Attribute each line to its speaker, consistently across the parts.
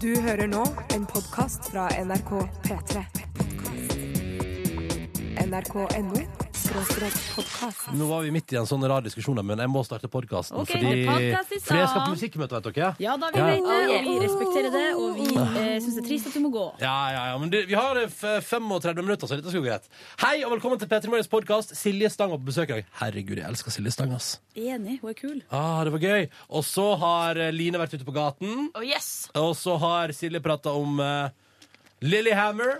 Speaker 1: Du hører nå en podkast fra NRK P3. NRK.no skråstrek podkast.
Speaker 2: Nå var vi midt i en sånn rar diskusjon, men jeg må starte podkasten.
Speaker 3: Ok,
Speaker 2: fordi,
Speaker 3: podcast i
Speaker 2: fordi jeg skal
Speaker 3: stand.
Speaker 2: på musikkmøte, vet dere.
Speaker 3: Ja da, vi
Speaker 2: Ja.
Speaker 3: vet det, og vi respekterer det, og vi eh, syns det er trist at du må gå.
Speaker 2: Ja, ja, ja, men det, Vi har eh, f- 35 minutter, så dette skal gå greit. Hei og velkommen til P3 Morgens podkast. Silje Stang var på besøk i dag. Herregud, jeg elsker Silje Stang. ass.
Speaker 3: Enig, hun er kul.
Speaker 2: Ah, Det var gøy. Og så har eh, Line vært ute på gaten.
Speaker 4: Oh, yes.
Speaker 2: Og så har Silje prata om uh, Lillehammer.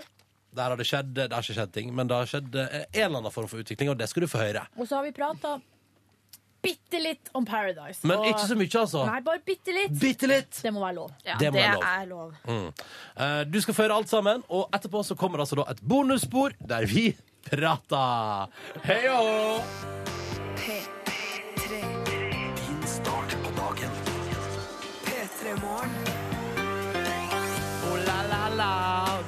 Speaker 2: Der har det skjedd Det har ikke skjedd ting, men det har skjedd eh, en eller annen form for utvikling, og det skal du få høre.
Speaker 3: Og så har vi prata bitte litt om Paradise.
Speaker 2: Men ikke så mye, altså.
Speaker 3: Nei, bare bitte litt.
Speaker 2: Bitte litt.
Speaker 3: Det må være lov.
Speaker 4: Ja, det,
Speaker 2: Det må være lov.
Speaker 4: er lov.
Speaker 2: Eh, du skal få høre alt sammen, og etterpå så kommer altså da et bonusspor der vi prater. Hei og
Speaker 1: P3. P3 Morgen.
Speaker 2: Oh, la, la, la.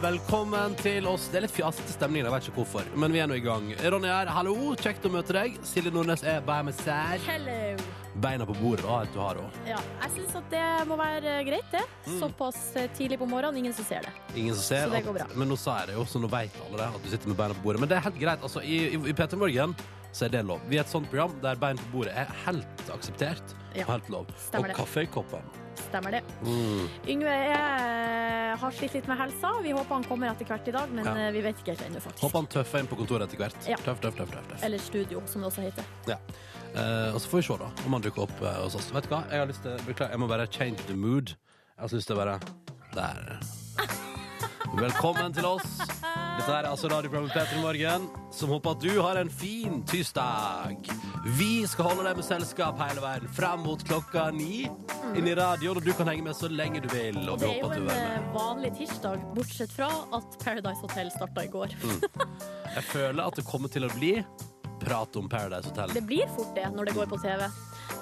Speaker 2: Velkommen til oss. Det er litt fjasete stemning, jeg vet ikke hvorfor, men vi er nå i gang. Ronny her, hallo. Kjekt å møte deg. Silje Nordnes er by my side.
Speaker 3: Hello.
Speaker 2: Beina på bordet, da, helt du har òg.
Speaker 3: Ja, jeg syns at det må være eh, greit, det.
Speaker 2: Mm.
Speaker 3: Såpass eh, tidlig på morgenen, ingen som ser det.
Speaker 2: Ingen som ser.
Speaker 3: Så det går bra.
Speaker 2: at, men nå sa jeg det jo, så nå vet alle det, at du sitter med beina på bordet. Men det er helt greit. altså I, i, i P3 Morgen så er det lov. Vi er et sånt program der bein på bordet er helt akseptert.
Speaker 3: Ja.
Speaker 2: og Helt lov.
Speaker 3: Stemmer
Speaker 2: og
Speaker 3: det.
Speaker 2: kaffe i koppen.
Speaker 3: Stemmer det.
Speaker 2: Mm.
Speaker 3: Yngve eh, har slitt litt med helsa. Vi håper han kommer etter hvert i dag, men
Speaker 2: Ja.
Speaker 3: eh, vi vet ikke helt ennå, faktisk.
Speaker 2: Håper han tøffer inn på kontoret etter hvert.
Speaker 3: Ja.
Speaker 2: Tøff, tøff, tøff, tøff, tøff.
Speaker 3: Eller studio, som det også heter.
Speaker 2: Ja. Eh, og så får vi se da om han dukker opp eh, hos oss. Vet du hva? Jeg har lyst til Beklager, jeg må bare change the mood. Jeg har så lyst til å være der. Velkommen til oss. Dette her er altså radioprogrammet Petter i morgen, som håper at du har en fin tirsdag. Vi skal holde deg med selskap hele veien fram mot klokka ni inn i radioen, og du kan henge med så lenge du vil. Og
Speaker 3: Det
Speaker 2: vi
Speaker 3: er jo
Speaker 2: håper at du
Speaker 3: en
Speaker 2: vil være med.
Speaker 3: eh, vanlig tirsdag, bortsett fra at Paradise Hotel starta i går.
Speaker 2: Mm. Jeg føler at det kommer til å bli prat om Paradise Hotel.
Speaker 3: Det blir fort det når det går på TV.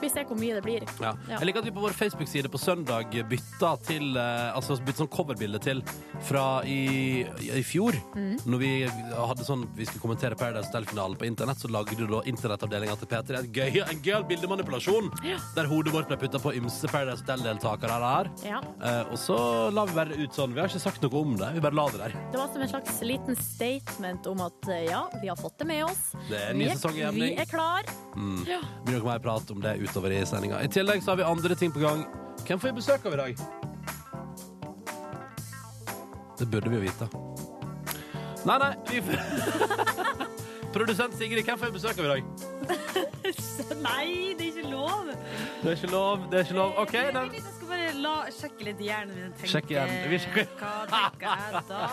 Speaker 3: Vi ser hvor mye det blir.
Speaker 2: Ja.
Speaker 3: Ja.
Speaker 2: Jeg liker at vi på vår Facebook-side på søndag bytta til eh, Altså bytta sånn coverbilde til fra i, i fjor.
Speaker 3: Mm.
Speaker 2: Når vi hadde sånn Vi skulle kommentere Paradise Hotel-finalen på internett, så lagde du da internettavdelinga til P3 en gøy, en gøy bildemanipulasjon der hodet vårt ble putta på ymse Paradise Hotel-deltakere der.
Speaker 3: Ja.
Speaker 2: Eh, og så la vi bare ut sånn. Vi har ikke sagt noe om det. Vi bare la det der.
Speaker 3: Det var som en slags liten statement om at eh, ja, vi har fått det med oss.
Speaker 2: Det er en ny
Speaker 3: Vi er-
Speaker 2: sesong Mm. i
Speaker 3: Vi
Speaker 2: emning.
Speaker 3: er klar.
Speaker 2: Det blir nok mer prat om det utover i sendinga. I tillegg så har vi andre ting på gang. Hvem får vi besøk av i dag? Det burde vi jo vite. Nei, nei, vi får Produsent Sigrid, hvem får vi besøk av i dag?
Speaker 4: Nei, det er ikke lov.
Speaker 2: Det er ikke lov, det er ikke lov. OK,
Speaker 4: jeg,
Speaker 2: nei.
Speaker 4: vil at jeg skal bare la, sjekke litt hjernen min. og Tenke,
Speaker 2: Sjekk hjernen. Vi sjekker-
Speaker 4: Hva tenker jeg da?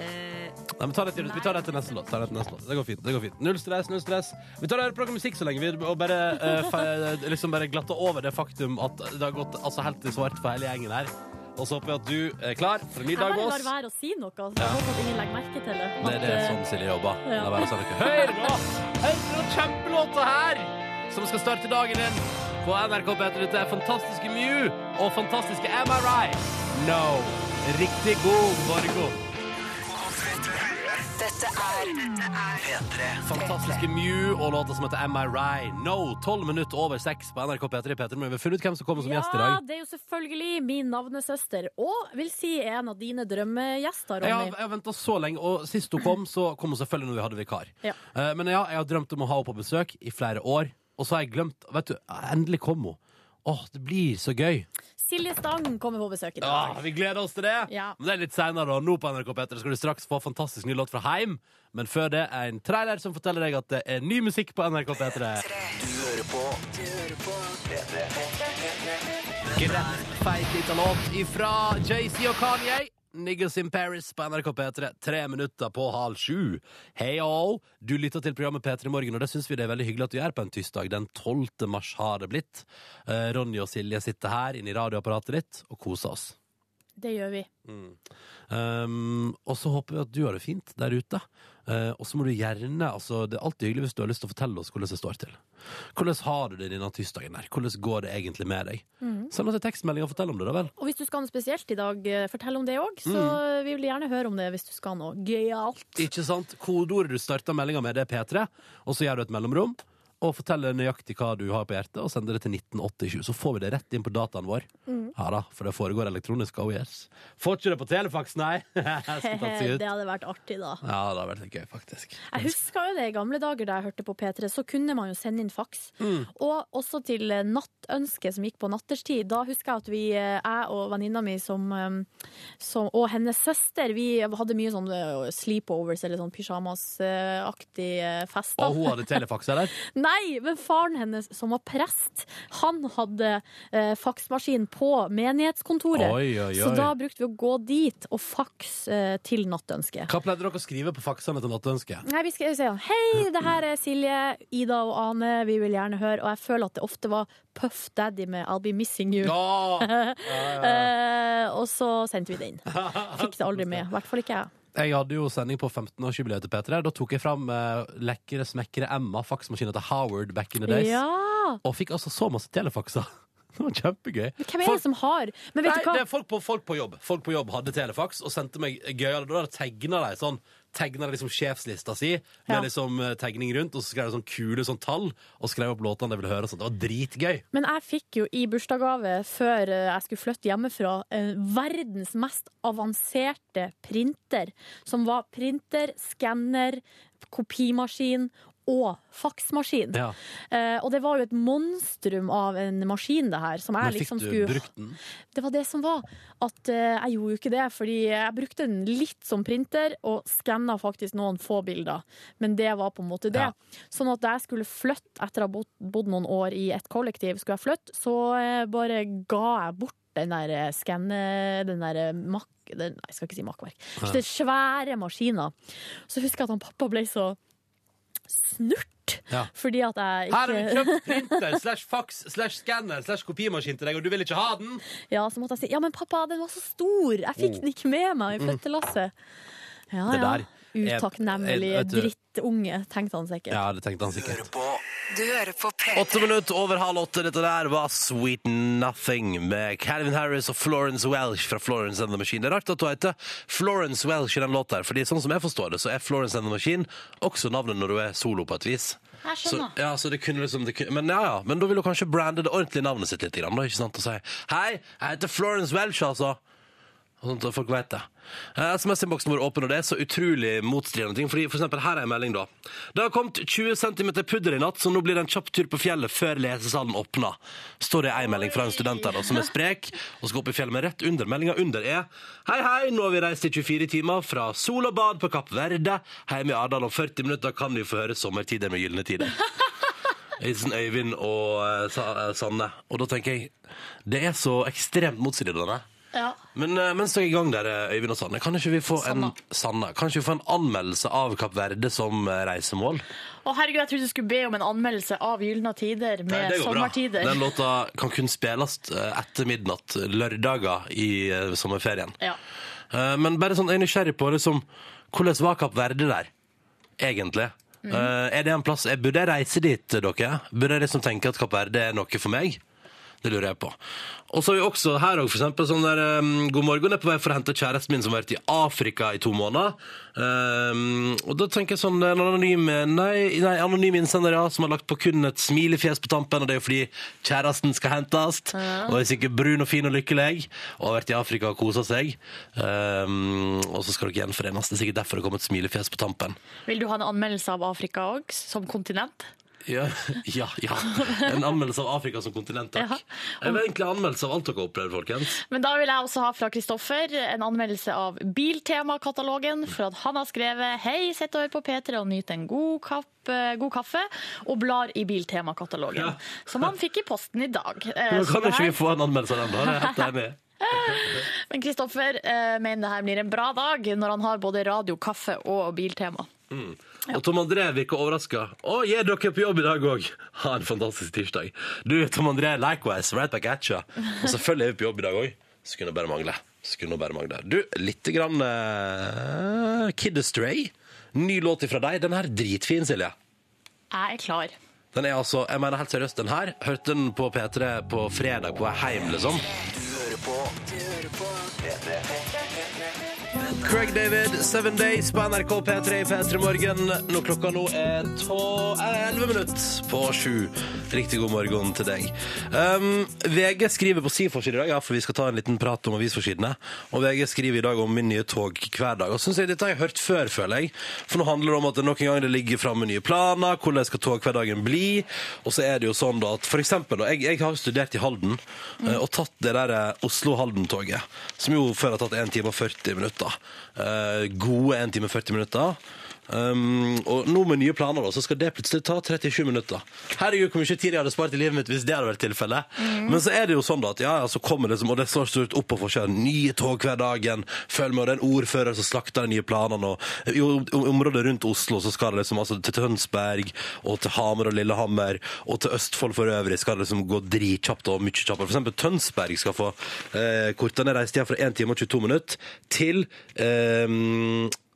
Speaker 4: Eh,
Speaker 2: nei men ta det til, vi tar det til neste låt. Ta det, til neste låt. det går fint. det går fint Null stress, null stress. Vi tar og hører på noe musikk så lenge, vi, og bare, eh, fe- liksom bare glatter over det faktum at det har gått altså, helt i svart for hele gjengen her. Og så håper jeg at du er klar for en ny
Speaker 3: Jeg
Speaker 2: dag
Speaker 3: bare
Speaker 2: med
Speaker 3: lar
Speaker 2: oss.
Speaker 3: være å si noe, så jeg håper at ingen legger merke til det.
Speaker 2: Det er
Speaker 3: At,
Speaker 2: det
Speaker 3: eh,
Speaker 2: som Silje jobber.
Speaker 3: ja.
Speaker 2: La være å si noe. Hør nå! Hør nå kjempelåta her! Som skal starte dagen din på NRK P3. Dette er fantastiske Mew og fantastiske Am I Right? No. Riktig god morgen.
Speaker 1: Dette er
Speaker 2: Fantastiske Mew og låta som heter Am I Right? No. Tolv minutter over seks på NRK P3. Peter, men vi har funnet ut hvem som kommer som gjest i
Speaker 3: ja,
Speaker 2: dag.
Speaker 3: det er jo selvfølgelig min navnesøster, og vil si en av dine drømmegjester,
Speaker 2: Jeg har, jeg
Speaker 3: Ronny.
Speaker 2: har venta så lenge, og sist hun kom, så kom hun selvfølgelig når vi hadde vikar.
Speaker 3: Ja.
Speaker 2: Eh, Men ja, jeg har drømt om å ha henne på besøk i flere år, og så har jeg glemt Vet du, endelig kom hun. Åh, det blir så gøy.
Speaker 3: Silje Stang kommer på besøk i dag.
Speaker 2: Ja, vi gleder oss til det.
Speaker 3: Ja.
Speaker 2: Men det er litt senere, og nå på NRK P3 skal du straks få fantastisk ny låt fra Heim. Men før det er en trailer som forteller deg at det er ny musikk på NRK P3. Greit, feit lita låt ifra JC og Kanye. Niggas in Paris på NRK P3, tre minutter på halv sju. Hei og Du lytter til programmet P3 Morgen, og det syns vi det er veldig hyggelig at du gjør på en tirsdag. Den 12. mars har det blitt. Eh, Ronny og Silje sitter her inne i radioapparatet ditt og koser oss.
Speaker 3: Det gjør vi.
Speaker 2: Um, og så håper vi at du har det fint der ute. Eh, og så må du gjerne altså, Det er alltid hyggelig hvis du har lyst til å fortelle oss hvordan det står til. Hvordan har du det denne tirsdagen her? Hvordan går det egentlig med deg? Send oss en tekstmelding og fortell om det, da vel.
Speaker 3: Og hvis du skal ha noe spesielt i dag, eh, fortell om det òg. Så
Speaker 2: Mm.
Speaker 3: vi vil gjerne høre om det hvis du skal ha noe gøyalt.
Speaker 2: Ikke sant? Kodeordet du starter meldinga med, det er P3, og så gjør du et mellomrom. og fortelle nøyaktig hva du har på hjertet, og sende det til 1987. Så får vi det rett inn på dataen vår. Ja da, for det foregår elektronisk. Oh yes. Får ikke det på telefax, nei! Skulle tatt seg ut.
Speaker 3: Eh, Det hadde vært artig, da.
Speaker 2: Ja, det hadde vært litt gøy, faktisk.
Speaker 3: Jeg husker jo det i gamle dager da jeg hørte på P3, så kunne man jo sende inn faks.
Speaker 2: Mm.
Speaker 3: Og også til eh, Nattønsket som gikk på natterstid. Da husker jeg at vi, eh, jeg og venninna mi som, eh, som, og hennes søster, vi hadde mye sånn eh, sleepovers eller sånn pyjamasaktig eh, fest. da.
Speaker 2: Og hun hadde telefax, eller?
Speaker 3: Nei, men faren hennes som var prest, han hadde eh, faksmaskin på menighetskontoret.
Speaker 2: Oi, oi,
Speaker 3: Så
Speaker 2: oi.
Speaker 3: da brukte vi å gå dit og faks eh, til Nattønsket.
Speaker 2: Hva pleide dere å skrive på faksene til Nattønsket?
Speaker 3: Nei, vi skrev sånn Hei, det her er Silje, Ida og Ane, vi vil gjerne høre. Og jeg føler at det ofte var Puff Daddy med I'll Be Missing You.
Speaker 2: Ja!
Speaker 3: Eh, og så sendte vi det inn. Fikk det aldri med. I hvert fall ikke jeg.
Speaker 2: Jeg hadde jo sending på 15-årsjubileet til P3. Da tok jeg fram eh, lekre, smekre Emma, faksmaskina til Howard back in the days.
Speaker 3: Ja,
Speaker 2: Og fikk altså så masse telefakser. Det var kjempegøy.
Speaker 3: Hvem er det som har Men vet
Speaker 2: Nei,
Speaker 3: du hva?
Speaker 2: det er folk på, folk på jobb Folk på jobb hadde telefax og sendte meg gøyere. Da tegna de sånn Tegna de liksom sjefslista si med
Speaker 3: Ja.
Speaker 2: liksom eh, tegning rundt, og så skrev de sånn kule sånn tall, og skrev opp låtene de ville høre. og Sånt. Det var dritgøy.
Speaker 3: Men jeg fikk jo i bursdagsgave før eh, jeg skulle flytte hjemmefra, eh, verdens mest avanserte printer. Som var printer, skanner, kopimaskin og faksmaskin.
Speaker 2: Ja.
Speaker 3: Eh, og det var jo et monstrum av en maskin, det her. Som jeg
Speaker 2: Men fikk
Speaker 3: liksom
Speaker 2: du
Speaker 3: skulle
Speaker 2: brukt den?
Speaker 3: Det var det som var. At eh, jeg gjorde jo ikke det, fordi jeg brukte den litt som printer, og skanna faktisk noen få bilder. Men det var på en måte det.
Speaker 2: Ja.
Speaker 3: Sånn at da jeg skulle flytte, etter å ha bodd, bodd noen år i et kollektiv, skulle jeg flytte, så eh, bare ga jeg bort den der eh, skanne... Den der eh, mak... Den, nei, jeg skal ikke si makkverk. Så det er svære maskiner. Så husker jeg at han pappa ble så snurt.
Speaker 2: Ja.
Speaker 3: Fordi at jeg
Speaker 2: Her har
Speaker 3: ikke
Speaker 2: vi kjøpt printer slash fax slash skanner slash kopimaskin til deg, og du vil ikke ha den!
Speaker 3: Ja, så måtte jeg si Ja, men pappa, den var så stor! Jeg fikk den ikke med meg i flyttelasset. Ja,
Speaker 2: Mm. Det
Speaker 3: ja.
Speaker 2: der er-
Speaker 3: Utakknemlige
Speaker 2: er- vet du-
Speaker 3: drittunge, tenkte han sikkert.
Speaker 2: Ja, det tenkte han sikkert.
Speaker 1: Du hører på P3.
Speaker 2: Åtte minutter over halv åtte. Dette der var Sweet Nothing med Calvin Harris og Florence Welsh fra Florence and the Machine. Det er rart at hun heter Florence Welsh i den låta her, fordi sånn som jeg forstår det, så er Florence and the Machine også navnet når du er solo på et vis.
Speaker 3: Jeg skjønner.
Speaker 2: Så, ja, så det kunne liksom det kunne, Men ja, ja, men da vil hun kanskje brande det ordentlige navnet sitt litt, grann, da, ikke sant? Og si Hei, jeg heter Florence Welsh, altså. Og Sånn at folk vet det. Eh, SMS-innboksen vår er åpen, og det er så utrolig motstridende ting. Fordi, for eksempel, her er en melding, da. Det har kommet 20 cm pudder i natt, så nå blir det en kjapp tur på fjellet før lesesalen åpner. Står det i en melding fra en student her, da, som er sprek og skal opp i fjellet. Men rett under meldinga under er Hei, hei, nå har vi reist i 24 timer fra sol og bad på Kapp Verde. Hjemme i Ardal om 40 minutter kan vi få høre 'Sommertider med gylne tider'. Hilsen Øyvind og eh, Sa- eh, Sanne. Og da tenker jeg Det er så ekstremt motstridende.
Speaker 3: Ja.
Speaker 2: Men eh, mens dere er i gang der, eh, Øyvind og Sanne, kan ikke vi få
Speaker 3: Sanna.
Speaker 2: en Sanna, kan ikke vi få en anmeldelse av Kapp Verde som eh, reisemål?
Speaker 5: Å herregud, jeg trodde du skulle be om en anmeldelse av Gylna tider med sommertider.
Speaker 2: Den låta kan kun spilles eh, etter midnatt lørdager i eh, sommerferien.
Speaker 5: Ja.
Speaker 2: Eh, Men bare sånn, jeg er nysgjerrig på liksom, hvordan var Kapp Verde der, egentlig?
Speaker 5: Mm.
Speaker 2: Eh, er det en plass eh, Burde jeg reise dit, eh, dere? Burde jeg liksom tenke at Kapp Verde er noe for meg? Det lurer jeg på. Og så har vi også her også, for eksempel, sånn der ehm, God morgen er på vei for å hente kjæresten min som har vært i Afrika i to måneder. Ehm, og da tenker jeg sånn en anonym Nei, nei anonym innsender, ja, som har lagt på kun et smilefjes på tampen, og det er jo fordi kjæresten skal hentes, og er sikkert brun og fin og lykkelig, og har vært i Afrika og kosa seg. Ehm, og så skal dere gjenforenes. Det er sikkert derfor det kom et smilefjes på tampen.
Speaker 5: Vil du ha en anmeldelse av Afrika òg, som kontinent?
Speaker 2: Ja, ja, ja. En anmeldelse av Afrika som kontinent, takk.
Speaker 5: Ja.
Speaker 2: Jeg vil egentlig ha anmeldelse av alt dere har opplevd, folkens.
Speaker 5: Men da vil jeg også ha fra Kristoffer en anmeldelse av Biltemakatalogen, for at han har skrevet 'Hei, sett over på P3 og nyt en god, kapp, eh, god kaffe', og blar i Biltemakatalogen.
Speaker 2: Ja.
Speaker 5: Som han fikk i posten i dag. Eh,
Speaker 2: Men
Speaker 5: så
Speaker 2: kan
Speaker 5: det
Speaker 2: ikke
Speaker 5: her-
Speaker 2: vi få en anmeldelse av den, da? Det er jeg helt enig. i.
Speaker 5: Men Kristoffer eh, mener det her blir en bra dag, når han har både radio, kaffe og biltema.
Speaker 2: Og Tom André virker overraska. Å, er dere på jobb i dag òg? Ha en fantastisk tirsdag. Du, Tom André, likewise. Right back at you. Og selvfølgelig er vi på jobb i dag òg. Skulle bare mangle. Skulle bare mangle. Du, lite grann eh, Kid Astray. Ny låt ifra deg. Den her er dritfin, Silje.
Speaker 5: Jeg er klar.
Speaker 2: Den er altså, jeg mener helt seriøst, den her Hørte den på P3 på fredag på vei hjem, liksom Craig David, Seven Days på NRK P3 i P3 Morgen. Når klokka nå er tå- eh, 11 minutter på sju. Riktig god morgen til deg. Um, VG skriver på sin forside i dag, ja, for vi skal ta en liten prat om avisforsidene. Og VG skriver i dag om min nye toghverdag. Og synes jeg dette har jeg hørt før, føler jeg. For nå handler det om at det nok en gang det ligger framme nye planer, hvordan skal toghverdagen bli. Og så er det jo sånn da at for eksempel, da, jeg, jeg har jo studert i Halden, eh, og tatt det der eh, Oslo-Halden-toget, som jo før har tatt 1 time og 40 minutter. Eh, gode 1 time og 40 minutter. Um, og nå med nye planer da, så skal det plutselig ta 37 minutter. Herregud, hvor mye tid jeg hadde spart i livet mitt hvis det hadde vært tilfellet. Men så er det jo sånn da at ja, ja, så kommer det som, og det står stort opp på forskjellen. Nye tog hver dagen. Følg med, og det er en ordfører som slakter de nye planene. Og i om- om- området rundt Oslo så skal det liksom altså til Tønsberg og til Hamar og Lillehammer og til Østfold for øvrig skal det liksom gå dritkjapt og mye kjappere. For eksempel Tønsberg skal få eh, korta ned reisetida fra 1 time og 22 minutter til eh,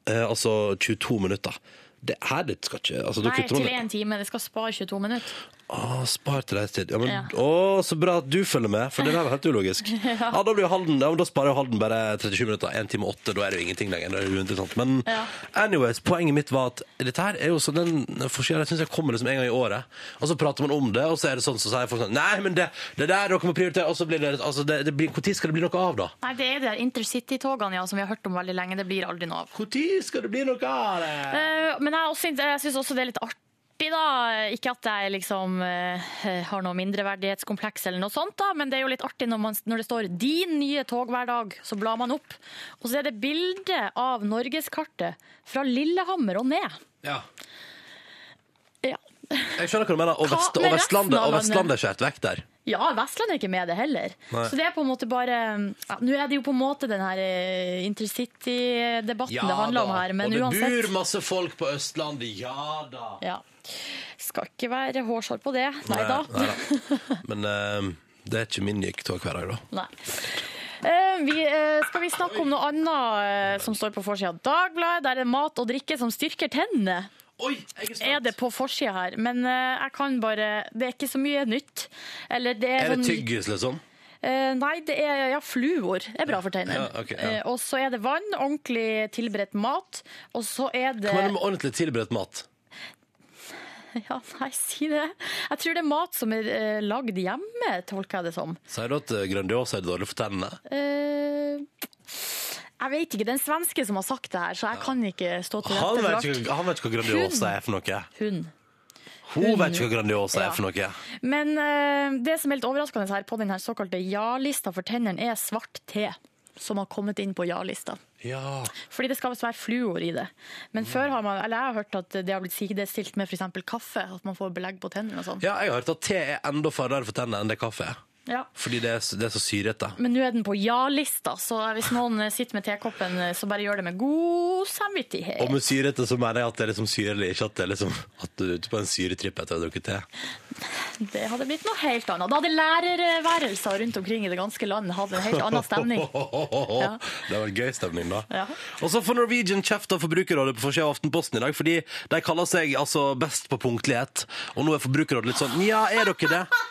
Speaker 2: Eh, altså 22 minutter. Det her det skal ikke altså, dere
Speaker 3: Nei,
Speaker 2: tror
Speaker 3: til
Speaker 2: det-
Speaker 3: én time. Det skal spare 22 minutter.
Speaker 2: Ah, spar til reisetid. Ja, men,
Speaker 3: Ja.
Speaker 2: Å, så bra at du følger med, for det der var helt ulogisk. ja. da blir jo Halden, ja, men da sparer jo Halden bare 37 minutter. 1 time og 8, da er det jo ingenting lenger. Det er jo uinteressant. Men
Speaker 3: Ja.
Speaker 2: anyways, poenget mitt var at dette her er jo sånn den forskjellen jeg syns jeg kommer liksom en gang i året. Og så prater man om det, og så er det sånn så sier folk sånn Nei, men det, det der dere må prioritere. Og så blir det altså, det, det blir, Hvor tid skal det bli noe av, da?
Speaker 3: Nei, det er det intercity-togene ja, som vi har hørt om veldig lenge. Det blir aldri noe av.
Speaker 2: Hvor tid skal det bli noe av det?
Speaker 3: Eh, men jeg, også- jeg syns også det er litt artig, da. Ikke at jeg liksom eh, har noe mindreverdighetskompleks eller noe sånt, da, men det er jo litt artig når, man, når det står 'din nye tog hver dag', så blar man opp. Og så er det bilde av norgeskartet fra Lillehammer og ned.
Speaker 2: Ja.
Speaker 3: Ja.
Speaker 2: Jeg skjønner hva du mener. Og,
Speaker 3: Hva
Speaker 2: Vest,
Speaker 3: med
Speaker 2: og, Vestlandet,
Speaker 3: resten av
Speaker 2: og
Speaker 3: landet?
Speaker 2: Vestlandet er skjært vekk der.
Speaker 3: Ja, Vestlandet er ikke med det heller.
Speaker 2: Nei.
Speaker 3: Så det er på en måte bare ja, Nå er det jo på en måte den her eh, intercity-debatten det handler om her, men
Speaker 2: og det
Speaker 3: uansett
Speaker 2: bor masse folk på Østlandet. Ja da.
Speaker 3: ja. Skal ikke være hårsår på det. Nei da.
Speaker 2: Nei, nei da. Men eh, det er ikke min nye tog hver dag, da.
Speaker 3: Nei. Eh, vi, eh, skal vi snakke om noe annet eh, som står på forsida av Dagbladet? Der er det mat og drikke som styrker tennene.
Speaker 2: Oi, jeg er
Speaker 3: Er
Speaker 2: spent.
Speaker 3: det på forsida her? Men eh, jeg kan bare Det er ikke så mye nytt. Eller det er,
Speaker 2: Er det
Speaker 3: sånn-
Speaker 2: tyggis, liksom?
Speaker 3: Eh, nei, det er ja, fluor. Det er bra for tennene.
Speaker 2: Ja, ok, ja.
Speaker 3: Eh, og så er det vann, ordentlig tilberedt mat. Og så er det
Speaker 2: Hva mener du med ordentlig tilberedt mat?
Speaker 3: Ja, nei, si det. Jeg tror det er mat som er eh, lagd hjemme, tolker jeg det som.
Speaker 2: Sier du at eh, Grandiosa er dårlig for tennene?
Speaker 3: Eh, jeg vet ikke. Det er en svenske som har sagt det her, så jeg kan ikke stå til
Speaker 2: Han
Speaker 3: rette
Speaker 2: vet,
Speaker 3: for alt.
Speaker 2: ikke, han vet ikke hva Grandiosa er for noe.
Speaker 3: Hun.
Speaker 2: Hun vet ikke hva Grandiosa
Speaker 3: Ja.
Speaker 2: er for noe.
Speaker 3: Men eh, det som er litt overraskende her på den her såkalte ja-lista for tennene, er svart te. Som har kommet inn på ja-lista.
Speaker 2: Ja.
Speaker 3: Fordi det skal visst være fluor i det. Men før har man, eller jeg har hørt at det har blitt sidestilt med f.eks. kaffe. At man får belegg på tennene og sånn.
Speaker 2: ja, jeg har hørt at te er enda farligere for tennene enn det kaffe er.
Speaker 3: Ja.
Speaker 2: Fordi det er, s- det er så syrete.
Speaker 3: Men nå er den på ja-lista, så hvis noen eh, sitter med tekoppen, eh, så bare gjør det med god
Speaker 2: Og
Speaker 3: samvittighet.
Speaker 2: med syrete så mener jeg at det er liksom syrlig, ikke at, det er liksom, at du er ute på en syretripp etter å ha drukket te.
Speaker 3: Det hadde blitt noe helt annet. Da hadde lærerværelser rundt omkring i det ganske land hatt en helt annen stemning. Ja.
Speaker 2: Det var en gøy stemning, da.
Speaker 3: Ja.
Speaker 2: Og så får Norwegian kjeft av Forbrukerrådet på forsida av Aftenposten i dag, fordi de kaller seg altså best på punktlighet, og nå er Forbrukerrådet litt sånn Nja, er dere det?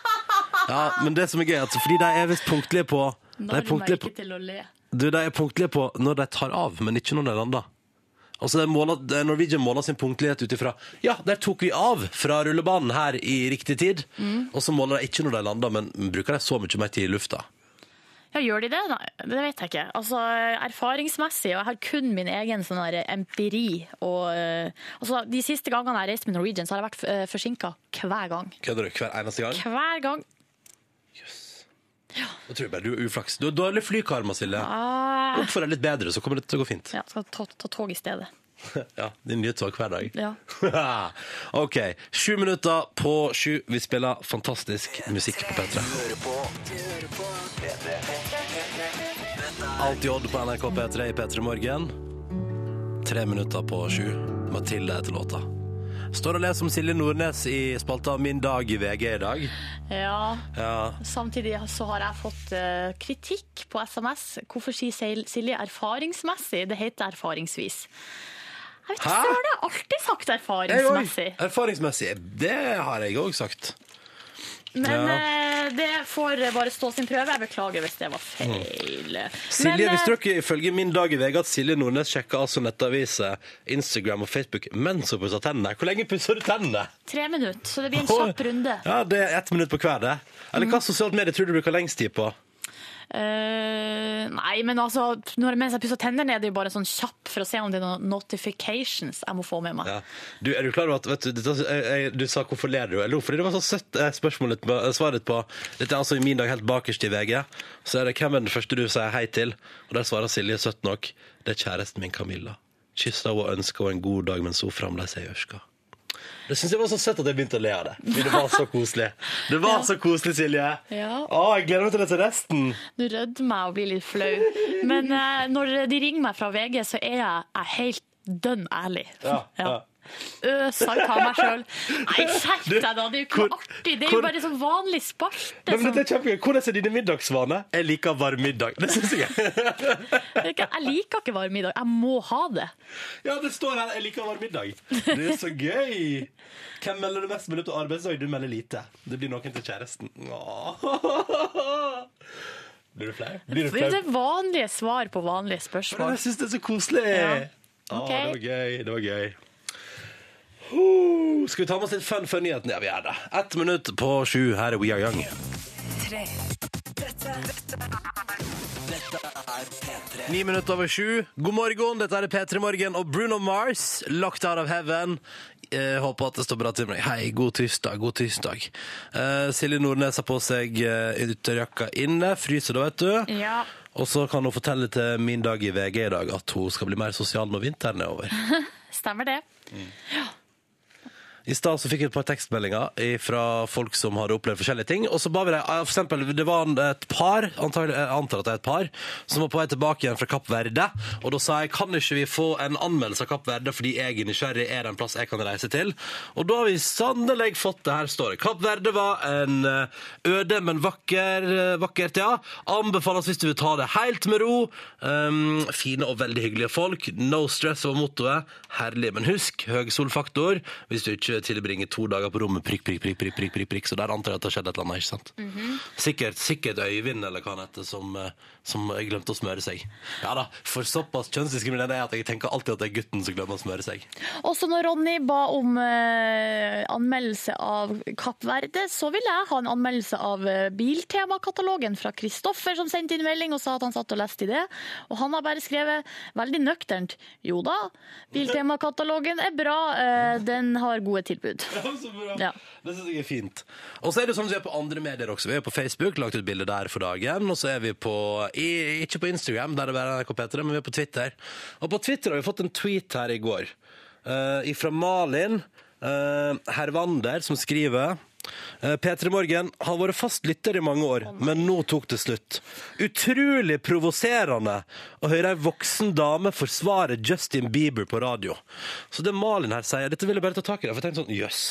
Speaker 2: Ja, men det som er gøy, er at fordi de er visst punktlige på de er
Speaker 3: Narr meg
Speaker 2: punktlige på,
Speaker 3: ikke til å le.
Speaker 2: du, de er punktlige på når de tar av, men ikke når de lander. Altså, de måler, de- Norwegian måler sin punktlighet ut ifra Ja, der tok vi av fra rullebanen her i riktig tid.
Speaker 3: Mm.
Speaker 2: Og så måler de ikke når de lander, men bruker de så mye mer tid i lufta.
Speaker 3: Ja, gjør de det? Nei, det vet jeg ikke. Altså, erfaringsmessig, og jeg har kun min egen sånn her empiri, og eh, altså, de siste gangene jeg reiste med Norwegian, så har jeg vært uh, forsinka hver gang.
Speaker 2: Kødder du? Hver eneste gang?
Speaker 3: Hver gang.
Speaker 2: Da tror jeg bare du er uflaks. Du har dårlig flykarma, Silje.
Speaker 3: Ah,
Speaker 2: Oppfør deg litt bedre, så kommer det til å gå fint.
Speaker 3: ja, skal ta, ta tog i stedet.
Speaker 2: Ja, Din nye tog hver dag.
Speaker 3: Ja.
Speaker 2: OK. Sju minutter på sju. Vi spiller fantastisk musikk på P3. Alt i odd på NRK P3 i P3 Morgen. Tre minutter på sju. Mathilde heter låta. Står og leser om Silje Nordnes i spalta Min dag i VG i dag.
Speaker 3: Ja,
Speaker 2: Ja,
Speaker 3: samtidig så har jeg fått eh, kritikk på SMS. Hvorfor sier Sil- Silje erfaringsmessig? Det heter erfaringsvis. Jeg vet ikke,
Speaker 2: Hæ?
Speaker 3: søren, jeg har alltid sagt
Speaker 2: Jeg òg.
Speaker 3: erfaringsmessig.
Speaker 2: Erfaringsmessig. Det har jeg òg sagt.
Speaker 3: Men
Speaker 2: Ja.
Speaker 3: eh, det får bare stå sin prøve. Jeg beklager hvis det var feil.
Speaker 2: Mm. Silje,
Speaker 3: Men, eh,
Speaker 2: visste dere ifølge Min dag i VG at Silje Nordnes sjekka altså nettaviser, Instagram og Facebook mens hun pussa tennene? Hvor lenge pusser du tennene?
Speaker 3: tre minutter, så det blir en kjapp runde. Mm.
Speaker 2: Ja, det er ett minutt på hver, det. Eller hva sosialt medie tror du bruker lengst tid på?
Speaker 3: Eh, nei, men altså, når, mens jeg pusser tennene, er det jo bare sånn kjapp for å se om det er noen notifications jeg må få med meg.
Speaker 2: Ja. Du, er du klar over at vet du, dette- jeg, jeg, du sa 'hvorfor ler du'? Jeg lo fordi det var så søtt eh, spørsmålet på, eh, svaret på Dette er altså i min dag helt bakerst i VG. Så er det 'Hvem er den første du sier hei til?' Og der svarer Silje søtt nok 'Det er kjæresten min Camilla'. Kysser henne og ønsker henne en god dag mens hun fremdeles er i ørska. Det synes jeg var så søtt at jeg begynte å le av det. Fordi det var så koselig. Det var så koselig, Silje.
Speaker 3: Ja.
Speaker 2: Å, jeg gleder meg til å lese resten.
Speaker 3: Nå rødmer jeg og blir litt flau. Men eh, når de ringer meg fra VG, så er jeg, jeg helt dønn ærlig.
Speaker 2: Ja, ja.
Speaker 3: Øsalt av meg sjøl. Nei, skjerp deg, da! Det er jo ikke
Speaker 2: Hvor-
Speaker 3: noe artig. Det er
Speaker 2: hvor-
Speaker 3: jo bare sånn vanlig spalte.
Speaker 2: Nei, men
Speaker 3: Som,
Speaker 2: dette er kjempegøy. Hvordan er dine middagsvaner? Jeg liker varm middag. Det synes jeg.
Speaker 3: Det er ikke- jeg liker ikke varm middag. Jeg må ha det.
Speaker 2: Ja, det står her. Jeg liker varm middag. Det er så gøy. Hvem melder du mest med til arbeidsdag? Du melder lite. Det blir noen til kjæresten. Åh. Blir du flau? Blir du
Speaker 3: Det er
Speaker 2: flau?
Speaker 3: jo det vanlige svar på vanlige
Speaker 2: Men
Speaker 3: spørsmål.
Speaker 2: jeg syns det er så koselig.
Speaker 3: Ja.
Speaker 2: Åh,
Speaker 3: Ok.
Speaker 2: det var gøy. Det var gøy. Ho, skal vi ta med oss litt fun før nyheten? Ja, vi gjør det. Ett minutt på sju. Her er We Are Young. Ni minutter over sju. God morgen, dette er P3 Morgen og Bruno Mars, Locked Out of Heaven. Eh, håper at det står bra til med deg. Hei, god tirsdag, god tirsdag. Eh, Silje Nordnes har på seg eh, ytterjakka inne, fryser da, vet du.
Speaker 3: Ja.
Speaker 2: Og så kan hun fortelle til Min dag i VG i dag at hun skal bli mer sosial når vinteren er over.
Speaker 3: Stemmer det.
Speaker 2: I stad så fikk jeg et par tekstmeldinger fra folk som hadde opplevd forskjellige ting. Og så ba vi dem, eh, for eksempel, Det var en- et par antagelig, jeg antar at det er et par, som var på vei tilbake igjen fra Kapp Verde. Og da sa jeg kan ikke vi få en anmeldelse av Kapp Verde fordi jeg er nysgjerrig, er det en plass jeg kan reise til? Og da har vi sannelig fått det. Her står det. Kapp Verde var en eh, øde, men vakker, eh, vakkert, ja. Anbefales hvis du vil ta det helt med ro. Um, fine og veldig hyggelige folk. No stress var mottoet. Herlig. Men husk, høy solfaktor hvis du ikke tilbringer to dager på rommet. Prikk, prikk, prikk, prikk, prikk, prikk, prikk. Så der antar jeg at det har skjedd et eller annet, ikke sant? Sikkert, sikkert Øyvind eller hva han heter, som, eh, som glemte å smøre seg. Ja da, for såpass kjønnsdiskriminerende er jeg at jeg tenker alltid at det er gutten som glemmer å smøre seg.
Speaker 3: Også når Ronny ba om eh, anmeldelse av Kapp Verde, så ville jeg ha en anmeldelse av eh, Biltemakatalogen fra Kristoffer, som sendte inn melding og sa at han satt og leste i det. Og han har bare skrevet veldig nøkternt jo da, Biltemakatalogen er bra, eh, den har gode tilbud.
Speaker 2: Så bra.
Speaker 3: Ja.
Speaker 2: Det syns jeg er fint. Og så er det jo sånn som vi er på andre medier også. Vi er jo på Facebook, lagt ut bilde der for dagen. Og så er vi på i, Ikke på Instagram, der det bare er NRK P3, men vi er på Twitter. Og på Twitter har vi fått en tweet her i går eh, fra Malin eh, Hervander, som skriver eh, P3 Morgen har vært fast lytter i mange år, men nå tok det slutt. Utrolig provoserende å høre ei voksen dame forsvare Justin Bieber på radio. Så det Malin her sier, dette vil jeg bare ta tak i. det, For jeg tenkte sånn, jøss.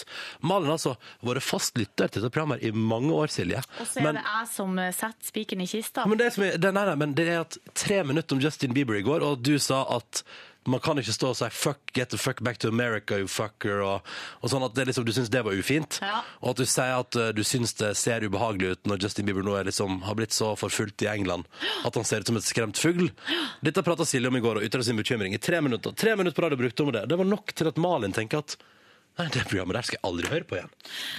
Speaker 2: Malin har altså vært fast lytter til dette programmet her i mange år, Silje.
Speaker 3: Og så er
Speaker 2: Men-
Speaker 3: det jeg som eh, setter spikeren i kista.
Speaker 2: men det, som er, det, nei, nei, men det er at tre minutter om Justin Bieber i går, og du sa at man kan ikke stå og si 'fuck, get the fuck back to America, you fucker', og, og sånn at det liksom, du syns det var ufint.
Speaker 3: Ja.
Speaker 2: Og at du sier at eh, du syns det ser ubehagelig ut når Justin Bieber nå er liksom, har blitt så forfulgt i England at han ser ut som et skremt fugl. Dette prata Silje om i går og ytra sin bekymring i tre minutter. Tre minutter på radio brukte hun det. Det var nok til at Malin tenker at Nei, det programmet der skal jeg aldri høre på igjen.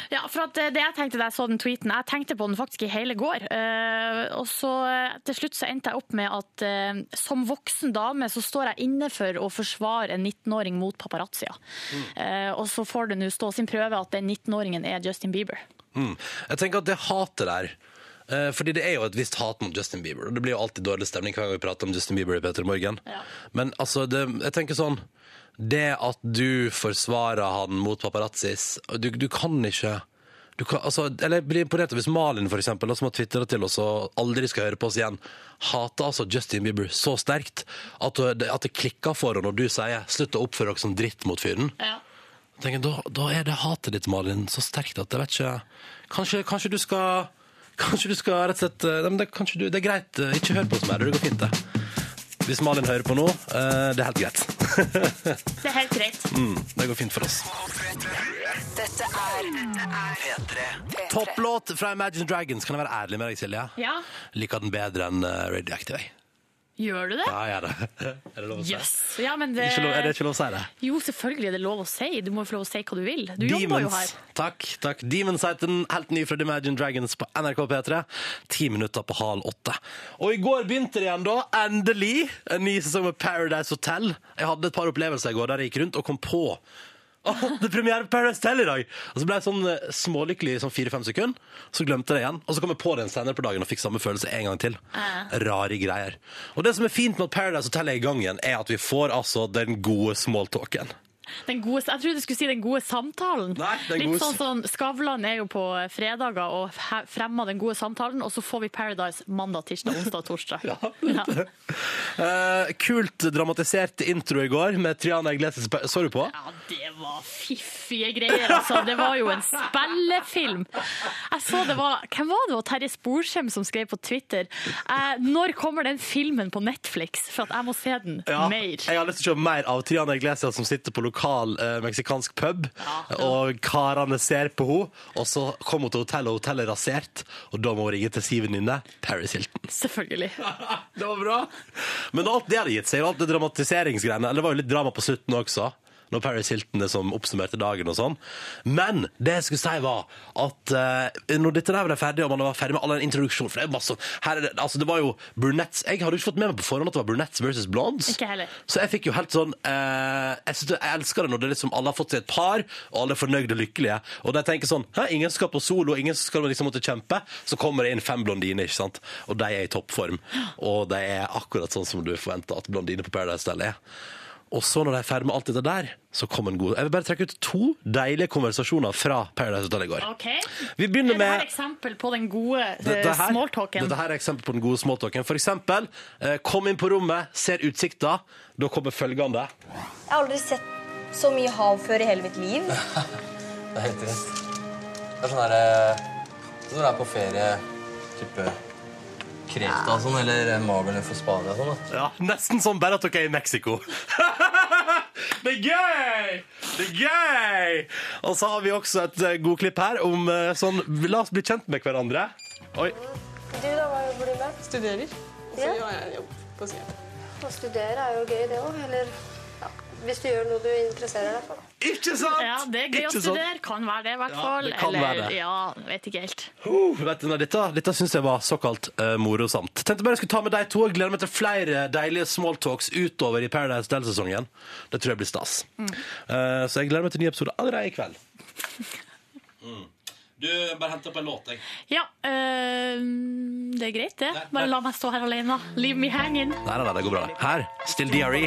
Speaker 3: Ja, for at eh, det jeg tenkte da jeg så den tweeten, jeg tenkte på den faktisk i hele går. Eh, og så eh, til slutt så endte jeg opp med at eh, som voksen dame så står jeg inne for å forsvare en 19-åring mot paparazzia.
Speaker 2: Mm.
Speaker 3: Eh, og så får det nå stå sin prøve at den 19-åringen er Justin Bieber.
Speaker 2: Mm. Jeg tenker at det hatet der eh, fordi det er jo et visst hat mot Justin Bieber. Og det blir jo alltid dårlig stemning hver gang vi prater om Justin Bieber i Peter Morgen.
Speaker 3: Ja.
Speaker 2: Men altså, det, jeg tenker sånn Det at du forsvarer han mot paparazzis og du, du kan ikke du kan, altså, eller jeg blir imponert hvis Malin, for eksempel, da, som har tvitra til oss og aldri skal høre på oss igjen, hater altså Justin Bieber så sterkt at, det- at det klikker for henne når du sier 'slutt å oppføre dere som dritt mot fyren'. Jeg tenker, da, da er det hatet ditt, Malin, så sterkt at jeg vet ikke Kanskje, kanskje du skal Kanskje du skal rett og slett eh, nei, men det, kanskje du, det er greit, eh, ikke hør på oss mer. Det går fint, det. Hvis Malin hører på nå, eh, det er helt greit.
Speaker 3: Det er helt greit.
Speaker 2: Mm, det går fint for oss. Topplåt fra Imagine Dragons. Kan jeg være ærlig med deg, Silje?
Speaker 3: Ja,
Speaker 2: Liker den bedre enn eh, Radioactive. jeg.
Speaker 3: gjør du det?
Speaker 2: Ja, jeg gjør det. Er det lov å si?
Speaker 3: Yes. Ja, men det,
Speaker 2: Ikke lov, er det ikke lov å si det?
Speaker 3: Jo, selvfølgelig er det lov å si. Du må jo få lov å si hva du vil. Du jobber jo her.
Speaker 2: Takk. takk. Demons heter den, helt ny fra The Imagine Dragons på NRK P3. Ti minutter på halv åtte. Og i går begynte det igjen, da. Endelig! En ny sesong med Paradise Hotel. Jeg hadde et par opplevelser i går der jeg gikk rundt og kom på Åh, det er premiere på Paradise Hotel i dag! Og så ble jeg sånn eh, smålykkelig i sånn fire-fem sekunder. Så glemte jeg det igjen. Og så kom jeg på det en senere på dagen og fikk samme følelse en gang til. Rare greier. Og det som er fint med at Paradise Hotel er i gang igjen, er at vi får altså den gode smalltalken.
Speaker 3: Den gode, jeg trodde du skulle si den gode samtalen.
Speaker 2: Nei, den
Speaker 3: Litt
Speaker 2: gode-
Speaker 3: sånn som Skavlan er jo på fredager og he- fremmer den gode samtalen, og så får vi Paradise mandag, tirsdag, onsdag og torsdag. Ja.
Speaker 2: Eh, kult dramatisert intro i går med Triana Iglesias på- Så du på?
Speaker 3: Ja, det var fiffige greier, altså. Det var jo en spillefilm. Jeg så det var Hvem var det? det? var Terje Sporsem som skrev på Twitter. Eh, når kommer den filmen på Netflix? For at jeg må se den mer.
Speaker 2: Jeg har lyst til å se mer av Triana Iglesias som sitter på lokal eh, meksikansk pub, og karene ser på henne, og så kommer hun til hotellet, og hotellet er rasert, og da må hun ringe til si venninne Paris Hilton.
Speaker 3: Selvfølgelig.
Speaker 2: det var bra! Men alt det hadde gitt seg, og alt det dramatiseringsgreiene, eller det var jo litt drama på slutten også, når Paris Hilton er som oppsummerte dagen og sånn. Men det jeg skulle si var at eh, når dette der var ferdig, og man var ferdig med all den introduksjonen, for det er masse sånn, her er det, altså det var jo brunettes, jeg hadde jo ikke fått med meg på forhånd at det var brunettes versus blondes.
Speaker 3: Ikke heller.
Speaker 2: Så jeg fikk jo helt sånn, eh, jeg, synes, jeg elsker det når det er liksom alle har fått seg et par, og alle er fornøyde og lykkelige, og de tenker sånn, hæ, ingen skal på solo, ingen skal liksom måtte kjempe, så kommer det inn fem blondiner, ikke sant? Og de er i toppform, og de er akkurat sånn som du forventer at blondiner på Paradise Hotel er. Og så når de er ferdig med alt dette der, så kom en god... Jeg vil bare trekke ut to deilige konversasjoner fra Paradise Hotel i går.
Speaker 3: OK.
Speaker 2: Vi begynner
Speaker 3: Er det her
Speaker 2: med...
Speaker 3: eksempel på den gode
Speaker 2: Dette
Speaker 3: eh,
Speaker 2: her,
Speaker 3: smalltalken?
Speaker 2: dette her er eksempel på den gode smalltalken. For eksempel, eh, kom inn på rommet, ser utsikta, da kommer følgende.
Speaker 6: Jeg har aldri sett så mye hav før i hele mitt liv.
Speaker 7: Det er helt trist. Det er sånn derre Sånn når du er på ferie, type Kreta og sånn, eller Mageløen for Spania og sånn. da.
Speaker 2: Ja, Nesten som bare at dere er i Mexico. Det er gøy! Det er gøy! Og så har vi også et eh, god klipp her om eh, sånn La oss bli kjent med hverandre. Oi.
Speaker 8: Du da, hva jobber du med?
Speaker 9: studerer. Og så
Speaker 8: Ja.
Speaker 9: gjør jeg en jobb på siden.
Speaker 8: Å studere er jo gøy det òg, eller ja, hvis du gjør noe du interesserer deg for. da.
Speaker 2: Ikke sant?
Speaker 3: Ja, det er gøy
Speaker 2: Ikke
Speaker 3: å
Speaker 2: sant?
Speaker 3: studere. Kan være det, i hvert
Speaker 2: Ja,
Speaker 3: fall.
Speaker 2: det kan være det.
Speaker 3: Ja, vet ikke helt.
Speaker 2: Uh, vet du, nei, dette dette syns jeg var såkalt eh, morosamt. Tenkte bare jeg skulle ta med de to. Jeg Gleder meg til flere deilige smalltalks utover i Paradise Del-sesongen. Det tror jeg blir stas.
Speaker 3: Mm.
Speaker 2: Eh, så jeg gleder meg til ny episode allerede i kveld. Mm. Du, bare hent opp en låt, jeg.
Speaker 3: Ja, eh, det er greit, det.
Speaker 2: Nei,
Speaker 3: Bare
Speaker 2: nei.
Speaker 3: la meg stå her alene. Leave me hanging.
Speaker 2: Nei, nei, nei, det går bra. Her, Still DRE.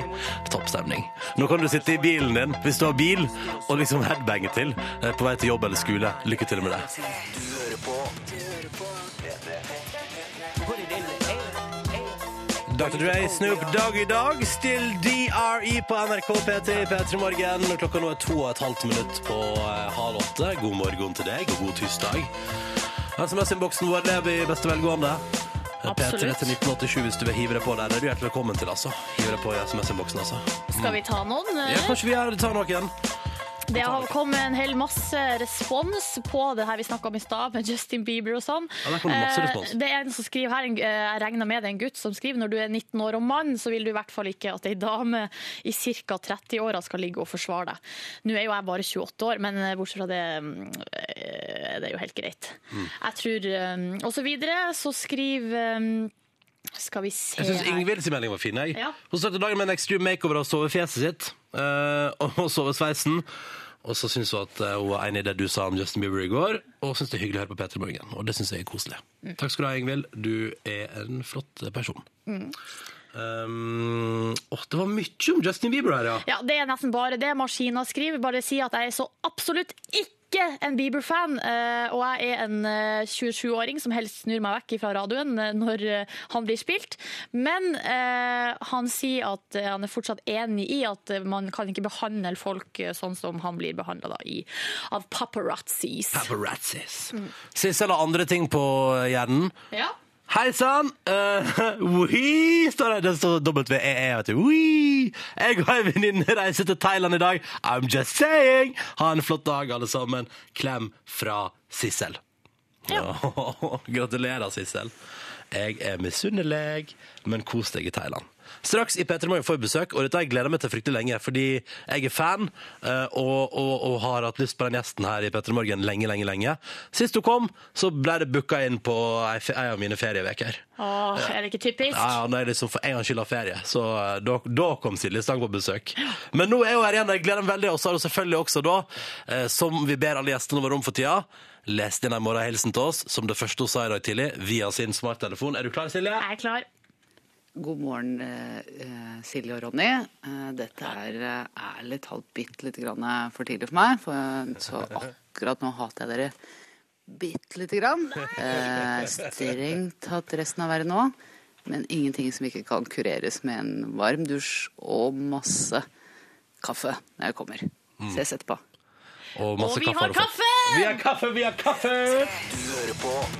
Speaker 2: Toppstemning. Nå kan du sitte i bilen din, hvis du har bil, og liksom headbange til eh, på vei til jobb eller skole. Lykke til med det. Dr. Dre, Snoop Dogg i dag. Still DRE på NRK P3 i P3 Morgen. Klokka nå er to og et halvt minutt på eh, halv åtte. God morgen til deg, og god tirsdag. SMS-innboksen vår lever i beste velgående. P3 til
Speaker 3: Absolutt.
Speaker 2: 1987 hvis du vil hive deg på der. Det er du hjertelig velkommen til, altså. Hive deg på i SMS-innboksen, altså.
Speaker 3: Skal vi ta noen? eh,
Speaker 2: Ja, kanskje vi gjør det, tar noen.
Speaker 3: Det har kommet en hel masse respons på det her vi snakka om i stad, med Justin Bieber og sånn.
Speaker 2: Ja, der kom det masse
Speaker 3: Eh,
Speaker 2: respons.
Speaker 3: Det er en som skriver her, en- eh, jeg regner med det er en gutt som skriver når du er 19 år og mann, så vil du i hvert fall ikke at ei dame i ca. 30-åra skal ligge og forsvare deg. Nå er jo jeg bare 28 år, men eh, bortsett fra det mm, eh, det er jo helt greit.
Speaker 2: Mm.
Speaker 3: Jeg tror eh, Og så videre så skriver eh, Skal vi se
Speaker 2: Jeg syns
Speaker 3: her.
Speaker 2: Ingvilds melding var fin. jeg.
Speaker 3: Ja.
Speaker 2: Hun startet dagen med en extreme makeover og sove fjeset sitt. eh, og sove sveisen. Og så syns hun at eh, hun var enig i det du sa om Justin Bieber i går. Og syns det er hyggelig å høre på P3 Morgen. Og det syns jeg er koselig. Takk skal du ha, Ingvild. Du er en flott eh, person. Um, åh, det var mye om Justin Bieber her, ja.
Speaker 3: Ja, det er nesten bare det maskina skriver. Bare si at jeg er så absolutt ikke en Bieber-fan, eh, og jeg er en eh, 27-åring som helst snur meg vekk fra radioen eh, når eh, han blir spilt. Men eh, han sier at eh, han er fortsatt enig i at eh, man kan ikke behandle folk eh, sånn som han blir behandla av paparazzis.
Speaker 2: Mm. Paparazzis. Sissel har andre ting på hjernen.
Speaker 3: Ja.
Speaker 2: Hei sann! Uh, Wee, står det. Det står W-E-E. vet du. Wee. Jeg og ei venninne reiser til Thailand i dag. I'm just saying! Ha en flott dag, alle sammen. Klem fra Sissel. gratulerer, Sissel. Jeg er misunnelig, men kos deg i Thailand. Straks i P3 Morgen får vi besøk, og dette har jeg gleda meg til fryktelig lenge. Fordi jeg er fan, eh, og, og, og har hatt lyst på den gjesten her i P3 Morgen lenge, lenge, lenge. Sist hun kom, så ble det booka inn på ei fe- ei av mine ferieveker.
Speaker 5: Åh, er det ikke typisk?
Speaker 2: Ja, ja, nei, liksom for en gangs skyld har ferie. Så eh, da, da kom Silje Stang på besøk. Men nå er hun her igjen, og jeg gleder meg veldig. Og så har hun selvfølgelig også da, eh, som vi ber alle gjestene våre om for tida, lest inn en morgenhilsen til oss, som det første hun sa i dag tidlig, via sin smarttelefon. Er du klar, Silje?
Speaker 5: Jeg er klar.
Speaker 10: God morgen, eh, eh, Silje og Ronny. Eh, Dette er, eh, er litt halvt bitte lite grann eh, for tidlig for meg, for eh, så akkurat nå hater jeg dere bitte lite grann. Eh, Strengt tatt resten av verden òg, men ingenting som ikke kan kureres med en varm dusj og masse kaffe når jeg kommer. Så jeg setter på.
Speaker 2: Og, masse altså.
Speaker 5: Og vi har
Speaker 2: du fått.
Speaker 5: kaffe!
Speaker 2: Vi har kaffe, vi har kaffe!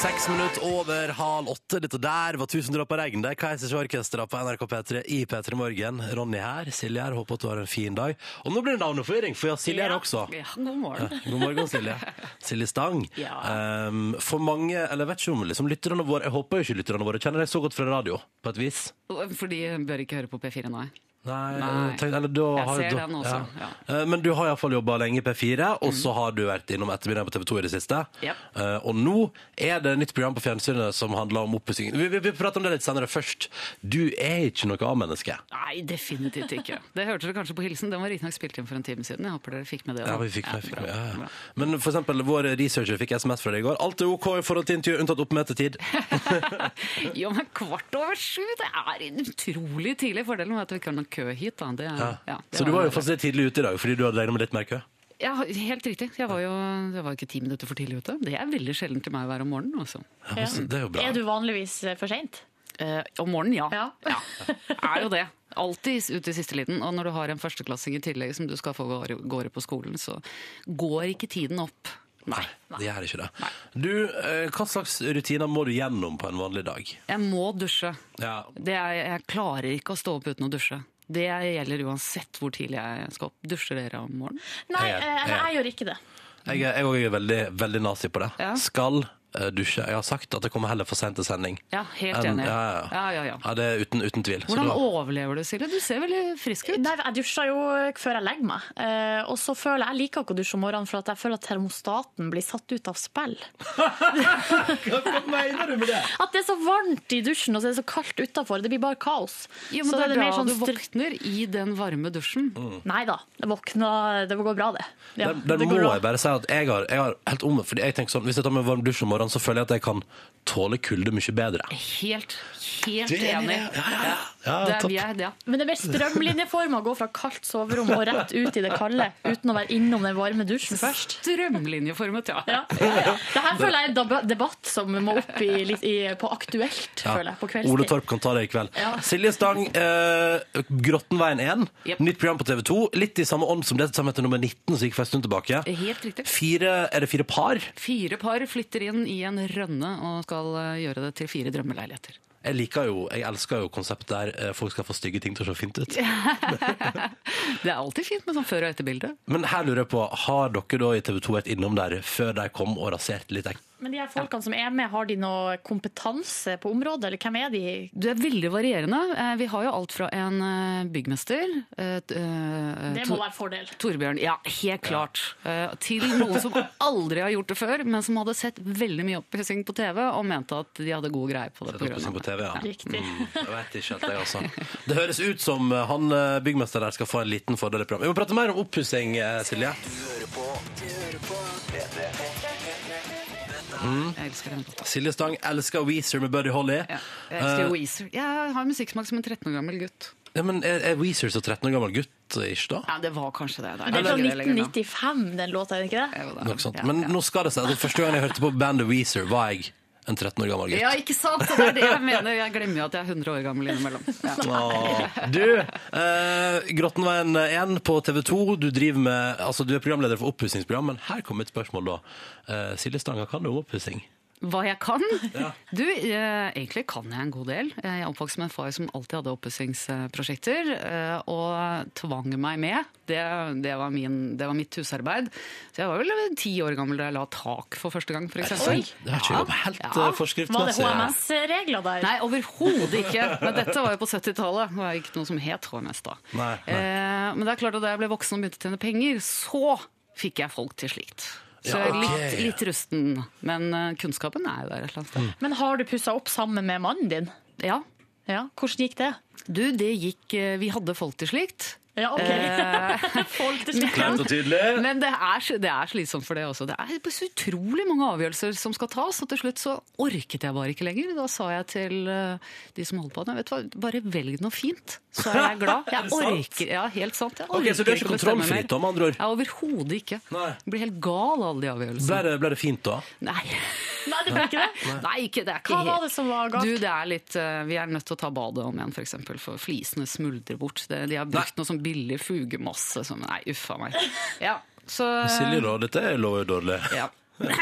Speaker 2: Seks minutter over halv åtte. Dette der var 'Tusen dråper regn'. Det er Keisers Orkester på NRK P3 i P3 Morgen. Ronny her. Silje her. Håper at du har en fin dag. Og nå blir det navneforvirring, for vi har Silje her også.
Speaker 5: Ja, god morgen.
Speaker 2: God morgen, Silje. Silje Stang.
Speaker 5: Ja.
Speaker 2: Um, for mange, eller jeg vet ikke om liksom, lytterne våre Jeg håper jo ikke lytterne våre kjenner deg så godt fra radio, på et vis.
Speaker 10: Fordi hun bør ikke høre på P4 nå, jeg.
Speaker 2: Nei,
Speaker 10: Nei.
Speaker 2: tenk- eller da
Speaker 10: Jeg
Speaker 2: har-
Speaker 10: ser
Speaker 2: da-
Speaker 10: den også, Mhm.
Speaker 2: Eh, Men du har iallfall jobba lenge i P4, og så har du vært innom Ettermiddag på TV 2 i det siste.
Speaker 10: Yep.
Speaker 2: Eh, og nå er det nytt program på fjernsynet som handler om oppussing. Vi, vi, vi prater om det litt senere. Først, du er ikke noe A-menneske.
Speaker 10: Nei, definitivt ikke. Det hørte dere kanskje på hilsen. Den var riktignok spilt inn for en time siden. Jeg håper dere fikk med det.
Speaker 2: Ja,
Speaker 10: også.
Speaker 2: vi fikk med, fikk
Speaker 10: bra,
Speaker 2: med. Ja, ja.
Speaker 10: bra.
Speaker 2: Men for eksempel, vår researcher fikk SMS fra deg i går. Alt er OK i forhold til intervju, unntatt oppmøtetid.
Speaker 10: Jo, men kvart over sju, det er en utrolig tidlig fordel med at vi ikke har noen kø hit. Da. Det, er- ja, det
Speaker 2: så du var jo
Speaker 10: en-
Speaker 2: faktisk litt tidlig ute i dag, fordi du hadde regna med litt mer kø.
Speaker 10: Ja, helt riktig. Jeg var jo jeg var ikke ti minutter for tidlig ute. Det er veldig sjelden til meg å være om morgenen. Også.
Speaker 2: Ja, men så- Det er jo bra.
Speaker 5: Er du vanligvis eh, for seint?
Speaker 10: Eh, om morgenen, ja.
Speaker 5: Ja.
Speaker 10: Er jo det. Alltid ute i siste liten. Og når du har en førsteklassing i tillegg som du skal få gå- gårde på skolen, så går ikke tiden opp. Nei.
Speaker 2: Det gjør ikke det. Du, eh, hva slags rutiner må du gjennom på en vanlig dag?
Speaker 10: Jeg må dusje.
Speaker 2: Ja,
Speaker 10: Det er, jeg klarer ikke å stå opp uten å dusje. Det gjelder uansett hvor tidlig jeg skal opp. Dusjer dere om morgenen?
Speaker 5: Nei,
Speaker 2: Jeg er-
Speaker 5: eh,
Speaker 2: jeg er-
Speaker 5: jeg gjør ikke det.
Speaker 2: Jeg, er- jeg også er veldig, veldig nazi på det.
Speaker 10: Ja.
Speaker 2: Skal eh, dusje. Jeg har sagt at jeg kommer heller for sent til sending.
Speaker 10: Ja, helt
Speaker 2: Enn-
Speaker 10: enig.
Speaker 2: Ja, ja,
Speaker 10: Ja, ja, ja.
Speaker 2: Ja, det er uten, uten tvil. Så
Speaker 10: Hvordan
Speaker 2: da-
Speaker 10: overlever du, Silje? Du ser veldig frisk ut.
Speaker 5: Nei, jeg dusjer jo før jeg legger meg. Eh, og så føler jeg jeg liker ikke å dusje om morgenen, for at jeg føler at termostaten blir satt ut av spill.
Speaker 2: Hva mener du med det?
Speaker 5: At det er så varmt i dusjen, og så er det så kaldt utafor. Det blir bare kaos.
Speaker 10: Jo, men
Speaker 5: så
Speaker 10: det er
Speaker 5: det mer
Speaker 10: da
Speaker 3: sånn
Speaker 10: du
Speaker 5: str-
Speaker 10: våkner i den varme dusjen.
Speaker 5: Nei da, det våkner Det går bra, det. Ja,
Speaker 2: Der, der
Speaker 5: det
Speaker 2: må
Speaker 5: går bra.
Speaker 2: jeg bare si at jeg har, jeg har helt om, fordi jeg tenker sånn, Hvis jeg tar meg en varm dusj om morgenen, så føler jeg at jeg kan tåle kulde mye bedre.
Speaker 10: Helt, helt enig.
Speaker 2: Ja,
Speaker 10: Det er,
Speaker 2: topp.
Speaker 10: vi er, ja.
Speaker 5: Men det er mer strømlinjeforma å gå fra kaldt soverom og rett ut i det kalde, uten å være innom den varme dusjen først.
Speaker 10: Strømlinjeformet, ja.
Speaker 5: Ja. Det her føler jeg er en dab- debatt som må opp i, litt i, på aktuelt,
Speaker 2: Ja.
Speaker 5: føler jeg, på
Speaker 2: Ole
Speaker 5: kveldstid.
Speaker 2: Torp kan ta det i kveld.
Speaker 5: Ja.
Speaker 2: Silje Stang, eh, Grottenveien 1.
Speaker 10: Jep.
Speaker 2: Nytt program på TV 2. Litt i samme ånd som det som heter nummer 19, som gikk for en stund tilbake.
Speaker 10: Helt riktig.
Speaker 2: Fire, er det fire par?
Speaker 10: Fire par flytter inn i en rønne og skal eh, gjøre det til fire drømmeleiligheter.
Speaker 2: Jeg liker jo, jeg elsker jo konseptet der eh, folk skal få stygge ting til å se fint ut.
Speaker 10: Det er alltid fint med sånn før- og etterbilde.
Speaker 2: Men her lurer jeg på, har dere da i TV 2 vært innom der før de kom og raserte litt? ek-
Speaker 5: Men de her folkene som er med, har de noe kompetanse på området, eller hvem er de?
Speaker 10: Du er veldig varierende. Eh, Vi har jo alt fra en eh, byggmester eh, t- eh,
Speaker 5: Det
Speaker 10: Tor-
Speaker 5: må være fordel.
Speaker 10: Torbjørn, ja, helt klart. Eh, Til noen som aldri har gjort det før, men som hadde sett veldig mye oppussing på TV og mente at de hadde god greie på det.
Speaker 2: Sett opp
Speaker 10: programmet.
Speaker 2: sånn på TV, ja.
Speaker 5: Riktig.
Speaker 2: Mm, jeg vet ikke helt det, altså. Det høres ut som eh, han eh, byggmester der skal få en liten fordel i programmet. Vi må prate mer om oppussing, eh, Silje.
Speaker 10: Jeg elsker den låta.
Speaker 2: Silje Stang elsker Weezer med Buddy Holly.
Speaker 10: Ja, jeg elsker
Speaker 2: Eh,
Speaker 10: Weezer. Jeg har musikksmak som en 13 år gammel gutt.
Speaker 2: ja, men er, er Weezer så 13 år gammel gutt, eh, ikke da?
Speaker 10: Ja, det var kanskje det.
Speaker 5: Men det er fra 1995, den låta, er det ikke det?
Speaker 10: jo da.
Speaker 2: Noe sånt.
Speaker 10: Ja,
Speaker 2: Men
Speaker 10: ja.
Speaker 2: nå skal det seg. Altså, første gang jeg hørte på bandet Weezer, var jeg en 13 år gammel gutt.
Speaker 10: Ja, ikke sant? Det er det jeg mener. Jeg glemmer jo at jeg er 100 år gammel innimellom. Ja.
Speaker 2: Åh. Du, eh, Grottenveien 1 på TV 2. Du, driver med, altså, du er programleder for oppussingsprogram, men her kommer et spørsmål, da. Eh, Silje Stanga, kan du om oppussing?
Speaker 10: Hva jeg kan? Du, eh, egentlig kan jeg en god del. Eh, Jeg er oppvokst med en far som alltid hadde oppussingsprosjekter, eh, og tvang meg med. Det, det, var min, det var mitt husarbeid. Så jeg var vel ti år gammel da jeg la tak for første gang, for eksempel.
Speaker 2: sant? Det har ikke jobbet helt, eh, forskriftsmessig.
Speaker 5: Var det HMS-regler der?
Speaker 10: Nei, overhodet ikke. Men dette var jo på 70-tallet. Det var ikke noe som het HMS da.
Speaker 2: Nei, nei.
Speaker 10: Eh, men det er klart at da jeg ble voksen og begynte å tjene penger, så fikk jeg folk til slikt. Så
Speaker 5: Ja,
Speaker 10: jeg er litt,
Speaker 5: ok.
Speaker 10: litt rusten, men eh, kunnskapen er jo der et eller annet
Speaker 3: Mm.
Speaker 10: sted.
Speaker 5: Men har du pussa opp sammen med mannen din?
Speaker 10: Ja.
Speaker 5: Hvordan gikk det?
Speaker 10: Du, det gikk eh, Vi hadde folk til slikt.
Speaker 5: Ja, ok.
Speaker 10: Eh,
Speaker 5: Folk til
Speaker 10: men-
Speaker 5: slutt.
Speaker 10: Men det er, så- det er slitsomt for det også. Det er så utrolig mange avgjørelser som skal tas, og til slutt så orket jeg bare ikke lenger. Da sa jeg til eh, de som holdt på med vet du hva, bare velg noe fint, så er jeg glad.
Speaker 2: Er
Speaker 10: Jeg
Speaker 2: det sant?
Speaker 10: orker, ja, helt sant. Jeg
Speaker 2: Ok, så du er ikke
Speaker 10: orker å bestemme
Speaker 2: kontrollfri,
Speaker 10: mer.
Speaker 2: da, med andre ord?
Speaker 10: Ja, Overhodet ikke.
Speaker 2: Nei.
Speaker 10: Jeg blir helt gal av alle de avgjørelsene.
Speaker 2: Ble det, ble det fint da?
Speaker 10: Nei.
Speaker 5: Nei,
Speaker 2: det ble ikke det? Nei.
Speaker 10: Nei, ikke, det er ikke
Speaker 5: Hva var det som var galt?
Speaker 10: Du, det er litt, eh, vi er nødt til å ta badet om igjen, for eksempel, for flisene smuldrer bort. Det, de har brukt noe sånn billig fugemasse som Nei, uffa meg. Ja, så
Speaker 2: Silje, da. Dette lover jo dårlig.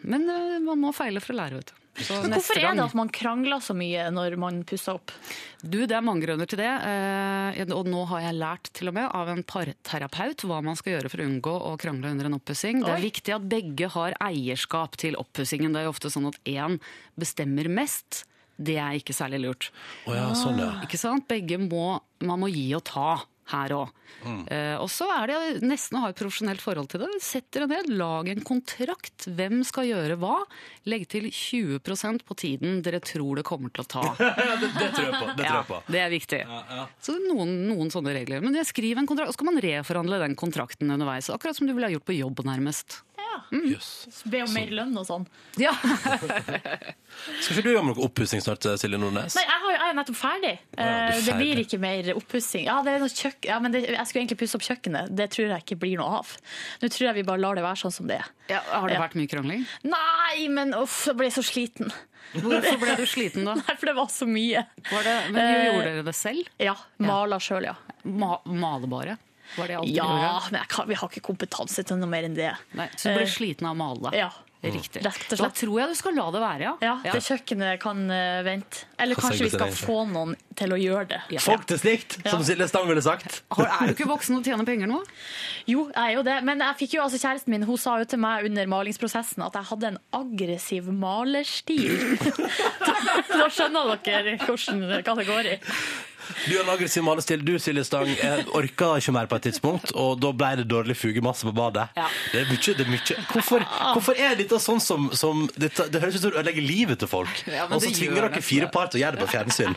Speaker 10: Men eh, man må feile for å lære, vet du. Så
Speaker 5: Men
Speaker 10: neste
Speaker 5: hvorfor er
Speaker 10: gang-
Speaker 5: det at man krangler så mye når man pusser opp?
Speaker 10: Du, det er mange grunner til det. eh, Og nå har jeg lært til og med av en parterapeut hva man skal gjøre for å unngå å krangle under en oppussing. Det er
Speaker 5: Oi.
Speaker 10: viktig at begge har eierskap til oppussingen. Det er jo ofte sånn at én bestemmer mest. Det er ikke særlig lurt.
Speaker 2: Å ja, sånn, ja.
Speaker 10: Ikke sant? Begge må, man må gi og ta her òg. og så er det nesten å ha et profesjonelt forhold til det. Sett dere ned, lag en kontrakt. Hvem skal gjøre hva? Legg til 20 på tiden dere tror det kommer til å ta. Ah.
Speaker 2: Det tror jeg på. Det tror jeg på.
Speaker 10: Det er viktig. Så noen, noen sånne regler. Men jeg skriver en kontrakt, og så kan man reforhandle den kontrakten underveis. Akkurat som du ville ha gjort på jobb, nærmest. Mm.
Speaker 5: Be Mm. om mer lønn og sånn.
Speaker 10: Ja.
Speaker 2: Skal ikke du gjøre noe oppussing snart, Silje Nordnes?
Speaker 5: Nei, jeg, har, jeg er nettopp ferdig.
Speaker 2: Å ja, du er
Speaker 5: Eh, det blir
Speaker 2: ferdig.
Speaker 5: ikke mer oppussing. Ja, det er noe kjøkken. Ja, men det, jeg skulle egentlig pusse opp kjøkkenet. Det tror jeg ikke blir noe av. Nå tror jeg vi bare lar det være sånn som det er.
Speaker 10: Har det vært mye krangling?
Speaker 5: Nei, men uff, jeg ble så sliten.
Speaker 10: Hvorfor ble du sliten da?
Speaker 5: Nei, for det var så mye.
Speaker 10: Var det, men gjorde dere det selv?
Speaker 5: Ja, mala sjøl, ja.
Speaker 10: Ma male bare? Var det alt
Speaker 5: Ja,
Speaker 10: dere gjorde?
Speaker 5: men jeg kan, vi har ikke kompetanse til noe mer enn det.
Speaker 10: Nei, så du ble
Speaker 5: Eh,
Speaker 10: sliten av å male?
Speaker 5: Ja.
Speaker 10: Riktig.
Speaker 5: Rett og
Speaker 10: Da
Speaker 5: slett.
Speaker 10: tror jeg du skal la det være, ja.
Speaker 5: Ja, det kjøkkenet kan eh, vente. Eller
Speaker 2: Hva sier
Speaker 5: kanskje vi
Speaker 2: du til
Speaker 5: skal
Speaker 2: det, egentlig?
Speaker 5: få noen til å gjøre det.
Speaker 2: Folk til slikt, som Silje Stang ville sagt.
Speaker 10: Har- Er du ikke voksen og tjener penger nå?
Speaker 5: Jo, jeg er jo det. Men jeg fikk jo, altså, kjæresten min hun sa jo til meg under malingsprosessen at jeg hadde en aggressiv malerstil. da skjønner dere hvordan, hva det går i.
Speaker 2: Du har en aggressiv malestil. Du, Silje Stang, eh, orka ikke mer på et tidspunkt, og da ble det dårlig fugemasse på badet. Det er mye, det er mye. Hvorfor, hvorfor er dette sånn som, som dette, Det høres ut som du ødelegger livet til folk,
Speaker 10: Ja, men
Speaker 2: og så
Speaker 10: det gjør
Speaker 2: tvinger dere
Speaker 10: nesten
Speaker 2: fire
Speaker 10: det.
Speaker 2: par til å gjøre det på fjernsyn.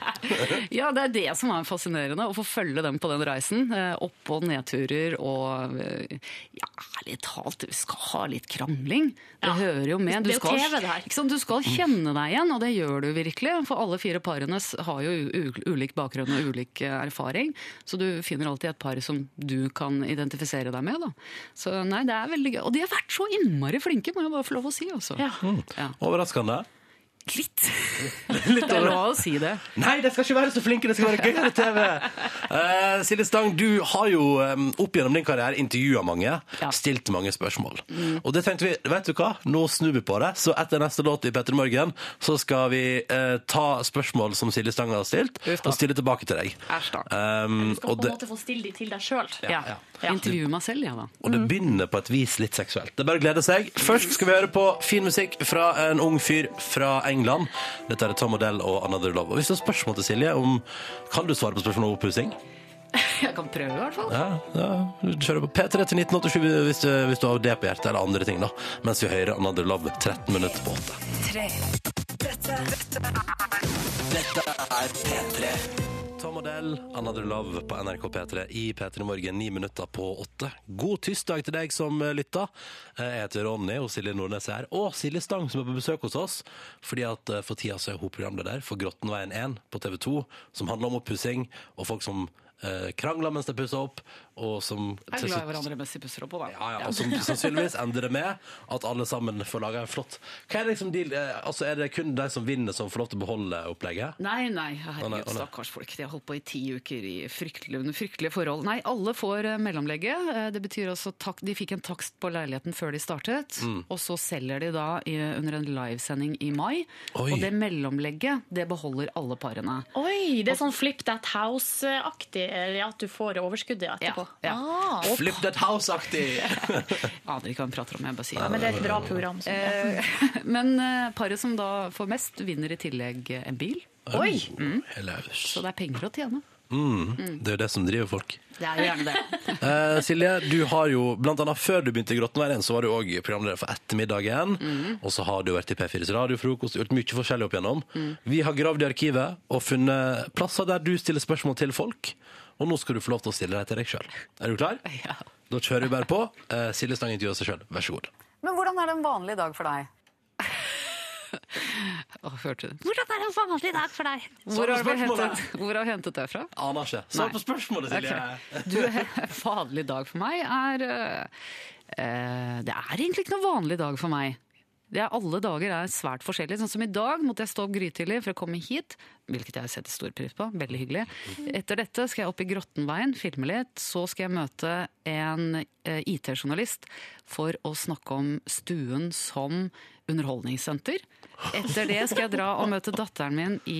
Speaker 10: Ja, det er det som er fascinerende, å få følge dem på den reisen. eh, Opp- og nedturer og eh, Ja, ærlig talt, vi skal ha litt krangling. Det hører jo med.
Speaker 5: Det er jo
Speaker 10: skal,
Speaker 5: TV det her.
Speaker 10: ikke sant? du skal kjenne deg igjen, og det gjør du virkelig. For alle fire parene s- har jo u- u- ulik bakgrunn og ulik eh, erfaring, så du finner alltid et par som du kan identifisere deg med. Da. Så nei, det er veldig gøy. Og de har vært så innmari flinke, må jeg bare få lov å si. altså. Også.
Speaker 5: Ja.
Speaker 10: Ja.
Speaker 2: Overraskende.
Speaker 10: Litt. Litt det er lov å si det.
Speaker 2: Nei, de skal ikke være så flinke, det skal være gøyere TV! Eh, Silje Stang, du har jo eh, opp gjennom din karriere intervjua mange, stilt mange spørsmål. Og det tenkte vi, vet du hva, nå snur vi på det. Så etter neste låt i Petter Morgen, så skal vi eh, ta spørsmål som Silje Stang har stilt, og stille tilbake til deg.
Speaker 10: Æsj da.
Speaker 2: Um,
Speaker 5: Du skal
Speaker 2: og,
Speaker 5: på en
Speaker 2: det,
Speaker 5: måte få stille de til deg sjøl.
Speaker 10: Ja. Intervjue meg selv, jeg, ja, da.
Speaker 2: og det begynner på et vis litt seksuelt. Det er bare å glede seg. Først skal vi høre på fin musikk fra en ung fyr fra England. Dette er Tom Odell og Another Love. Og hvis du har spørsmål til Silje om Kan du svare på spørsmål om oppussing?
Speaker 10: Jeg kan prøve, i hvert fall.
Speaker 2: Ja, ja. Du kjører på P3 til 1987 hvis, du- hvis du har det på hjertet, eller andre ting, da. Mens vi hører Another Love 13 minutter på åtte.
Speaker 1: Tre. Dette, dette
Speaker 2: Tom Odell, Another Love på NRK P3 i P3 Morgen, ni minutter på åtte. God tirsdag til deg som eh, lytter. Eh, Jeg heter Ronny, og Silje Nordnes er her. Og Silje Stang, som er på besøk hos oss. Fordi at eh, for tida så er hun programleder for Grottenveien 1 på TV 2, som handler om oppussing og folk som eh, krangler mens de pusser opp, og som
Speaker 10: Jeg er
Speaker 2: til
Speaker 10: glad i
Speaker 2: slutt-
Speaker 10: hverandre med sippesrå på, da.
Speaker 2: Ja, ja, og som sannsynligvis ender det med at alle sammen får laga en flott Hva er det liksom deal? eh, Altså, er det kun de som vinner, som får lov til å beholde opplegget?
Speaker 10: Nei, nei,
Speaker 2: Å, nei,
Speaker 10: herregud,
Speaker 2: å, nei.
Speaker 10: stakkars folk. De har holdt på i ti uker i fryktelige, under fryktelige forhold. Nei, alle får eh, mellomlegget. Eh, Det betyr altså tak de fikk en takst på leiligheten før de startet.
Speaker 11: Mm.
Speaker 10: Og så selger de da i, under en livesending i mai.
Speaker 11: Oi.
Speaker 10: Og det mellomlegget, det beholder alle parene.
Speaker 5: Oi, det er sånn Flip That House-aktig, eller at du får overskuddet etterpå.
Speaker 10: ja.
Speaker 5: Ah.
Speaker 2: Flip that house-aktig!
Speaker 10: Aner ikke hva hun prater om, jeg bare sier
Speaker 5: Ja, men det er et bra program, så-
Speaker 10: Eh, men eh, paret som da får mest, vinner i tillegg eh, en bil.
Speaker 2: Oi!
Speaker 10: Mm.
Speaker 2: Hello.
Speaker 10: Så det er penger å tjene.
Speaker 2: Mm.
Speaker 10: Mm.
Speaker 2: Det er jo det som driver folk.
Speaker 10: Det er jo gjerne det.
Speaker 2: Eh, Silje, du har jo blant annet før du begynte i Grottenveien, så var du òg programleder for Ettermiddagen. Og så har du vært i P4s radiofrokost, gjort mye forskjellig opp igjennom. Vi har gravd i arkivet og funnet plasser der du stiller spørsmål til folk. Og nå skal du få lov til å stille deg til deg sjøl. Er du klar?
Speaker 10: Ja.
Speaker 2: Da kjører vi bare på. Eh, Silje Stang intervjuer seg sjøl. Vær så god.
Speaker 11: Men hvordan er det en vanlig dag for deg?
Speaker 10: Å, hørte du?
Speaker 11: Hvordan er det en vanlig dag for deg?
Speaker 10: Hvor har, vi
Speaker 2: spørsmålet.
Speaker 10: hentet, hvor har vi hentet det fra?
Speaker 2: Aner ikke. Svar
Speaker 10: Nei.
Speaker 2: på spørsmålet, Silje.
Speaker 10: Ok. Du, en vanlig dag for meg er eh, eh, Det er egentlig ikke noen vanlig dag for meg. Det er, alle dager er svært forskjellige. Sånn som i dag måtte jeg stå opp grytidlig for å komme hit. Hvilket jeg setter stor pris på. Veldig hyggelig. Etter dette skal jeg opp i Grottenveien, filme litt. Så skal jeg møte en eh, IT-journalist for å snakke om stuen som underholdningssenter. Etter det skal jeg dra og møte datteren min i,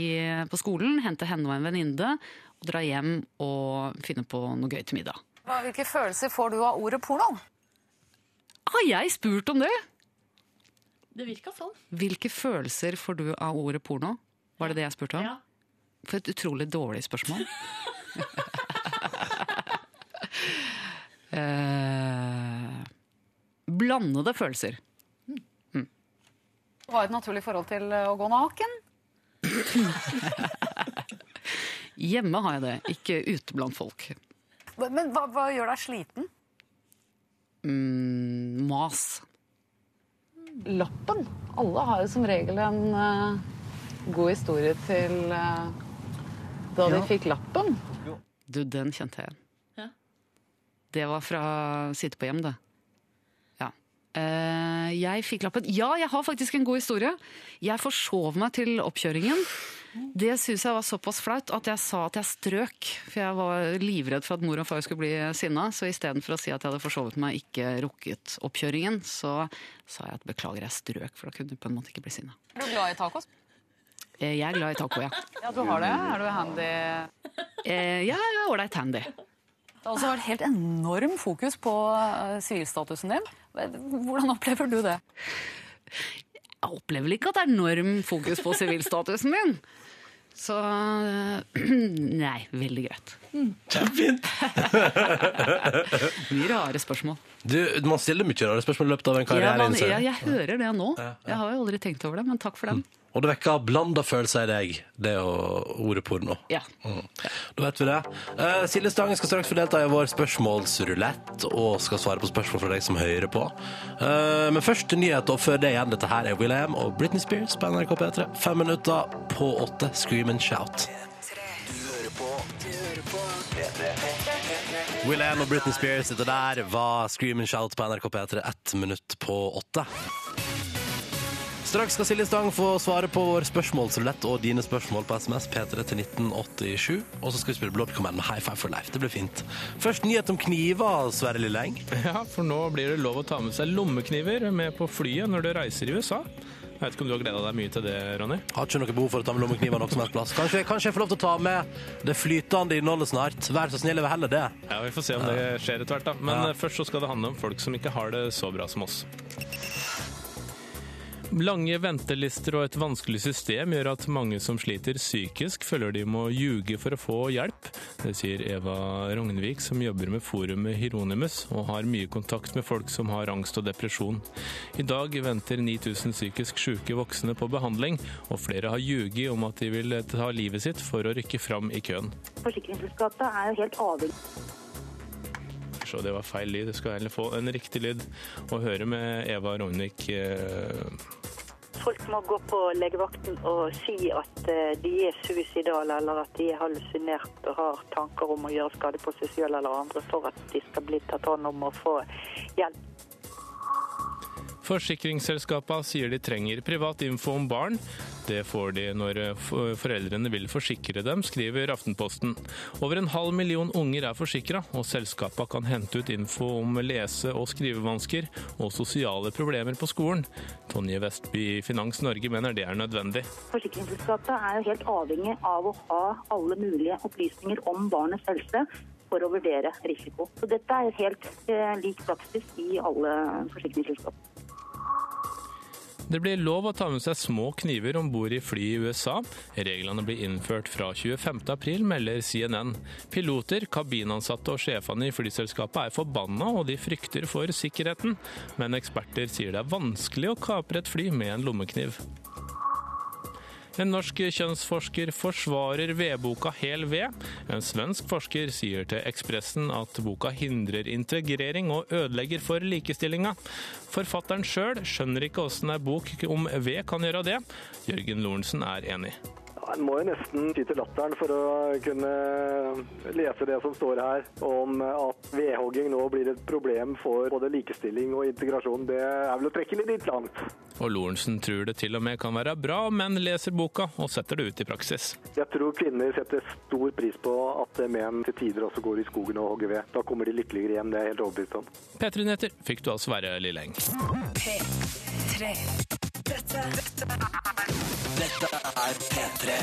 Speaker 10: på skolen, hente henne og en venninne. Og dra hjem og finne på noe gøy til middag.
Speaker 11: Hva- Hvilke følelser får du av ordet porno?
Speaker 10: Har jeg spurt om det?
Speaker 5: Det virka sånn.
Speaker 10: Hvilke følelser får du av ordet porno? Var det det jeg spurte om? For et utrolig dårlig spørsmål. eh, blandede følelser.
Speaker 11: Du har et naturlig forhold til eh, å gå naken.
Speaker 10: Hjemme har jeg det, ikke ute blant folk.
Speaker 11: Men hva, hva gjør deg sliten?
Speaker 10: Mm, mas.
Speaker 11: Lappen. Alle har jo som regel en eh, god historie til eh, da
Speaker 10: de
Speaker 11: fikk lappen.
Speaker 10: Du, den kjente jeg igjen.
Speaker 11: Ja.
Speaker 10: Det var fra Sitte på hjem, det. Ja. Eh, jeg fikk lappen. Ja, jeg har faktisk en god historie. Jeg forsov meg til oppkjøringen. Det syns jeg var såpass flaut at jeg sa at jeg strøk. For jeg var livredd for at mor og far skulle bli sinna. Så istedenfor å si at jeg hadde forsovet meg, ikke rukket oppkjøringen, så sa jeg at beklager, jeg strøk. For da kunne du på en måte ikke bli sinna.
Speaker 11: Er du glad i tacos?
Speaker 10: Eh, jeg er glad i taco, ja.
Speaker 11: Ja, du har det. Er du handy?
Speaker 10: Eh, jeg er ålreit handy.
Speaker 11: Det har også vært helt enorm fokus på eh, sivilstatusen din. Hvordan opplever du det?
Speaker 10: jeg opplever vel ikke at det er enorm fokus på sivilstatusen min. Så øh, nei, veldig greit. Mye rare spørsmål.
Speaker 2: Du, man stiller mye rare spørsmål i løpet av en
Speaker 10: Ja,
Speaker 2: karriere.
Speaker 10: man,
Speaker 2: innser du.
Speaker 10: ja, jeg hører det nå.
Speaker 2: sånn. Ja, Mm. ja.
Speaker 10: Jeg har jo aldri tenkt over det, men takk for den.
Speaker 2: Og det vekker blanda følelser i deg, det å- ordet porno.
Speaker 10: Ja.
Speaker 2: Mm. Da vet vi det. Eh, Silje Stangen skal straks få delta i vår spørsmålsrulett og skal svare på spørsmål fra deg som hører på. Eh, men først til nyhet, og før det igjen. Dette her er William og Britney Spears på NRK P3. Fem minutter på åtte. Scream and shout. William og Britney Spears, dette der var Scream and shout på NRK P3 ett minutt på åtte. Straks skal Silje Stang få svare på vår spørsmålsrulett og dine spørsmål på SMS P3 til 1987. Og så skal vi spille Bloodcommand med High Five for Life. Det blir fint. Først nyhet om kniver, Sverre Lilleng.
Speaker 12: Ja, for nå blir det lov å ta med seg lommekniver med på flyet når du reiser i USA. Jeg vet ikke om du har gleda deg mye til det, Ronny?
Speaker 2: Har ikke noe behov for å ta med lommekniver noe som helst plass. Kanskje, kanskje jeg får lov til å ta med det flytende innholdet snart. Vær så snill, jeg vil heller det.
Speaker 12: Ja, Vi får se om det skjer etter hvert, da. Men eh, først så skal det handle om folk som ikke har det så bra som oss. Lange ventelister og et vanskelig system gjør at mange som sliter psykisk, føler de må ljuge for å få hjelp. Det sier Eva Rognvik, som jobber med forumet Hieronymus, og har mye kontakt med folk som har angst og depresjon. I dag venter 9000 psykisk syke voksne på behandling, og flere har ljuget om at de vil ta livet sitt for å rykke fram i køen.
Speaker 13: Forsikringsselskapet er jo helt avhengig
Speaker 12: Så det var feil lyd. Du skal heller få en riktig lyd og høre med Eva Rognvik eh,
Speaker 13: Folk må gå på legevakten og si at eh, de er suicidale, eller at de er hallusinert og har tanker om å gjøre skade på seg selv eller andre for at de skal bli tatt hånd om og få hjelp.
Speaker 12: Forsikringsselskapene sier de trenger privat info om barn. Det får de når eh, f- foreldrene vil forsikre dem, skriver Aftenposten. Over en halv million unger er forsikra, og selskapene kan hente ut info om lese- og skrivevansker og sosiale problemer på skolen. Tonje Vestby i Finans Norge mener det er nødvendig.
Speaker 13: Forsikringsselskapet er jo helt avhengig av å ha alle mulige opplysninger om barnets helse for å vurdere risiko. Så dette er helt eh, lik praksis i alle forsikringsselskap.
Speaker 12: Det blir lov å ta med seg små kniver om bord i fly i USA. Reglene blir innført fra 25. april, melder CNN. Piloter, kabinansatte og sjefene i flyselskapet er forbanna, og de frykter for sikkerheten. Men eksperter sier det er vanskelig å kapre et fly med en lommekniv. En norsk kjønnsforsker forsvarer vedboka Hel ved. En svensk forsker sier til Ekspressen at boka hindrer integrering og ødelegger for likestillinga. Forfatteren sjøl skjønner ikke åssen ei bok om ved kan gjøre det. Jørgen Lorentzen er enig.
Speaker 14: Ja, En må jo nesten ty til latteren for å kunne lese det som står her om at vedhogging nå blir et problem for både likestilling og integrasjon. Det er vel å trekke litt litt langt.
Speaker 12: Og Lorentzen tror det til og med kan være bra om menn leser boka og setter det ut i praksis.
Speaker 14: Jeg tror kvinner setter stor pris på at menn til tider også går i skogen og hogger ved. Da kommer de lykkeligere hjem, det er jeg helt overbevist om.
Speaker 12: P3 Nyheter fikk du altså av Sverre Lilleng.
Speaker 15: P3. Dette, dette er
Speaker 2: Dette er P3.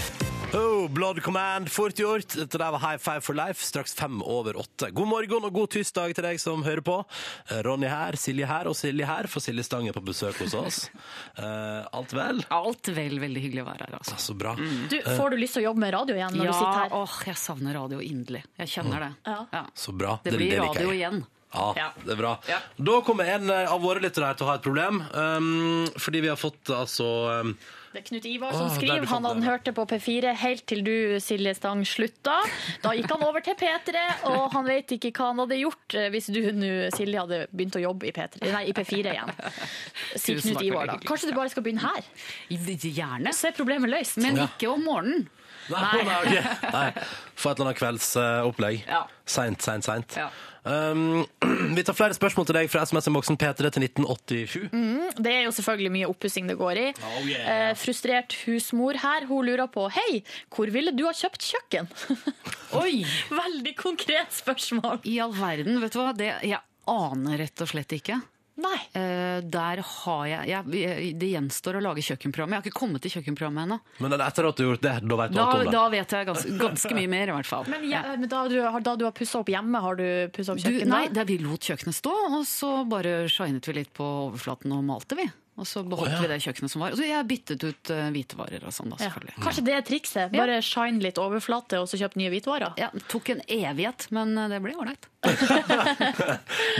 Speaker 2: Oh, Blood Command, fort gjort. Dette der var High Five for Life, straks fem over åtte. God morgen og god tirsdag til deg som hører på. Eh, Ronny her, Silje her og Silje her, for Silje Stang er på besøk hos oss. Eh, alt vel?
Speaker 10: Alt vel. Veldig hyggelig å være her. Altså.
Speaker 2: Så bra.
Speaker 3: Du,
Speaker 5: Eh.
Speaker 3: får du lyst til å jobbe med radio igjen når du
Speaker 10: ja,
Speaker 3: sitter her?
Speaker 10: Åh, jeg savner radio inderlig. Jeg kjenner det. Ja.
Speaker 2: Så bra.
Speaker 10: Det blir
Speaker 2: liker jeg.
Speaker 10: radio igjen.
Speaker 2: Ja,
Speaker 10: Ja.
Speaker 2: det er bra. Da kommer en eh, av våre lyttere her til å ha et problem, um, fordi vi har fått altså um,
Speaker 3: Det er Knut Ivar som
Speaker 2: Åh, der
Speaker 3: skriver.
Speaker 2: du fant
Speaker 3: Han hadde
Speaker 2: den, ja.
Speaker 3: hørt det på P4 helt til du, Silje Stang, slutta. Da gikk han over til P3, og han vet ikke hva han hadde gjort eh, hvis du nå, Silje, hadde begynt å jobbe i, P3, nei, i P4 igjen. Sier
Speaker 10: Tusen
Speaker 3: Knut Ivar
Speaker 10: takk, veldig
Speaker 3: da.
Speaker 10: hyggelig.
Speaker 3: Kanskje du bare skal begynne her?
Speaker 10: Gjerne.
Speaker 3: Så er problemet løst.
Speaker 10: Men
Speaker 2: Ja.
Speaker 10: ikke om morgenen.
Speaker 2: Nei. Nei, få et eller annet kveldsopplegg.
Speaker 10: Ja.
Speaker 2: Seint, seint, seint. Um, vi tar flere spørsmål til deg fra SMS-boksen P3 til 1987.
Speaker 3: Mm, det er jo selvfølgelig mye oppussing det går i.
Speaker 2: Oh, yeah.
Speaker 3: eh, frustrert husmor her, hun lurer på Hei, hvor ville du ha kjøpt kjøkken?
Speaker 10: Oi!
Speaker 3: Veldig konkret spørsmål.
Speaker 10: I all verden, vet du hva? Det, jeg aner rett og slett ikke. Eh,
Speaker 3: Nei.
Speaker 10: der har jeg, jeg Det gjenstår å lage kjøkkenprogrammet. Jeg har ikke kommet til kjøkkenprogrammet ennå.
Speaker 2: Men etter at du har gjort det, da vet du
Speaker 10: Da,
Speaker 2: alt om det.
Speaker 10: da vet jeg ganske, ganske mye mer, i hvert fall.
Speaker 3: Men, ja, men da, du, har- da du har pussa opp hjemme, har du pussa opp
Speaker 10: Du,
Speaker 3: kjøkkenet?
Speaker 10: nei, det, vi lot kjøkkenet stå, og så bare shinet vi litt på overflaten og malte, vi. Og så beholdt
Speaker 3: Å, ja.
Speaker 10: vi det kjøkkenet som var. Og så jeg byttet ut eh, hvitevarer og sånn, da,
Speaker 3: Ja.
Speaker 10: selvfølgelig.
Speaker 3: Kanskje det er trikset? Bare shine litt overflate, og så kjøp nye hvitvarer?
Speaker 10: Ja, det tok en evighet, men eh, det ble ålreit.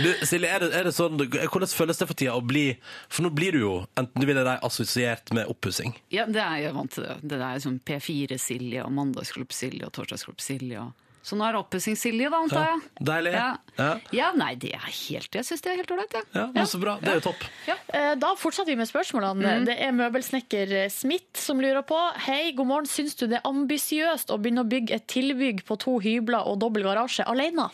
Speaker 2: Du, Silje, er det, er det sånn, hvordan føles det for tida å bli For nå blir du jo, enten du vil eller ei, assosiert med oppussing.
Speaker 10: Ja, det er jeg er vant til det. Det er sånn P4-Silje og Mandagsklubb-Silje og Torsdagsklubb-Silje. Og... Så nå er det oppussing-Silje, da, antar jeg.
Speaker 2: Deilig.
Speaker 10: Ja.
Speaker 2: Ja.
Speaker 10: ja, nei, det er helt Jeg syns det er helt ålreit, jeg.
Speaker 2: Ja, men så bra. Det er jo topp.
Speaker 3: Eh, Da fortsetter vi med spørsmålene. Det er møbelsnekker Smith som lurer på. Hei, god morgen. Syns du det er ambisiøst å begynne å bygge et tilbygg på to hybler og dobbel garasje alene?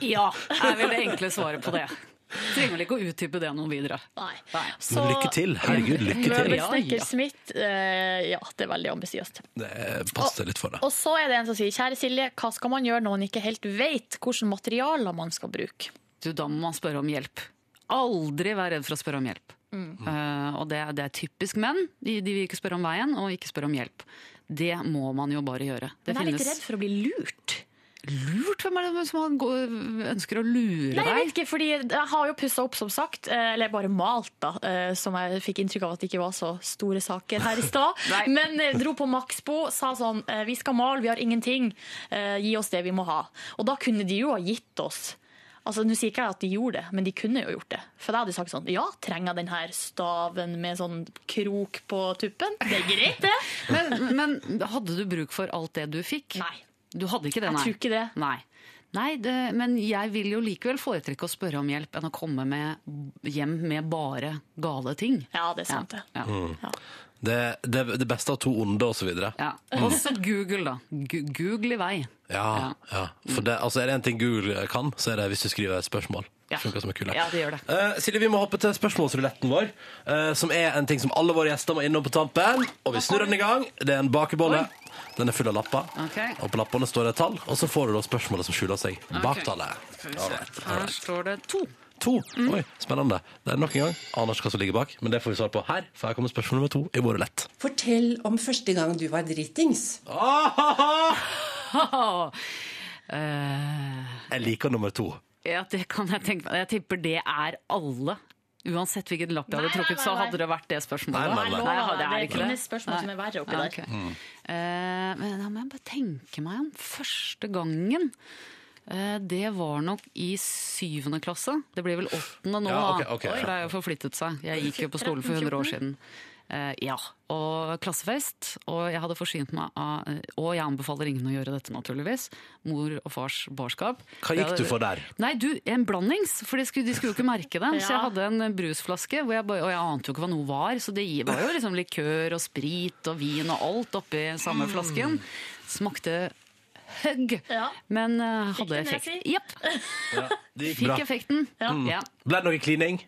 Speaker 10: Ja, er vel det enkle svaret på det. Trenger vel ikke å utdype det noe videre.
Speaker 3: Nei.
Speaker 2: Men lykke til. Herregud, lykke til.
Speaker 3: Møbelsnekker Smith, eh, ja, det er veldig ambisiøst.
Speaker 2: Det eh, passer litt for deg.
Speaker 3: Og så er det en som sier, kjære Silje, hva skal man gjøre når man ikke helt vet hvilke materialer man skal bruke?
Speaker 10: Du, da må man spørre om hjelp. Aldri vær redd for å spørre om hjelp. Eh, og det, det er typisk menn. De, de vil ikke spørre om veien, og ikke spørre om hjelp. Det må man jo bare gjøre. Det
Speaker 3: Men jeg er litt
Speaker 10: finnes-
Speaker 3: redd for å bli lurt.
Speaker 10: Lurt? Hvem er det som har gå- ønsker å lure
Speaker 3: Nei, jeg
Speaker 10: deg?
Speaker 3: vet ikke, fordi jeg har jo pussa opp, som sagt. eh, Eller bare malt, da. eh, Som jeg fikk inntrykk av at det ikke var så store saker her i stad. Men eh, dro på Maxbo, sa sånn eh, Vi skal male, vi har ingenting. eh, Gi oss det vi må ha. Og da kunne de jo ha gitt oss Altså, Nå sier ikke jeg at de gjorde det, men de kunne jo gjort det. For da hadde jeg sagt sånn Ja, trenger jeg den her staven med sånn krok på tuppen? Det er greit, det.
Speaker 10: Men, men hadde du bruk for alt det du fikk?
Speaker 3: Nei.
Speaker 10: Du hadde ikke det,
Speaker 3: Jeg
Speaker 10: nei?
Speaker 3: tror ikke det.
Speaker 10: Nei. Nei, det, men jeg vil jo likevel foretrekke å spørre om hjelp enn å komme med hjem med bare gale ting.
Speaker 3: Ja, det er sant det.
Speaker 10: Ja.
Speaker 2: Mm. Det, det, det beste av to onde, og så videre.
Speaker 10: Ja. Også Google, da. Gu- Google i vei.
Speaker 2: Ja, ja.
Speaker 10: Mm.
Speaker 2: For det, altså, er det en ting Google kan, så er det hvis du skriver et spørsmål.
Speaker 10: Ja.
Speaker 2: Skjønner hva som er kul her.
Speaker 10: Ja, det gjør det.
Speaker 2: Eh, Silje, vi må hoppe til spørsmålsruletten vår, eh, som er en ting som alle våre gjester må innom på tampen. Og vi snurrer den i gang. Det er en bakebolle. Den er full av lapper.
Speaker 10: Ok.
Speaker 2: Og på lappene står det et tall, og så får du da spørsmålet som skjuler seg bak tallet.
Speaker 10: Skal vi se.
Speaker 2: All right, all
Speaker 10: Her Mm.
Speaker 2: right.
Speaker 10: står det to.
Speaker 2: To. Oi, spennende. Det er nok en gang. Aner ikke hva som ligger bak, men det får vi svar på her. For her kommer spørsmål nummer to i vår rulett.
Speaker 16: Fortell om første gang du var dritings.
Speaker 10: Eh,
Speaker 2: Jeg liker nummer to.
Speaker 10: ja, det kan jeg tenke meg. Jeg tipper det er alle. Uansett hvilken lapp jeg hadde
Speaker 3: Nei, nei,
Speaker 10: trukket, så
Speaker 3: nei, nei.
Speaker 10: hadde det vært det spørsmålet.
Speaker 3: Nei, nei, nei.
Speaker 10: det er
Speaker 3: Det
Speaker 10: ikke det.
Speaker 3: finnes spørsmål som er verre oppi
Speaker 10: Nei,
Speaker 3: der.
Speaker 10: ok. Eh, men da må jeg bare tenke meg om første gangen. Eh, det var nok i syvende klasse. Det blir vel åttende nå,
Speaker 15: Ja,
Speaker 10: da,
Speaker 15: ok, ok.
Speaker 10: for det er jo forflyttet seg. Jeg gikk jo på skole for 100 år siden. Eh, ja, og klassefest. Og jeg hadde forsynt meg av eh, Og jeg anbefaler ingen å gjøre dette, naturligvis. Mor og fars barskap.
Speaker 2: Hva gikk
Speaker 10: Det-
Speaker 2: du for der?
Speaker 10: Nei, du, en blandings, for de skulle, de skulle jo ikke merke det. Så jeg
Speaker 3: Ja.
Speaker 10: hadde en brusflaske, hvor jeg, bare- og jeg ante jo ikke hva noe var. Så det gi- var jo liksom likør og sprit og vin og alt oppi samme flasken. Smakte høgg, men eh, hadde
Speaker 3: Fikk den
Speaker 10: effekt.
Speaker 3: jeg si?
Speaker 10: Jepp.
Speaker 2: Ja, det gikk
Speaker 10: Fikk
Speaker 2: bra.
Speaker 10: effekten.
Speaker 2: Mm.
Speaker 10: Ja.
Speaker 2: Ble det noe klining?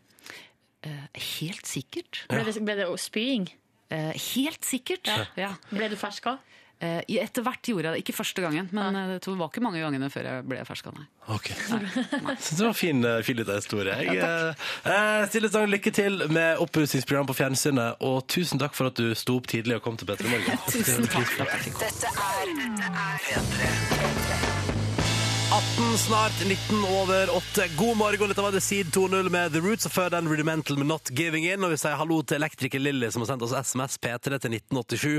Speaker 10: Helt sikkert. Eh,
Speaker 3: Ble det, ble det spying?
Speaker 10: helt sikkert. Ja.
Speaker 3: Ble du ferska?
Speaker 10: Eh, Etter hvert gjorde jeg det, ikke første gangen, men eh, det var ikke mange gangene før jeg ble ferska, nei.
Speaker 2: Ok. Så det var en fin, fin liten historie. Jeg, eh, eh, Silje Stang, lykke til med oppussingsprogram på fjernsynet, og tusen takk for at du sto opp tidlig og kom til Petter i morgen.
Speaker 15: Tusen takk.
Speaker 2: Det var fint.
Speaker 15: Dette er P3.
Speaker 2: 18, snart 19 over 8. God morgen, dette var The Seed 2.0 med The Roots, og før den Rudimental med Not Giving In. Og vi sier hallo til elektriker Lilly, som har sendt oss SMS P3 til 1987,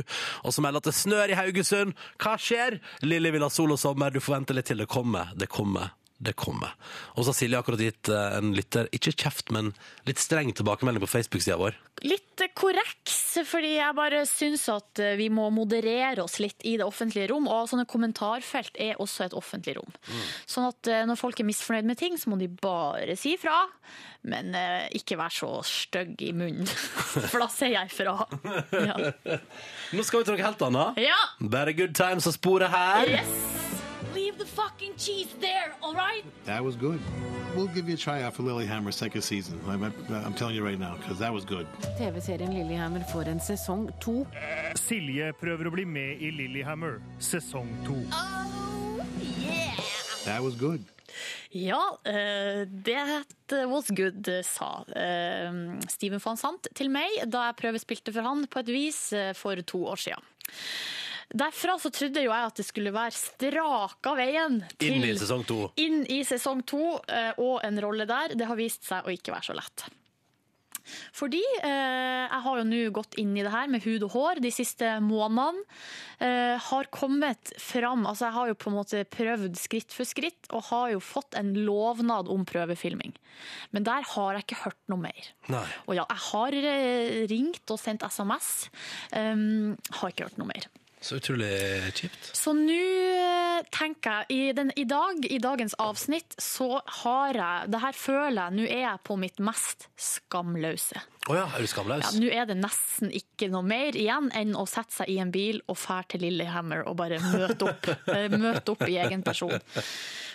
Speaker 2: og som melder at det snør i Haugesund. Hva skjer? Lilly vil ha sol og sommer, du får vente litt til det kommer. Det kommer. Det kommer. Og så har Silje akkurat gitt eh, en lytter, ikke kjeft, men litt streng tilbakemelding på Facebook-sida vår.
Speaker 3: Litt korreks, fordi jeg bare syns at eh, vi må moderere oss litt i det offentlige rom. Og sånne kommentarfelt er også et offentlig rom. Sånn at eh, når folk er misfornøyd med ting, så må de bare si fra. Men eh, ikke være så stygg i munnen, for da sier jeg fra. Ja.
Speaker 2: Nå skal vi til noe helt annet.
Speaker 3: Ja.
Speaker 2: Bare good times og sporet her.
Speaker 3: Yes! Leave the fucking cheese there, all right?
Speaker 8: That was good. We'll give you a try out for Lilyhammer second season. I'm, I'm telling you right now, because that was good.
Speaker 13: TV-serien Lillehammer får en sesong to.
Speaker 14: Silje prøver å bli med i Lillehammer, sesong to.
Speaker 8: That was good.
Speaker 3: Ja, eh, that was good, sa eh, Steven van Sant til meg da jeg prøvespilte for han på et vis eh, for to år siden. Derfra så trodde jo jeg at det skulle være straka veien til
Speaker 2: Inn i sesong to.
Speaker 3: Inn i sesong to eh, og en rolle der. Det har vist seg å ikke være så lett. Fordi eh, jeg har jo nå gått inn i det her med hud og hår de siste månedene. Eh, har kommet fram Altså, jeg har jo på en måte prøvd skritt for skritt, og har jo fått en lovnad om prøvefilming. Men der har jeg ikke hørt noe mer.
Speaker 2: Nei.
Speaker 3: Og ja, jeg har eh, ringt og sendt SMS. Um, har ikke hørt noe mer.
Speaker 2: Så utrolig kjipt.
Speaker 3: Så nå eh, tenker jeg i, den, I dag, i dagens avsnitt, så har jeg Det her føler jeg Nå er jeg på mitt mest skamløse.
Speaker 2: Å ja, er du skamløs?
Speaker 3: Ja, Nå er det nesten ikke noe mer igjen enn å sette seg i en bil og fære til Lillehammer og bare møte opp, eh, møte opp i egen person.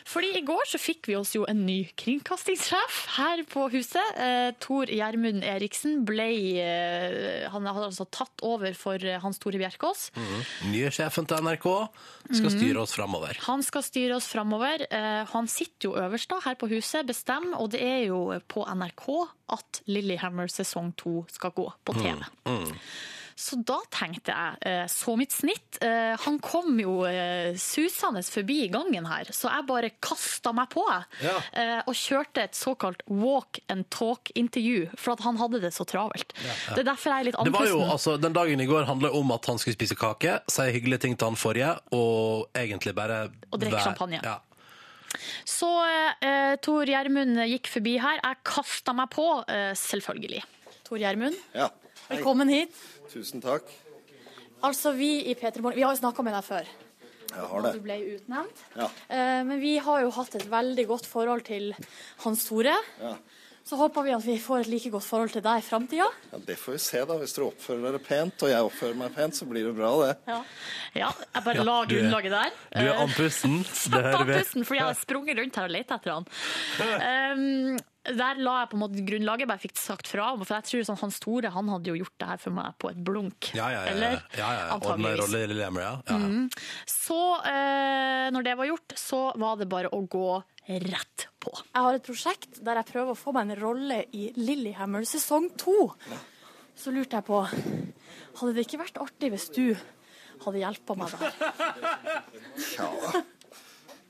Speaker 3: Fordi i går så fikk vi oss jo en ny kringkastingssjef her på huset. Eh, Tor Gjermund Eriksen ble eh, Han hadde altså tatt over for eh, Hans Tore Bjerkås.
Speaker 2: Mhm. Nye sjefen til NRK skal
Speaker 3: Mhm.
Speaker 2: styre oss framover.
Speaker 3: Han skal styre oss framover. Eh, Han sitter jo øverst da, her på huset, bestemmer, og det er jo på NRK at Lillehammer sesong to skal gå på
Speaker 2: Mm,
Speaker 3: TV. Så da tenkte jeg, eh, så mitt snitt. Eh, Han kom jo eh, susende forbi gangen her, så jeg bare kasta meg på. jeg.
Speaker 15: Ja.
Speaker 3: Eh, Og kjørte et såkalt walk and talk-intervju, for at han hadde det så travelt. Det er derfor jeg er litt
Speaker 2: Det var jo,
Speaker 3: andpusten.
Speaker 2: altså, Den dagen i går handla om at han skulle spise kake, si hyggelige ting til han forrige, og egentlig bare
Speaker 3: Og drikke
Speaker 2: være-
Speaker 3: champagne.
Speaker 2: Ja.
Speaker 3: Så eh, Tor Gjermund gikk forbi her. Jeg kasta meg på, eh, selvfølgelig. Tor Gjermund,
Speaker 17: Ja.
Speaker 3: velkommen hit.
Speaker 17: Tusen takk.
Speaker 3: Altså, vi i Peter Morgen Vi har jo snakka med deg før.
Speaker 17: Jeg har det.
Speaker 18: Du ble utnevnt.
Speaker 17: Ja.
Speaker 18: Eh, Men vi har jo hatt et veldig godt forhold til Hans Tore.
Speaker 17: Ja.
Speaker 18: Så håper vi at vi får et like godt forhold til deg i framtida.
Speaker 17: ja, Det får vi se, da. Hvis dere oppfører dere pent, og jeg oppfører meg pent, så blir det bra, det.
Speaker 18: Ja. jeg bare
Speaker 17: Ja,
Speaker 18: la
Speaker 17: du er-
Speaker 3: grunnlaget der.
Speaker 17: du er
Speaker 3: Eh,
Speaker 17: andpusten, det hører
Speaker 3: slapp av
Speaker 17: vi.
Speaker 3: pusten, fordi jeg har sprunget rundt her og lett etter han. Um, der la jeg på en måte grunnlaget, bare fikk sagt fra. om, For jeg tror sånn, Hans Tore han hadde jo gjort det her for meg på et blunk.
Speaker 2: Ja, ja, ja. ja,
Speaker 3: Eller?
Speaker 2: ja, ja, ja. Ordna
Speaker 3: Antageligvis.
Speaker 2: rolle i Lille Hammer, ja. ja.
Speaker 3: Mm. Så eh, når det var gjort, så var det bare å gå rett på.
Speaker 18: Jeg har et prosjekt der jeg prøver å få meg en rolle i Lillehammer sesong to. Så lurte jeg på Hadde det ikke vært artig hvis du hadde hjulpet meg der?
Speaker 17: Tja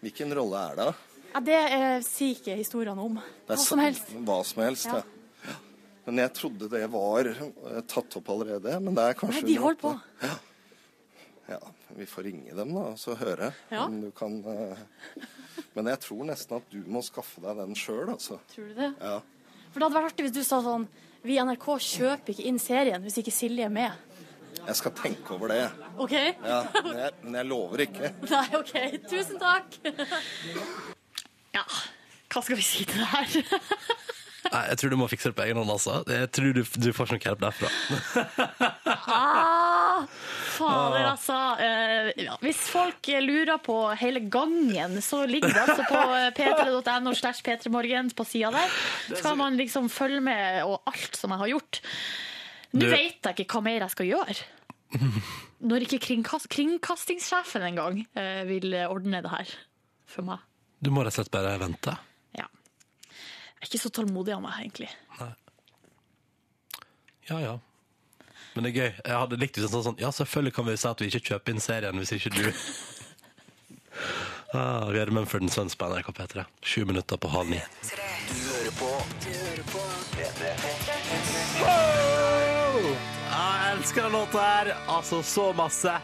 Speaker 17: Hvilken rolle er det? da?
Speaker 18: Ja, det eh, sier ikke historiene om.
Speaker 17: Det er
Speaker 18: Hva som
Speaker 17: s-
Speaker 18: helst.
Speaker 17: Hva som helst,
Speaker 18: Ja.
Speaker 17: ja. Men jeg trodde det var eh, tatt opp allerede. Men det er kanskje
Speaker 18: Nei, de
Speaker 17: under
Speaker 18: holder på.
Speaker 17: oppe. Ja, vi får ringe dem da, og så høre
Speaker 18: Ja.
Speaker 17: om du kan eh, Men jeg tror nesten at du må skaffe deg den sjøl, altså.
Speaker 18: Tror du det?
Speaker 17: Ja.
Speaker 18: For det hadde vært artig hvis du sa sånn Vi i NRK kjøper ikke inn serien hvis ikke Silje er med.
Speaker 17: Jeg skal tenke over det.
Speaker 18: OK?
Speaker 17: Ja, men jeg, men jeg lover ikke.
Speaker 18: Nei, OK. Tusen takk.
Speaker 3: Ja, hva skal vi si til det her?
Speaker 2: Nei, jeg tror du må fikse det på egen hånd, altså. Jeg tror du, du får ikke noe hjelp derfra.
Speaker 3: Ah, fader, altså. Eh, ja. Hvis folk lurer på hele gangen, så ligger det altså på eh, p3.no slash p3morgen på sida der. Så kan man liksom følge med og alt som jeg har gjort. Nå
Speaker 2: Du-
Speaker 3: vet jeg ikke hva mer jeg skal gjøre. Når ikke kringkast, kringkastingssjefen engang eh, vil ordne det her for meg.
Speaker 2: Du må rett og slett bare vente.
Speaker 3: Ja. Jeg er ikke så tålmodig av meg, egentlig.
Speaker 2: Ja, ja. Men det er gøy. Jeg hadde likt hvis det sånn sånn Ja, selvfølgelig kan vi si at vi ikke kjøper inn serien hvis ikke du ah, Vi er Mumford Sons på NRK P3. Sju minutter på halv ni.
Speaker 8: Du hører på. Du hører på.
Speaker 2: Ah, jeg elsker den låta her. Altså, så masse.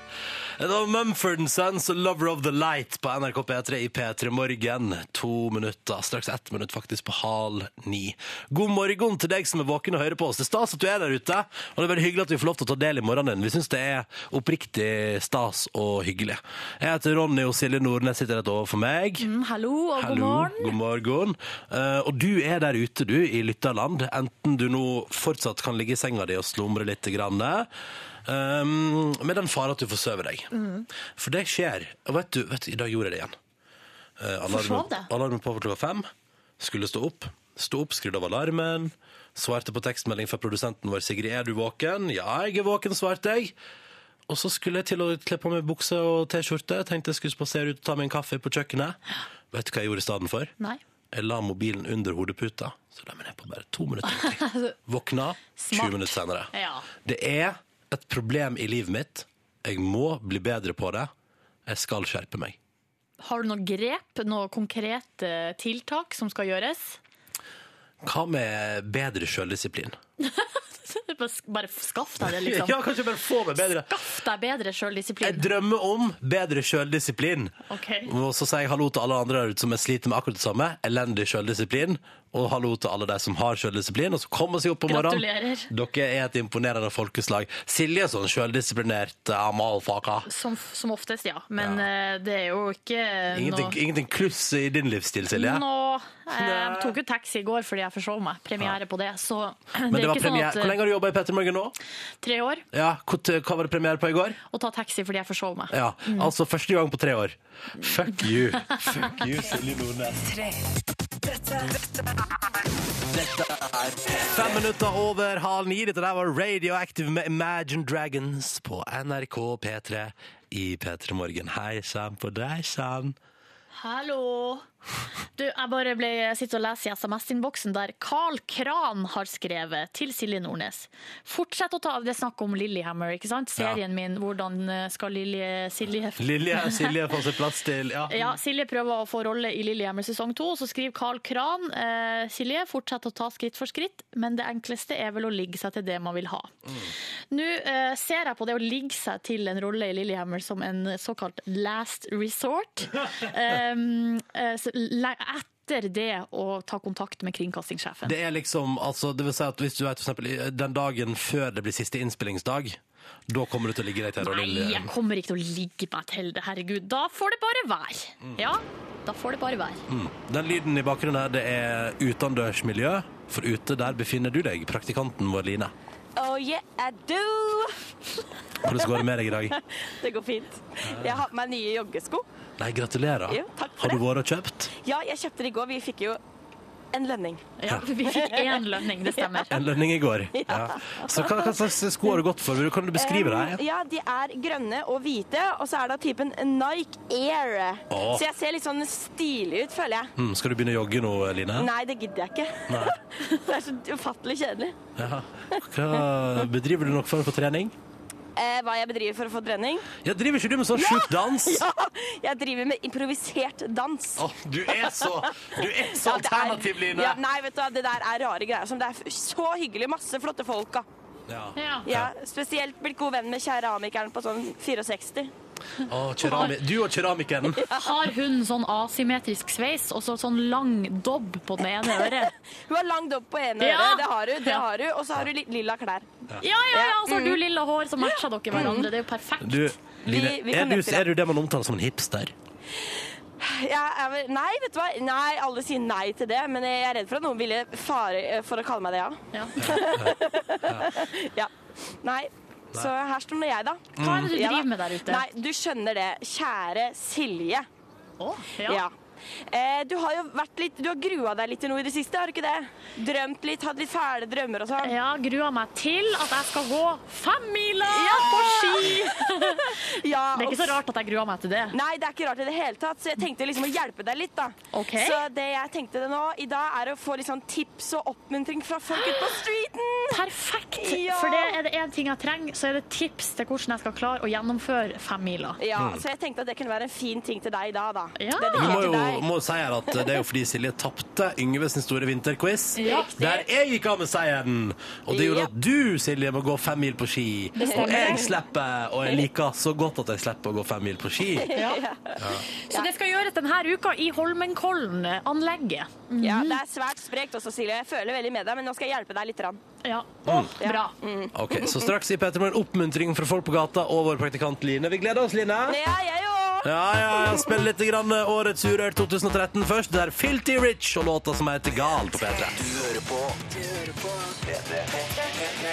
Speaker 2: Det var Mumford Sons, 'Lover of the Light' på NRK P3 i P3 Morgen. To minutter, straks ett minutt faktisk, på halv ni. God morgen til deg som er våken og hører på oss. Det er stas at du er der ute, og det er veldig hyggelig at vi får lov til å ta del i morgenen din. Vi syns det er oppriktig stas og hyggelig. Jeg heter Ronny og Silje Nordnes sitter rett overfor meg.
Speaker 18: Mm, hallo og
Speaker 2: Hallo,
Speaker 18: god morgen.
Speaker 2: God morgen. Eh, og du er der ute, du, i lytterland. Enten du nå fortsatt kan ligge i senga di og slumre litt, grann, um, med den fare at du forsøver deg.
Speaker 8: Mm.
Speaker 2: For det skjer. Og vet du, vet du, i dag gjorde jeg det igjen. Eh,
Speaker 8: Forsov
Speaker 2: alarmen,
Speaker 8: det?
Speaker 2: alarmen på klokka fem. Skulle stå opp. Stå opp, skrudde av alarmen. Svarte på tekstmelding fra produsenten vår Sigrid, er du våken? Ja, jeg er våken, svarte jeg. Og så skulle jeg til å kle på meg bukse og T-skjorte. Tenkte jeg skulle spasere ut og ta meg en kaffe på kjøkkenet. Vet du hva jeg gjorde i stedet for?
Speaker 3: Nei.
Speaker 2: Jeg la mobilen under hodeputa. Så la jeg meg ned på bare to minutter. Våkna 20 minutter senere.
Speaker 3: Ja.
Speaker 2: Det er et problem i livet mitt. Jeg må bli bedre på det. Jeg skal skjerpe meg.
Speaker 3: Har du noe grep, noe konkrete tiltak som skal gjøres?
Speaker 2: Hva med bedre sjøldisiplin?
Speaker 3: Bare skaff deg det, liksom.
Speaker 2: Ja, kanskje bare få meg bedre.
Speaker 3: Skaff deg bedre
Speaker 2: Jeg
Speaker 3: sjøldisiplin.
Speaker 2: drømmer om bedre sjøldisiplin.
Speaker 3: Ok.
Speaker 2: Og så sier jeg hallo til alle andre der ute som jeg sliter med akkurat det samme. Elendig sjøldisiplin. Og hallo til alle de som har sjøldisiplin, og som kommer seg opp om morgenen.
Speaker 3: Gratulerer.
Speaker 2: Dere er et imponerende folkeslag. Silje er sånn sjøldisiplinert eh, amalfaka.
Speaker 3: Som, som oftest, ja. Men eh, det er jo ikke
Speaker 2: Ingenting, ingenting kluss i din livsstil, Silje.
Speaker 3: noe Nå, eh, Jeg tok jo taxi i går fordi jeg forsov meg. Premiere på det. Så
Speaker 2: Men
Speaker 3: det
Speaker 2: det
Speaker 3: er
Speaker 2: var
Speaker 3: ikke sånn
Speaker 2: premiere.
Speaker 3: at eh,
Speaker 2: Hvor lenge har du jobba i Petter Morgen nå?
Speaker 3: Tre år.
Speaker 2: Ja, hvor- Hva var det premiere på i går?
Speaker 3: Og ta taxi fordi jeg forsov meg.
Speaker 2: Ja,
Speaker 3: Mm.
Speaker 2: Altså første gang på tre år. Fuck you. Fuck you, Silje Nordnes. Fem minutter over halv ni. Dette der var Radioactive med Imagine Dragons på NRK P3 i P3 Morgen. Hei sann på deg, sann.
Speaker 3: Hallo! Du, jeg bare ble, jeg sitter og leser i SMS-innboksen der Carl Kran har skrevet til Silje Nordnes. Fortsett å ta av det er snakk om Lillehammer, ikke sant? Serien min, hvordan eh, skal Lilje Silje
Speaker 2: Lilje Silje får seg plass til Ja.
Speaker 3: Ja, Silje prøver å få rolle i Lillehammer sesong to, så skriver Carl Kran eh, Silje, fortsett å ta skritt for skritt, men det enkleste er vel å ligge seg til det man vil ha.
Speaker 2: Mm.
Speaker 3: Nå eh, ser jeg på det å ligge seg til en rolle i Lillehammer som en såkalt last resort. Um, eh, Ehm, så le- etter etter det å ta kontakt med kringkastingssjefen.
Speaker 2: Det er liksom, altså, det vil si at hvis du vet for eksempel i- den dagen før det blir siste innspillingsdag, da kommer du til å ligge deg til
Speaker 3: Nei, jeg kommer ikke til å ligge meg til det, herregud. Da får det bare være. Ja, da får det bare være.
Speaker 2: Mm. Den lyden i bakgrunnen her, det er utendørsmiljø, for ute der befinner du deg, praktikanten vår Line.
Speaker 6: Oh yeah, I do!
Speaker 2: Hvordan går det med deg i dag?
Speaker 6: Det går fint. Jeg har på meg nye joggesko.
Speaker 2: Nei, gratulerer.
Speaker 6: Jo, takk for
Speaker 2: Har du
Speaker 6: det.
Speaker 2: vært og kjøpt?
Speaker 6: Ja, jeg kjøpte det i går. Vi fikk jo en lønning.
Speaker 2: Ja,
Speaker 6: vi fikk én lønning, det stemmer.
Speaker 2: En lønning i går. Ja. Så hva, hva slags sko har du gått for? Vil du- Kan du beskrive deg?
Speaker 6: Ja, de er grønne og hvite, og så er det av typen Nike Air.
Speaker 2: Åh.
Speaker 6: Så jeg ser litt sånn stilig ut, føler jeg.
Speaker 2: Mm, skal du begynne å jogge nå, Line?
Speaker 6: Nei, det gidder jeg ikke.
Speaker 2: Nei.
Speaker 6: Det er så ufattelig kjedelig.
Speaker 2: Ja. Hva, bedriver du noen form for trening?
Speaker 6: Eh, hva jeg bedriver for å få trening?
Speaker 2: Ja, driver ikke du med sånn sjuk dans?
Speaker 6: Ja, jeg driver med improvisert dans.
Speaker 2: Å, du er så- du er så
Speaker 6: det er-
Speaker 2: alternativ, Line.
Speaker 6: Ja, nei, vet du hva, det der er rare greier. Som det er f- så hyggelig. Masse flotte folk, da.
Speaker 2: Ja.
Speaker 6: Ja, spesielt blitt god venn med keramikeren på sånn 64.
Speaker 2: Å, kerami- Du og keramikeren.
Speaker 3: Har hun sånn asymmetrisk sveis og så sånn lang dobb på den ene øret?
Speaker 6: Hun har lang dobb på ene
Speaker 3: Ja.
Speaker 6: øret, det har hun. det
Speaker 3: Ja.
Speaker 6: har hun, Og så har hun litt lilla klær.
Speaker 3: Ja, ja, ja, og så har du
Speaker 6: Mm.
Speaker 3: lilla hår, så matcher dere hverandre. Det er jo perfekt.
Speaker 2: Du, Line,
Speaker 6: Vi- vi
Speaker 2: er,
Speaker 6: kan
Speaker 2: du,
Speaker 6: nøste det.
Speaker 2: er du det man omtaler som en hipster?
Speaker 6: Jeg er vel- nei, vet du hva? Nei, alle sier nei til det, men jeg er redd for at noen ville fare eh, for å kalle meg det, ja. Ja. Nei. Så her står nå jeg, da. Mm.
Speaker 3: Hva er det du
Speaker 6: Ja, da.
Speaker 3: driver med der ute?
Speaker 6: Nei, du skjønner det. Kjære Silje.
Speaker 3: ja.
Speaker 6: Eh, du har jo vært litt, du har grua deg litt til noe i det siste, har du ikke det? Drømt litt, hatt litt fæle drømmer og sånn.
Speaker 3: Ja, grua meg til at jeg skal gå fem miler
Speaker 6: Ja!
Speaker 3: på ski!
Speaker 6: Ja,
Speaker 3: Det er ikke så
Speaker 6: og-
Speaker 3: rart at jeg gruer meg til det.
Speaker 6: Nei, det er ikke rart i det hele tatt, så jeg tenkte liksom å hjelpe deg litt, da.
Speaker 3: Ok.
Speaker 6: Så det jeg tenkte det nå i dag, er å få litt sånn tips og oppmuntring fra folk ute på streeten.
Speaker 3: Perfekt!
Speaker 6: Ja.
Speaker 3: For det er det én ting jeg trenger, så er det tips til hvordan jeg skal klare å gjennomføre fem miler.
Speaker 6: Ja, så jeg tenkte at det kunne være en fin ting til deg i dag, da.
Speaker 2: Vi må
Speaker 6: Dedikert til
Speaker 2: jo
Speaker 6: deg.
Speaker 2: må jo si her at det er jo fordi Silje tapte Yngve sin store vinterquiz.
Speaker 6: Ja.
Speaker 2: Der jeg gikk av med seieren! Og det gjorde at du, Silje, må gå fem mil på ski.
Speaker 6: Det stemmer.
Speaker 2: Og jeg slipper, og jeg liker så godt at jeg slipper å gå fem mil på ski.
Speaker 6: Ja.
Speaker 2: Ja.
Speaker 3: Så det skal gjøres denne uka i Holmenkollen-anlegget.
Speaker 6: ja, det er svært sprekt også, Silje. Jeg føler veldig med deg, men nå skal jeg hjelpe deg litt. Rann.
Speaker 3: Ja.
Speaker 6: Bra.
Speaker 2: Ok, Så straks i Petermorgen oppmuntring fra folk på gata og vår praktikant Line. Vi gleder oss, Line.
Speaker 6: Ja, jeg òg.
Speaker 2: Ja, ja, ja. Spill litt grann eh, Årets Urørt 2013 først. Det er Filty Rich og låta som heter Gal på P3.
Speaker 15: Du hører på P3.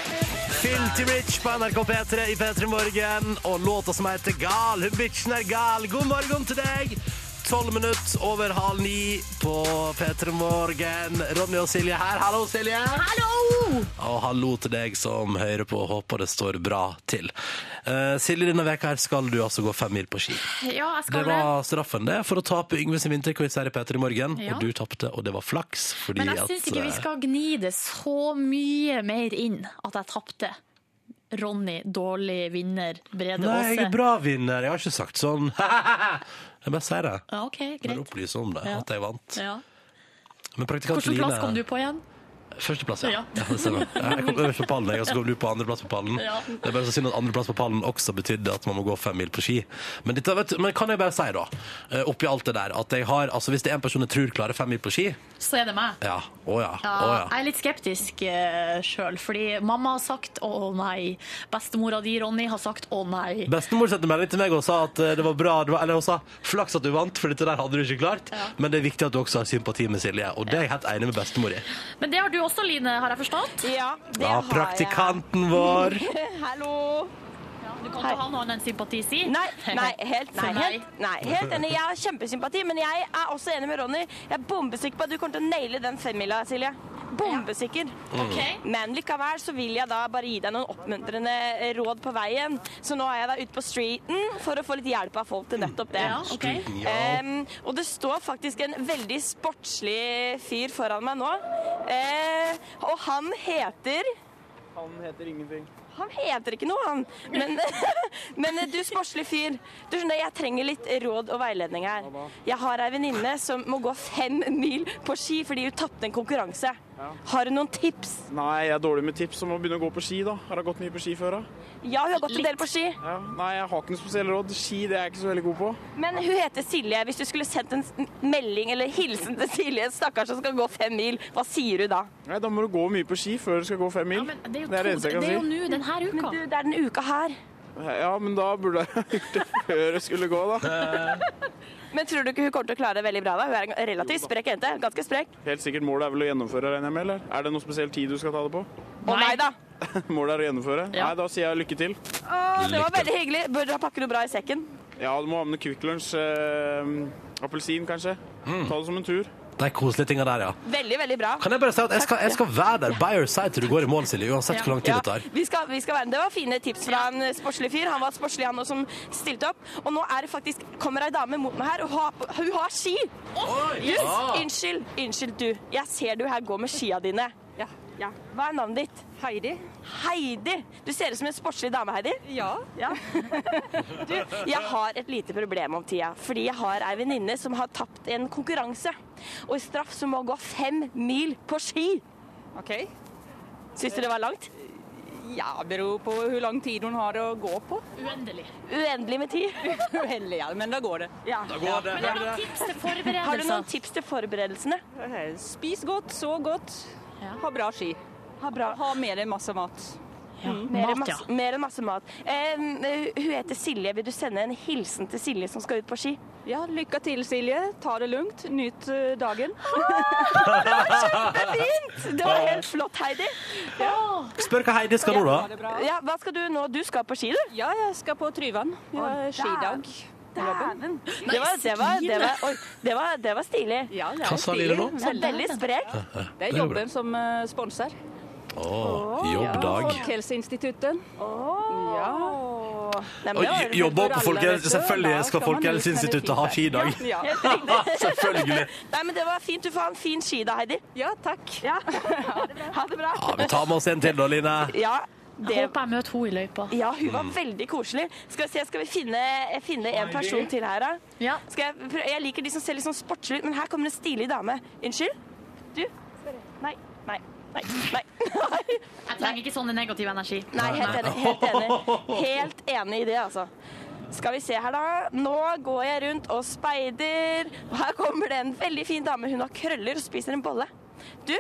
Speaker 2: Filty Rich på NRK P3 i P3 Morgen og låta som heter Gal. Hun bitchen er gal. God morgen til deg. Tolv minutter over halv ni på P3 Morgen. Ronny og Silje her. Hallo, Silje.
Speaker 3: Hallo!
Speaker 2: Og hallo til deg som hører på og håper det står bra til. Eh, Silje, denne veka her skal du altså gå fem mil på ski.
Speaker 3: Ja, jeg
Speaker 2: Det
Speaker 3: skal det.
Speaker 2: var straffen, det, for å tape Yngve sin vinterquiz her i P3 Morgen.
Speaker 3: Ja.
Speaker 2: Og du tapte, og det var flaks. Fordi
Speaker 3: Men jeg
Speaker 2: at,
Speaker 3: syns ikke vi
Speaker 2: eh,
Speaker 3: skal gni det så mye mer inn at jeg tapte. Ronny, dårlig vinner, Brede
Speaker 2: Nei, jeg
Speaker 3: Aase.
Speaker 2: er bra vinner. Jeg har ikke sagt sånn. jeg bare sier det.
Speaker 3: Ja, OK,
Speaker 2: Bare
Speaker 3: greit.
Speaker 2: opplyse om det,
Speaker 3: Ja.
Speaker 2: at jeg vant.
Speaker 3: Ja.
Speaker 2: Men praktikant
Speaker 3: Hvilken plass
Speaker 2: Line-
Speaker 3: kom du på igjen?
Speaker 2: Førsteplass, ja.
Speaker 3: Ja.
Speaker 2: ja. det stemmer. Ja, jeg kom øverst på pallen, jeg, og så kom du på andreplass på pallen.
Speaker 3: Ja.
Speaker 2: Det er bare så synd at andreplass på pallen også betydde at man må gå fem mil på ski. Men, dette, vet, du- men kan jeg bare si, da, eh, oppi alt det der, at jeg har Altså, hvis det er en person jeg tror klarer fem mil på ski
Speaker 3: Så er det meg.
Speaker 2: Ja. Å ja.
Speaker 3: Ja,
Speaker 2: Å ja.
Speaker 3: Jeg er litt skeptisk uh, sjøl, fordi mamma har sagt å nei. Bestemora di, Ronny, har sagt å nei.
Speaker 2: Bestemor sendte melding til meg og sa at eh, det var bra det var, Eller hun sa flaks at du vant, for dette der hadde du ikke klart. Men det er viktig at du også har sympati med Silje, og det er jeg helt enig med bestemor i.
Speaker 3: Men det har du også, Line, har jeg forstått?
Speaker 6: Ja,
Speaker 2: Ja, praktikanten vår.
Speaker 6: Hallo.
Speaker 3: Du kan ikke ha noe annet enn sympati, si.
Speaker 6: Nei, nei, helt, nei, helt, nei, helt enig. Jeg har kjempesympati, men jeg er også enig med Ronny. Jeg er bombesikker på at du kommer til å naile den femmila, Silje. Bombesikker.
Speaker 19: Ok.
Speaker 6: Men likevel så vil jeg da bare gi deg noen oppmuntrende eh, råd på veien. Så nå er jeg da ute på streeten for å få litt hjelp av folk til nettopp det.
Speaker 19: Ja, ok. Streeten, ja.
Speaker 6: Em, og det står faktisk en veldig sportslig fyr foran meg nå. Eh, og han heter
Speaker 20: Han heter ingenting.
Speaker 6: han heter ikke noe, han. Men, men eh, du sportslig fyr. Du skjønner, Jeg trenger litt råd og veiledning her. Jeg har ei venninne som må gå fem mil på ski fordi hun tapte en konkurranse. Har du noen tips?
Speaker 20: Nei, jeg er dårlig med tips om å begynne å gå på ski, da. Har jeg gått mye på ski før, da?
Speaker 6: Ja, hun har gått en del på ski.
Speaker 20: Ja. Nei, jeg har ikke noe spesielle råd. Ski det er jeg ikke så veldig god på.
Speaker 6: Men hun heter Silje. Hvis du skulle sendt en s- melding eller hilsen til Silje, stakkars som skal gå fem mil, hva sier du da?
Speaker 20: Nei, Da må du gå mye på ski før du skal gå fem mil.
Speaker 6: Det
Speaker 20: er det eneste jeg kan si.
Speaker 6: nå, denne uka. Men du, det er denne uka her.
Speaker 20: Ja, men da burde jeg ha gjort det før jeg skulle gå, da.
Speaker 6: Men tror du ikke hun kommer til å klare det veldig bra? da? Hun er en relativt sprek jente. Ganske sprek.
Speaker 20: Helt sikkert målet er vel å gjennomføre, regner jeg med? eller? Er det noen spesiell tid du skal ta det på?
Speaker 6: Å nei da!
Speaker 20: Målet er å gjennomføre?
Speaker 6: Ja.
Speaker 20: Nei, da sier jeg lykke til.
Speaker 6: Å, det var veldig hyggelig. Burde ha pakket noe bra i sekken.
Speaker 20: Ja, du må ha med Kvikk Lunsj. Eh, appelsin, kanskje. Ta det som en tur.
Speaker 2: De koselige tinga der, ja.
Speaker 6: Veldig, veldig bra.
Speaker 2: Kan jeg bare si at jeg skal, jeg skal være der by your side til du går i mål, Silje, uansett hvor lang tid
Speaker 6: Ja,
Speaker 2: det tar.
Speaker 6: Vi skal, vi skal være, det var fine tips fra en sportslig fyr. Han var sportslig, han også, som stilte opp. Og nå er det faktisk, kommer ei dame mot meg her, og har, hun har ski! Yes.
Speaker 4: Ja.
Speaker 2: Ah.
Speaker 6: Unnskyld, unnskyld du. Jeg ser du her går med skia dine. Hva er navnet ditt? Heidi. Heidi! Du ser ut som en sportslig dame, Heidi. Ja. du, jeg har et lite problem om tida, fordi jeg har ei venninne som har tapt en konkurranse. Og i straff så må hun gå fem mil på ski. Ok. Syns du det var langt?
Speaker 21: Ja, beror på hvor lang tid hun har å gå på.
Speaker 5: Uendelig.
Speaker 6: Uendelig med tid.
Speaker 21: Uendelig, ja. Men da går det.
Speaker 2: Da går det.
Speaker 5: Men jeg har tips til forberedelser.
Speaker 6: Har du noen tips til forberedelsene?
Speaker 21: Spis godt, sov godt, ha bra ski. Ha, med deg masse mat. Mm.
Speaker 6: Mer, enn
Speaker 21: Mat,
Speaker 6: masse, mer enn masse mat. Eh, hun heter Silje. Vil du sende en hilsen til Silje som skal ut på ski?
Speaker 21: Ja, lykke til, Silje. Ta det lugnt. Nyt eh, dagen.
Speaker 6: Fint! Det var helt flott, Heidi. Ja.
Speaker 2: Spør hva Heidi skal nå, da.
Speaker 6: Ja, hva skal du nå? Du skal på ski, du?
Speaker 21: Ja, jeg skal på Tryvann. Vi har skidag. Dæven!
Speaker 6: Det var, det var, det var, oi, det var, det var stilig.
Speaker 21: Ja, det er
Speaker 2: Hva sa Lille
Speaker 21: stilig.
Speaker 2: nå?
Speaker 6: Så veldig sprek.
Speaker 21: Det er jobben som eh, sponsor.
Speaker 2: Å, jobbdag.
Speaker 21: Folkehelseinstituttet. Ja.
Speaker 2: Og jo- jobber på Folkehelse- selvfølgelig skal Folkehelseinstituttet ha skidag.
Speaker 21: Ja.
Speaker 2: Selvfølgelig.
Speaker 6: Nei, men Det var fint. Du får ha en fin ski da, Heidi.
Speaker 21: Ja, takk.
Speaker 6: Ha det bra.
Speaker 2: Ja, vi tar med oss en til, da, Line.
Speaker 6: Ja,
Speaker 3: Jeg håper jeg møter henne i løypa.
Speaker 6: Ja, hun var veldig koselig. Skal vi se, skal vi finne, finne en person til her, da? Skal jeg, prø- jeg liker de som ser litt sånn sportslige ut, men her kommer en stilig dame. Unnskyld? Du? Nei. Nei. Nei. Nei.
Speaker 5: Jeg trenger ikke sånn negativ energi.
Speaker 6: Nei, helt enig. Helt enig, helt enig i det, altså. Skal vi se her, da. Nå går jeg rundt og speider. Og Her kommer det en veldig fin dame. Hun har krøller og spiser en bolle. Du,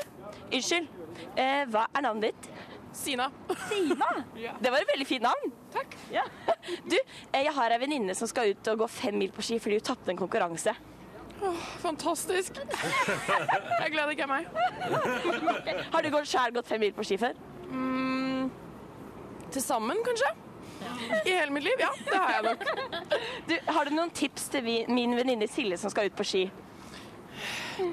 Speaker 6: unnskyld. Eh, hva er navnet ditt? Sina. Sina? Det var et veldig fint navn. Takk. Ja. Du, eh, jeg har ei venninne som skal ut og gå fem mil på ski fordi hun tapte en konkurranse.
Speaker 22: fantastisk. Jeg gleder ikke meg.
Speaker 6: Har du gått sjæl gått fem mil på ski før?
Speaker 22: Mm, til sammen, kanskje? I hele mitt liv? Ja, det har jeg nok.
Speaker 6: Du, har du noen tips til vi, min venninne Silje som skal ut på ski?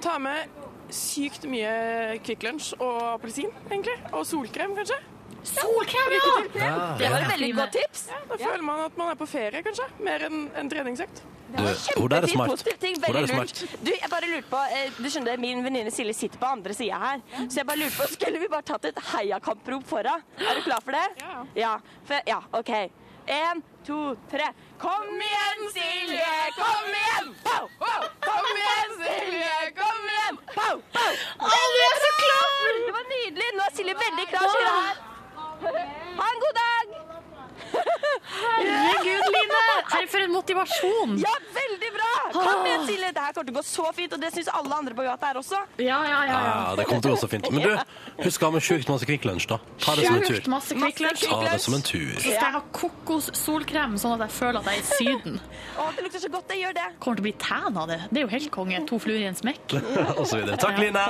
Speaker 22: Ta med sykt mye Kvikk Lunsj og appelsin, egentlig. Og solkrem, kanskje.
Speaker 5: Solkrem,
Speaker 6: ja!
Speaker 2: Ja,
Speaker 6: Det var et veldig godt tips.
Speaker 22: Ja, da føler man at man er på ferie, kanskje. Mer enn en treningsøkt.
Speaker 2: Du, hun der er
Speaker 6: Kjempefin,
Speaker 2: smart.
Speaker 6: positiv ting,
Speaker 2: Hun der
Speaker 6: veldig
Speaker 2: er smart.
Speaker 6: lurt. Du, jeg bare lurte på, eh, du skjønner, min venninne Silje sitter på andre sida her. Så jeg bare lurte på, skulle vi bare tatt et heiakamprop foran? Er du klar for det? Ja. Ja, for, ja OK. En, to, tre. Kom igjen, Silje! Kom igjen! Pow, pow! Kom igjen, Silje! Kom igjen! Pow, pow! Alle er så klar! Det var nydelig. Nå er Silje veldig klar. sier hun her. Ha en god dag!
Speaker 5: Herregud, Line! Herre, for en motivasjon!
Speaker 6: Ja, veldig bra! Kom igjen, Silje. Det her kommer til å gå så fint, og det syns alle andre på gata her også.
Speaker 5: Ja, ja, ja.
Speaker 2: Ja, Ah, det kommer til å gå så fint. Men du, husk å ha med sjukt masse Kvikk Lunsj, da. Ta det som en
Speaker 3: Sjukt
Speaker 2: tur.
Speaker 3: masse Kvikk Lunsj.
Speaker 2: Ta det som en tur.
Speaker 3: Så skal jeg ha kokossolkrem, sånn at jeg føler at jeg er i Syden.
Speaker 6: Å, det lukter så godt. Jeg gjør det.
Speaker 5: Kommer til å bli tan av det. Det er jo helt konge. To fluer i en smekk.
Speaker 2: Og så videre. Takk, Line.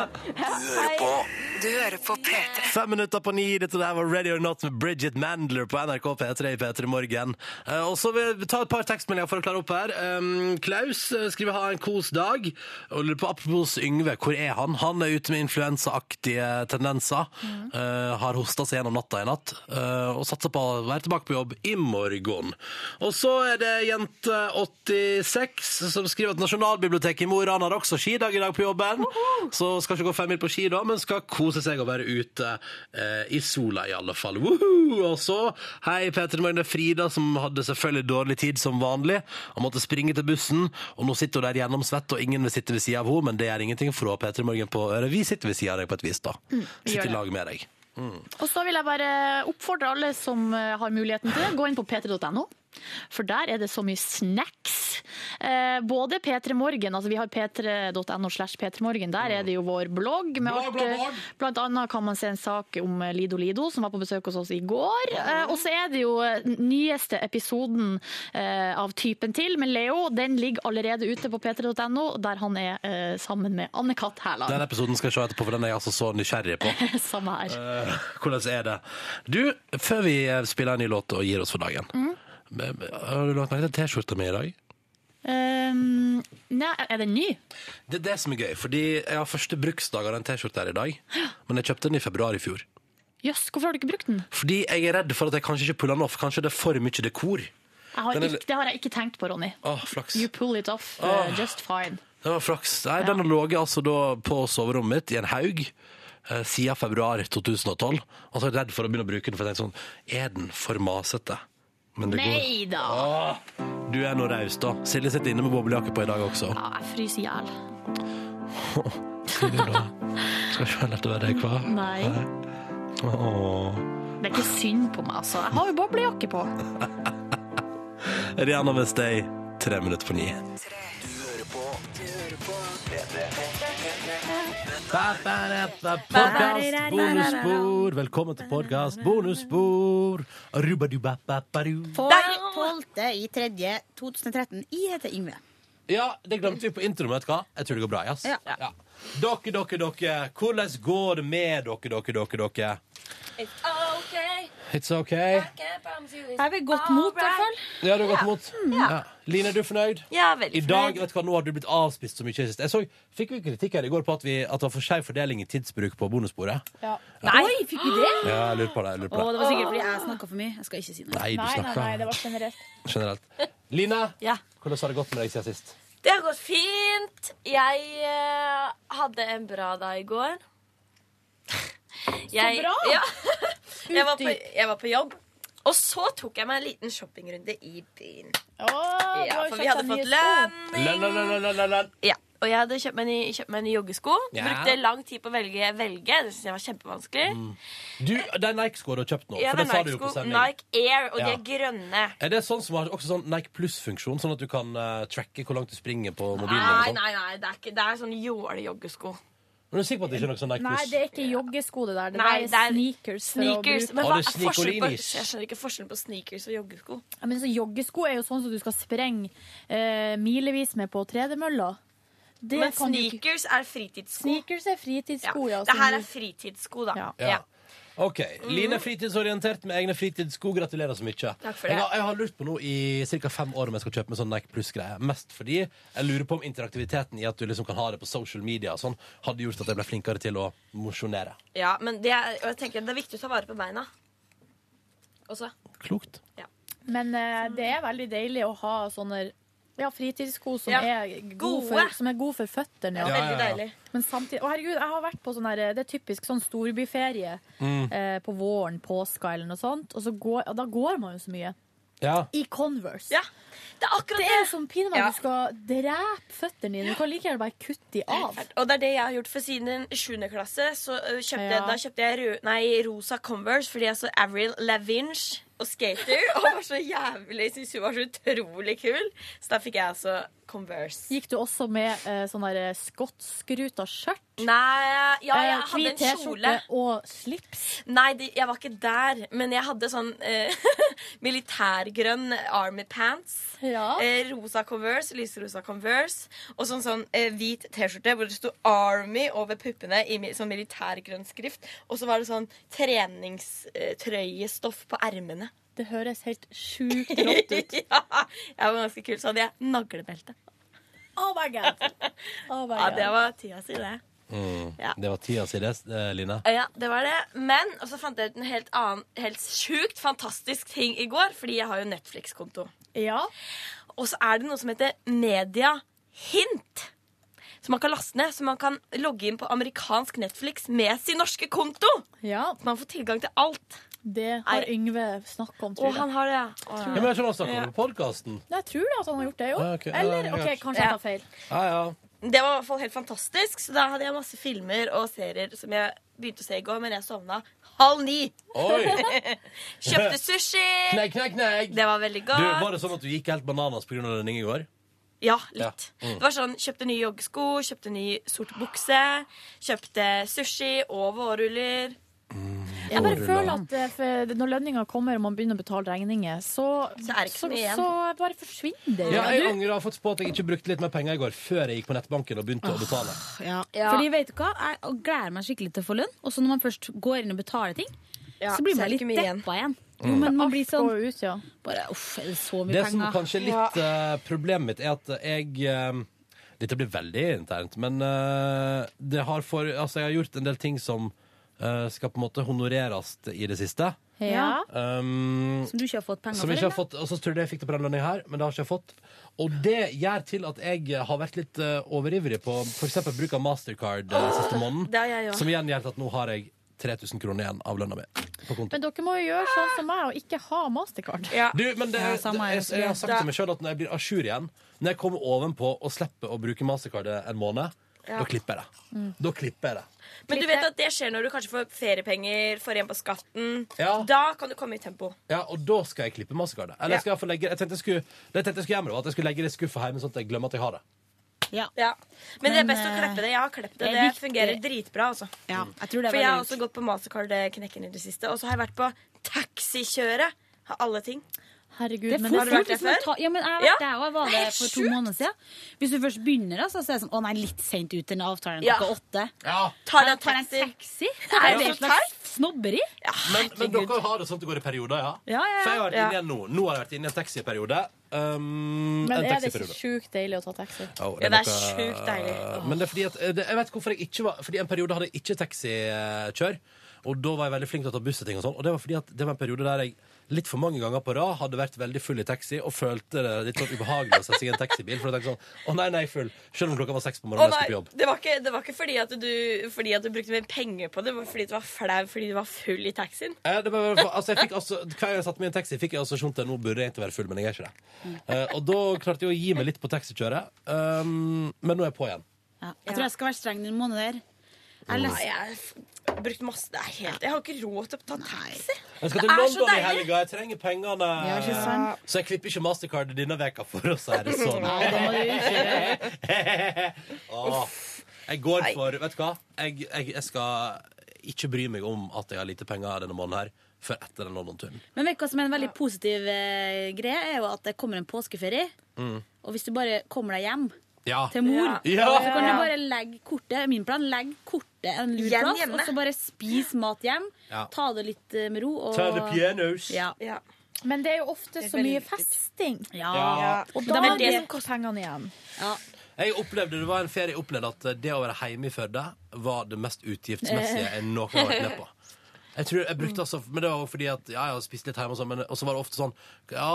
Speaker 23: Du hører på P3.
Speaker 2: Fem minutter på ni. Dette der var Ready or Not med Bridget Mandler på NRK P3 i P3 Morgen. Eh, Og så vil vi ta et par tekstmeldinger for å klare opp her. Um, Klaus eh, skriver 'ha en kos dag'. Og lurer på Apropos Yngve, hvor er han? Han er ute med influensaaktige tendenser. Eh, har hosta seg gjennom natta i natt. eh, og satser på å være tilbake på jobb i morgen. Og så er det Jente86 som skriver at Nasjonalbiblioteket i Mo i Rana har også skidag i dag på jobben. Så skal ikke gå fem mil på ski da, men skal kose seg og være ute eh, i sola i alle fall. Woohoo! Og så, hei Peter Magne Frida, som hadde selvfølgelig dårlig tid som vanlig, og måtte springe til bussen, og Og nå sitter hun der gjennomsvett, og ingen vil sitte ved sida av henne, men det gjør ingenting, for hun har P3 Morgen på øret. Vi sitter ved sida av deg på et vis, da.
Speaker 3: Mm, vi gjør
Speaker 2: sitter i
Speaker 3: det.
Speaker 2: lag med deg. Mm.
Speaker 3: Og så vil jeg bare oppfordre alle som eh, har muligheten til det, gå inn på p3.no. For der er det så mye snacks. Eh, både P3 Morgen, altså vi har p3.no slash p3morgen. Der er det jo vår blogg. Med
Speaker 13: Blogg,
Speaker 3: alt,
Speaker 13: blogg,
Speaker 3: eh,
Speaker 13: blogg.
Speaker 3: Blant annet kan man se en sak om eh, Lido Lido, som var på besøk hos oss i går. Eh, og så er det jo eh, den nyeste episoden eh, av Typen til med Leo. Den ligger allerede ute på p3.no, der han er eh, sammen med Anne-Kat.
Speaker 2: Den
Speaker 3: Hærland.
Speaker 2: episoden skal jeg se etterpå, for den er jeg altså så nysgjerrig på.
Speaker 3: Samme her.
Speaker 2: Eh, hvordan er det? Du, før vi eh, spiller en ny låt og gir oss for dagen men- men Har du lagt merke til T-skjorta mi i dag?
Speaker 3: Um, nei, er den ny?
Speaker 2: Det er det som er gøy, fordi jeg har første bruksdag av den T-skjorta her i dag. Men jeg kjøpte den i februar i fjor.
Speaker 3: Jøss, hvorfor har du ikke brukt den?
Speaker 2: Fordi jeg er redd for at jeg kanskje ikke puller den off. Kanskje det er for mye dekor.
Speaker 3: Jeg har
Speaker 2: Den er
Speaker 3: ikke,
Speaker 2: litt-
Speaker 3: det har jeg ikke tenkt på, Ronny.
Speaker 2: Åh, flaks.
Speaker 3: You pull it off uh,
Speaker 2: Åh.
Speaker 3: just fine.
Speaker 2: Ah. Det var flaks. Nei, Den har ligget altså da på soverommet mitt i en haug eh, siden februar 2012. Og så er jeg redd for å begynne å bruke den, for jeg tenker sånn Er den for masete? Men det går.
Speaker 3: Nei da!
Speaker 2: Du er nå raus, da. Silje sitter inne med boblejakke på i dag også.
Speaker 3: Ja, jeg fryser i hjel.
Speaker 2: Silje, da. Skal ikke være lett å være deg, hva?
Speaker 3: Nei.
Speaker 2: Åh.
Speaker 3: Det er ikke synd på meg, altså. Jeg har jo boblejakke på.
Speaker 2: Rihanna med Stay, tre minutter på ni. Podcast bonusspor. Velkommen til podcast bonusspor. Arubadubababaru.
Speaker 1: Der! 12. i 3. 2013. Jeg heter Yngve.
Speaker 2: Ja, det glemte vi på introen, vet du hva? Jeg tror det går bra, ass.
Speaker 1: Ja.
Speaker 2: Ja. Dere, dere, dere. Hvordan går det med dere, dere, dere, dere? It's ok.
Speaker 1: Er vi godt mot, i hvert fall?
Speaker 2: Ja, du har gått mot.
Speaker 1: Ja.
Speaker 2: Ja. Line, er du fornøyd?
Speaker 1: Ja, veldig
Speaker 2: I dag,
Speaker 1: fornøyd.
Speaker 2: vet du hva, nå har du blitt avspist så mye sist. Jeg så, fikk vi kritikk her i går på at, vi, at det var for skjev fordeling i tidsbruk på bonussporet.
Speaker 1: Nei, fikk vi det?
Speaker 2: Ja, jeg lurer på det. Jeg lurer
Speaker 1: Å,
Speaker 2: på
Speaker 1: det
Speaker 2: det.
Speaker 1: var sikkert
Speaker 6: Ah.
Speaker 1: fordi jeg snakka for mye. Jeg skal ikke si noe.
Speaker 2: Nei, du Nei, nei, snakket. nei, det var
Speaker 1: generelt.
Speaker 2: Generelt. Line,
Speaker 1: Ja.
Speaker 2: hvordan har det gått med deg siden sist?
Speaker 6: Det har gått fint. Jeg eh, hadde en bra dag i går.
Speaker 1: bra!
Speaker 6: Ja. jeg, var på, jeg var på jobb. Og så tok jeg meg en liten shoppingrunde i byen.
Speaker 1: du
Speaker 6: ja,
Speaker 1: har jo kjøpt
Speaker 6: for vi hadde
Speaker 1: deg nye
Speaker 6: fått
Speaker 1: sko.
Speaker 6: lønn.
Speaker 2: Lønn, lønn, lønn, lønn, lønn, lønn.
Speaker 6: Ja, og jeg hadde kjøpt meg, ny, kjøpt meg nye joggesko.
Speaker 2: Ja.
Speaker 6: Brukte lang tid på å velge. velge. Det synes jeg var kjempevanskelig.
Speaker 2: Du, den Nike-skoa du har kjøpt nå,
Speaker 6: Jeg
Speaker 2: for
Speaker 6: hadde
Speaker 2: det sa du jo på
Speaker 6: Nike-sko,
Speaker 2: sending.
Speaker 6: Nike Air, og de
Speaker 2: Ja.
Speaker 6: er grønne.
Speaker 2: Er det sånn som har også sånn Nike Plus-funksjon, sånn at du kan eh, tracke hvor langt du springer på mobilen?
Speaker 6: Nei,
Speaker 2: eller sånn?
Speaker 6: nei, nei, det er, ikke, det er sånn jålejoggesko.
Speaker 2: Men du er sikker på at det ikke er noe sånn Nike Plus?
Speaker 6: det
Speaker 3: er ikke joggesko det der.
Speaker 6: Det Nei, det er sneakers.
Speaker 3: for å bruke-
Speaker 6: Men
Speaker 2: Å, det
Speaker 6: hva er
Speaker 2: er
Speaker 6: forskjellen på,
Speaker 2: sneakerinis.
Speaker 6: jeg skjønner ikke forskjellen på sneakers og joggesko.
Speaker 3: Ja, Men så joggesko er jo sånn som du skal sprenge eh, milevis med på tredemølla. Det
Speaker 6: Men
Speaker 3: kan du ikke-
Speaker 6: sneakers er fritidssko.
Speaker 3: Sneakers er fritidssko, ja.
Speaker 6: Det
Speaker 3: som
Speaker 6: her
Speaker 3: du-
Speaker 6: er fritidssko, da. Ja.
Speaker 2: Ja. OK. Line er fritidsorientert med egne fritidssko. Gratulerer så mye.
Speaker 6: Takk for det.
Speaker 2: Jeg har, jeg har lurt på nå i ca. fem år om jeg skal kjøpe meg sånn Nike Plus-greie. Mest fordi jeg lurer på om interaktiviteten i at du liksom kan ha det på social media og sånn, hadde gjort at jeg ble flinkere til å mosjonere.
Speaker 6: men det er, og jeg tenker det er viktig å ta vare på beina. Også.
Speaker 2: Klokt.
Speaker 3: Men eh, det er veldig deilig å ha sånne ja, fritidssko som,
Speaker 6: Ja,
Speaker 3: er god
Speaker 6: gode.
Speaker 3: for, som er god for føttene.
Speaker 6: Ja, veldig Ja, ja, ja. deilig.
Speaker 3: Men samtidig, å herregud, jeg har vært på sånn her, det er typisk sånn storbyferie
Speaker 2: Mm.
Speaker 3: eh, på våren, påska eller noe sånt, og, så går, og da går man jo så mye.
Speaker 2: Ja.
Speaker 3: I Converse.
Speaker 6: Det er akkurat
Speaker 3: det. er sånn pinlig at
Speaker 6: Ja.
Speaker 3: du skal drepe føttene dine. Du kan like gjerne bare kutte de av.
Speaker 6: Og det er det jeg har gjort for siden 7. klasse. Så ø, kjøpte, jeg-
Speaker 3: Ja.
Speaker 6: Da kjøpte jeg rød, nei, rosa Converse fordi jeg så Avril Lavinge og skater. Og var så jævlig, syntes hun var så utrolig kul. Så da fikk jeg altså Converse.
Speaker 3: Gikk du også med eh, sånn der skottskruta skjørt?
Speaker 6: Nei, ja, jeg
Speaker 3: Eh,
Speaker 6: hadde
Speaker 3: hvit
Speaker 6: en kjole.
Speaker 3: T-skjorte og slips.
Speaker 6: Nei, det, jeg var ikke der, men jeg hadde sånn eh, militærgrønn army pants. Eh, rosa Converse, lyserosa Converse. Og sånn, sånn eh, hvit T-skjorte hvor det sto Army over puppene i mi- sånn militærgrønn skrift. Og så var det sånn treningstrøyestoff på ermene.
Speaker 3: Det høres helt sjukt rått ut.
Speaker 6: ja, jeg var ganske kul. Så hadde jeg naglebelte.
Speaker 3: Oh my god. Oh my
Speaker 6: Ja,
Speaker 3: god.
Speaker 6: det var tida si, det.
Speaker 2: Mm.
Speaker 6: Ja.
Speaker 2: Det var tida si, det, eh, Line.
Speaker 6: Ja, det var det. Men og så fant jeg ut en helt annen, helt sjukt fantastisk ting i går, fordi jeg har jo Netflix-konto. Og så er det noe som heter Media Hint. Som man kan laste ned, så man kan logge inn på amerikansk Netflix med sin norske konto.
Speaker 3: Ja.
Speaker 6: Så man får tilgang til alt.
Speaker 3: Det har Yngve snakka om, tror jeg.
Speaker 24: Å, han har det, ja.
Speaker 2: Ja, men jeg skjønner han snakker om det på podcasten.
Speaker 3: Nei, Jeg tror det at han har gjort det, jo.
Speaker 2: Ja, Ah, ok.
Speaker 3: Eller
Speaker 2: Ja,
Speaker 3: OK,
Speaker 2: ja.
Speaker 3: kanskje jeg tar feil.
Speaker 2: Ja, ja.
Speaker 24: Det var i hvert fall helt fantastisk, så da hadde jeg masse filmer og serier som jeg begynte å se i går, men jeg sovna halv ni.
Speaker 2: Oi.
Speaker 24: Kjøpte sushi.
Speaker 2: Knegg, knegg, knegg.
Speaker 24: Det var veldig
Speaker 2: Du,
Speaker 24: godt.
Speaker 2: var det sånn at du gikk helt bananas pga. lønning i går?
Speaker 24: Ja, litt.
Speaker 2: Ja. Mm.
Speaker 24: Det var sånn, Kjøpte nye joggesko, kjøpte ny sort bukse, kjøpte sushi og vårruller.
Speaker 3: Jeg bare føler at eh, for når lønninga kommer og man begynner å betale regninger, så,
Speaker 24: Så er det ikke så mye igjen.
Speaker 3: bare forsvinner det.
Speaker 2: Ja,
Speaker 3: jo.
Speaker 2: jeg
Speaker 3: Du-
Speaker 2: angrer jeg har fått på at jeg ikke brukte litt mer penger i går før jeg gikk på nettbanken og begynte å betale.
Speaker 1: Ja.
Speaker 4: Ja.
Speaker 1: Fordi, vet du hva? Jeg gleder meg skikkelig til å få lønn. Og så når man først går inn og betaler ting,
Speaker 24: Ja,
Speaker 1: så blir
Speaker 24: så er
Speaker 1: man
Speaker 24: det
Speaker 1: litt
Speaker 24: ikke mye igjen.
Speaker 1: deppa igjen.
Speaker 2: Mm.
Speaker 1: Jo, men man blir sånn
Speaker 3: går ut, ja.
Speaker 1: bare, Uff, er det så mye
Speaker 2: Det som
Speaker 1: penger?
Speaker 2: kanskje er litt eh, problemet mitt, er at jeg eh, Dette blir veldig internt, men eh, det har for, altså, jeg har gjort en del ting som eh, skal på en måte honoreres i det siste.
Speaker 1: Ja.
Speaker 2: Um,
Speaker 1: Som du ikke har fått penger
Speaker 2: som
Speaker 1: for?
Speaker 2: jeg ikke har
Speaker 1: eller?
Speaker 2: fått, og så trodde jeg jeg fikk det på den lønninga her, men det har ikke jeg fått. Og det gjør til at jeg har vært litt eh, overivrig på f.eks. bruk av mastercard eh, siste måneden.
Speaker 3: det har jeg også.
Speaker 2: Som igjen gjør til at nå har jeg 3000 kroner igjen av lønna mi på konto.
Speaker 3: Men dere må jo gjøre sånn som meg og ikke ha mastercard.
Speaker 2: Du, men det, jeg, jeg, har sagt til meg sjøl at når jeg blir à jour igjen, når jeg kommer ovenpå og slipper å bruke mastercardet en måned,
Speaker 24: Ja.
Speaker 2: da klipper jeg det. Da klipper jeg det.
Speaker 24: Men du vet at det skjer når du kanskje får feriepenger, får igjen på skatten.
Speaker 2: Ja.
Speaker 24: Da kan du komme i tempo.
Speaker 2: Ja, Og da skal jeg klippe mastercardet. Eller
Speaker 24: Ja.
Speaker 2: skal jeg få legge, jeg tenkte jeg skulle, det jeg tenkte jeg skulle gjøre med det, var at jeg skulle legge det i skuffa hjemme, sånn at jeg glemmer at jeg har det.
Speaker 1: Ja.
Speaker 24: Men, det er
Speaker 1: Men,
Speaker 24: best å
Speaker 1: eh,
Speaker 24: kleppe det. Jeg har kleppet det.
Speaker 1: det er
Speaker 24: Det
Speaker 1: viktig.
Speaker 24: fungerer dritbra, altså.
Speaker 1: Ja, jeg tror det er
Speaker 24: For jeg
Speaker 1: veldig
Speaker 24: har også gått på mastercard-knekken i det siste. Og så har jeg vært på taxikjøret. Har alle ting.
Speaker 3: Herregud,
Speaker 1: Det er
Speaker 24: Har
Speaker 1: fort
Speaker 24: du
Speaker 1: gjort
Speaker 24: vært
Speaker 1: hvis
Speaker 24: der
Speaker 1: man
Speaker 24: før?
Speaker 1: tar Ja, men jeg har
Speaker 24: Ja.
Speaker 1: vært der, og jeg var
Speaker 24: Det er
Speaker 1: det
Speaker 24: helt
Speaker 1: for to
Speaker 24: sjukt.
Speaker 1: måneder siden. Hvis du først begynner, altså, så er det sånn Å nei, litt sent ut, den avtalen
Speaker 2: Ja.
Speaker 1: klokka åtte.
Speaker 2: Ja.
Speaker 1: Tar en taxi? Det
Speaker 2: Ja.
Speaker 1: er jo et slags snobberi.
Speaker 2: Men, men dere har det sånn at det går i perioder, ja?
Speaker 1: Ja, ja, ja.
Speaker 2: For jeg har vært
Speaker 1: Ja.
Speaker 2: inne i en nå. Nå har jeg vært inne i en taxiperiode. Um,
Speaker 3: Men
Speaker 2: en
Speaker 3: er det ikke
Speaker 2: taxiperiode.
Speaker 3: sjukt deilig å ta taxi?
Speaker 2: Ja, og noe- eh, Men det er fordi at, eh, det, jeg vet ikke hvorfor jeg ikke var Fordi en periode hadde jeg ikke taxikjør. Og da var jeg veldig flink til å ta buss og ting. Og sånn Og det var fordi at det var en periode der jeg litt for mange ganger på rad hadde vært veldig full i taxi og følte det litt sånn ubehagelig å sette seg i en taxibil. For jeg tenkte sånn Å nei, nei, full. Selv om klokka var seks på
Speaker 24: Å
Speaker 2: morgenen. og
Speaker 24: nei,
Speaker 2: jeg skulle på jobb.
Speaker 24: det var ikke, det var ikke fordi, at du, fordi at du brukte mer penger på det, det var fordi du var flau fordi du var full i taxien.
Speaker 2: Eh, Det var, i hvert fall- altså, jeg fikk, altså, hver gang jeg satte meg i en taxi, fikk jeg assosiasjon til nå burde jeg egentlig være full, men jeg er ikke det.
Speaker 24: Mm.
Speaker 2: Eh, og da klarte jeg å gi meg litt på taxikjøret. Um, men nå er jeg på igjen.
Speaker 1: Ja. Jeg tror jeg skal være streng den måneden der.
Speaker 24: Nei,
Speaker 1: Jeg leser-
Speaker 24: jeg har brukt masse det er helt, Jeg har ikke råd til å ta taxi.
Speaker 2: Jeg skal til
Speaker 24: Det er så
Speaker 2: London i
Speaker 24: deilig.
Speaker 2: helga. Jeg trenger pengene.
Speaker 24: Ja, ikke sant?
Speaker 2: Så jeg klipper ikke mastercardet denne veka for å si det sånn.
Speaker 24: Nei, det må du
Speaker 2: Åh. Jeg går for Vet du hva? Jeg, jeg, jeg skal ikke bry meg om at jeg har lite penger denne måneden her, før etter den London-turen.
Speaker 1: Men vet du hva som er en veldig positiv eh, greie, er jo at det kommer en påskeferie.
Speaker 2: Mm.
Speaker 1: Og hvis du bare kommer deg hjem
Speaker 2: Ja.
Speaker 1: til mor,
Speaker 2: Ja.
Speaker 1: så kan du bare legge kortet Min plan legg kortet en lur
Speaker 24: Igjen
Speaker 1: plass,
Speaker 24: hjemme.
Speaker 1: og så bare spis mat hjem.
Speaker 2: Ja.
Speaker 1: Ta det litt eh, med ro. Og...
Speaker 2: Ta det pianos.
Speaker 1: Ja.
Speaker 3: Men det er jo ofte så mye festing.
Speaker 2: Ja.
Speaker 3: Og
Speaker 1: Det
Speaker 3: da
Speaker 1: er
Speaker 3: blir
Speaker 1: vel det
Speaker 3: det
Speaker 1: som
Speaker 3: pengene igjen.
Speaker 2: Jeg opplevde, Det var en ferie jeg opplevde at det å være hjemme i Førde var det mest utgiftsmessige jeg noen gang har vært med på. Jeg tror jeg brukte altså, men det var jo fordi at ja, jeg har spist litt hjemme og sånn, men og så var det ofte sånn Ja,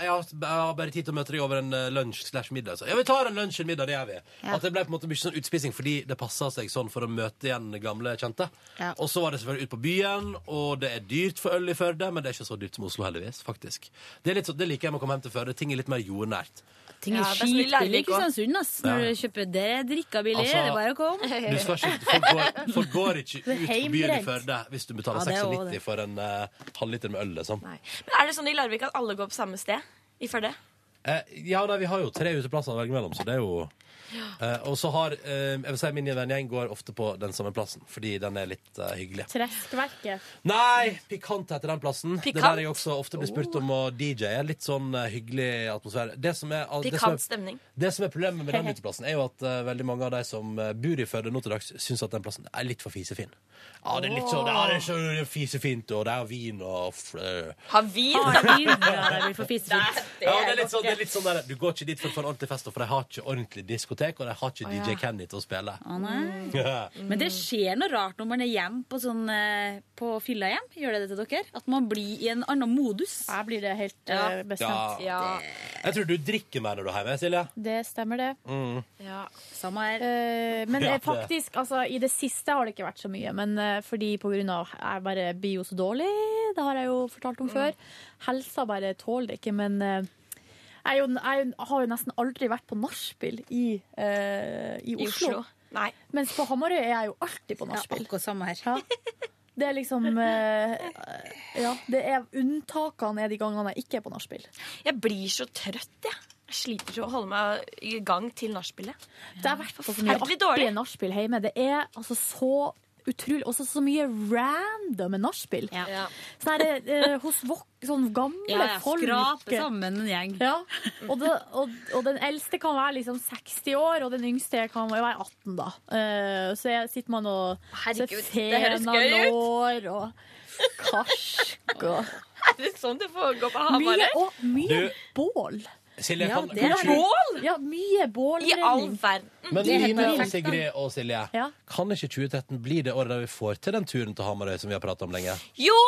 Speaker 2: jeg har, jeg har bare tid til å møte deg over en eh, lunsj slash middag. Så, ja, vi tar en lunsj og en middag, det gjør vi.
Speaker 1: Ja.
Speaker 2: At det ble på en måte mye sånn utspising fordi det passa seg sånn for å møte igjen gamle kjente.
Speaker 1: Ja.
Speaker 2: Og så var det selvfølgelig ut på byen, og det er dyrt for øl i Førde, men det er ikke så dyrt som Oslo, heldigvis, faktisk. Det, er litt sånn- det liker jeg med å komme hjem til Førde. Ting er litt mer jordnært.
Speaker 1: Ting er
Speaker 2: Ja, det er så mye
Speaker 1: skitbillig i
Speaker 2: leiebil også.
Speaker 1: Kristiansund. ass. Når
Speaker 2: Ja.
Speaker 1: du kjøper det, drikker billig,
Speaker 2: Altså,
Speaker 1: det er bare å komme.
Speaker 2: Du skal ikke, folk, går, folk går ikke ut
Speaker 1: Det er
Speaker 2: på byen i
Speaker 1: heimbrent.
Speaker 2: Førde hvis du betaler
Speaker 24: Ja, det er også
Speaker 2: 96
Speaker 24: det.
Speaker 2: for en eh, halvliter med øl, liksom.
Speaker 24: Men er det sånn i Larvik at alle går på samme sted? I Førde?
Speaker 2: Eh, ja, da, vi har jo tre uteplasser å velge mellom, så det er jo eh, Og så har eh, jeg vil si min vennegjeng går ofte på den samme plassen, fordi den er litt eh, hyggelig.
Speaker 3: Treskverket.
Speaker 2: Nei! Pikant heter den plassen. Det er
Speaker 3: Pikant?
Speaker 2: der jeg også ofte blir spurt om å DJ-e. Litt sånn eh, hyggelig atmosfære. Det som er, det som
Speaker 24: Pikant
Speaker 2: er,
Speaker 24: stemning.
Speaker 2: det som er problemet med den uteplassen, er jo at eh, veldig mange av de som eh, bor i Førde nå til dags, syns at den plassen er litt for fisefin. Ja, det er litt sånn, ja, det er så fisefint, og det er vin og f- eh.
Speaker 24: Har vin?
Speaker 1: Har vin, ja, det blir for fisefint.
Speaker 2: Ja, det er litt sånn, det er litt sånn der, Du går ikke dit for å få en ordentlig fest, for de har ikke ordentlig diskotek, og de har ikke
Speaker 1: Å, ja.
Speaker 2: DJ Kenny til å spille.
Speaker 1: Å, nei. Men det skjer noe rart når man er hjem på, sånn, eh, på fylla hjem. Gjør det det til dere? At man blir i en annen modus?
Speaker 3: Jeg blir det helt
Speaker 2: eh, bestemt. Ja. Jeg tror du drikker mer når du er hjemme, Silje.
Speaker 3: Det stemmer, det.
Speaker 2: Mm.
Speaker 1: Samme her.
Speaker 3: men
Speaker 2: Ja,
Speaker 3: eh,
Speaker 2: det-
Speaker 3: faktisk, altså, i det siste har det ikke vært så mye. Men eh, fordi på grunn av jeg bare blir jo så dårlig, det har jeg jo fortalt
Speaker 1: Mm.
Speaker 3: om før. Helsa bare tåler det ikke, men eh, jeg, er jo, jeg er jo- har jo nesten aldri vært på nachspiel i, eh, i Oslo.
Speaker 24: Oslo? Nei.
Speaker 3: Mens på Hamarøy er jeg jo alltid på nachspiel.
Speaker 1: akkurat samme her.
Speaker 3: Det er liksom eh, Ja, det er unntakene er de gangene jeg ikke er på nachspiel.
Speaker 24: Jeg blir så trøtt, jeg. Jeg sliter så å holde meg i gang til nachspielet.
Speaker 3: Det har vært på så mye
Speaker 24: forferdelig dårlig.
Speaker 3: artige nachspiel hjemme. Det er altså så utrolig Også så mye random nachspiel. Sånn her, eh, hos vok sånn gamle
Speaker 1: Ja, ja,
Speaker 3: folk.
Speaker 1: skrape sammen en gjeng.
Speaker 3: Ja. Og, det, og, og den eldste kan være liksom 60 år, og den yngste kan være 18, da. Eh, så jeg sitter man og
Speaker 24: Herregud,
Speaker 3: ser
Speaker 24: det høres
Speaker 3: fena
Speaker 24: gøy ut.
Speaker 3: lår og karsk og
Speaker 24: Er det sånn det foregår på
Speaker 3: Mye,
Speaker 24: Hamarøy?
Speaker 3: og mye
Speaker 2: Du-
Speaker 3: bål.
Speaker 2: Silje, kan,
Speaker 3: det er
Speaker 2: kan ikke-
Speaker 3: bål! Ja, mye bål.
Speaker 24: I all verden.
Speaker 2: Men
Speaker 3: Det er helt
Speaker 2: Line,
Speaker 3: perfekt, da.
Speaker 2: Sigrid og Silje,
Speaker 3: Ja.
Speaker 2: kan ikke 2013 bli det året der vi får til den turen til Hamarøy som vi har prata om lenge?
Speaker 1: Jo!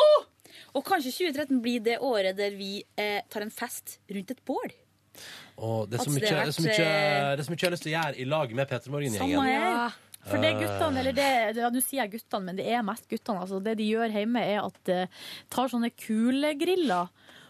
Speaker 1: Og kanskje 2013 blir det året der vi eh, tar en fest rundt et bål.
Speaker 2: Og det er så
Speaker 1: Altså,
Speaker 2: mye,
Speaker 1: det
Speaker 2: det
Speaker 1: har
Speaker 2: er så mye,
Speaker 1: vært, eh,
Speaker 2: det er så mye jeg har lyst til å gjøre i lag med Peter
Speaker 3: Samme
Speaker 2: Morgen-gjengen.
Speaker 3: her. For det guttene,
Speaker 2: Eh.
Speaker 3: eller det, det, ja, Nå sier jeg guttene, men det er mest guttene. Altså, det de gjør hjemme, er at de tar sånne kulegriller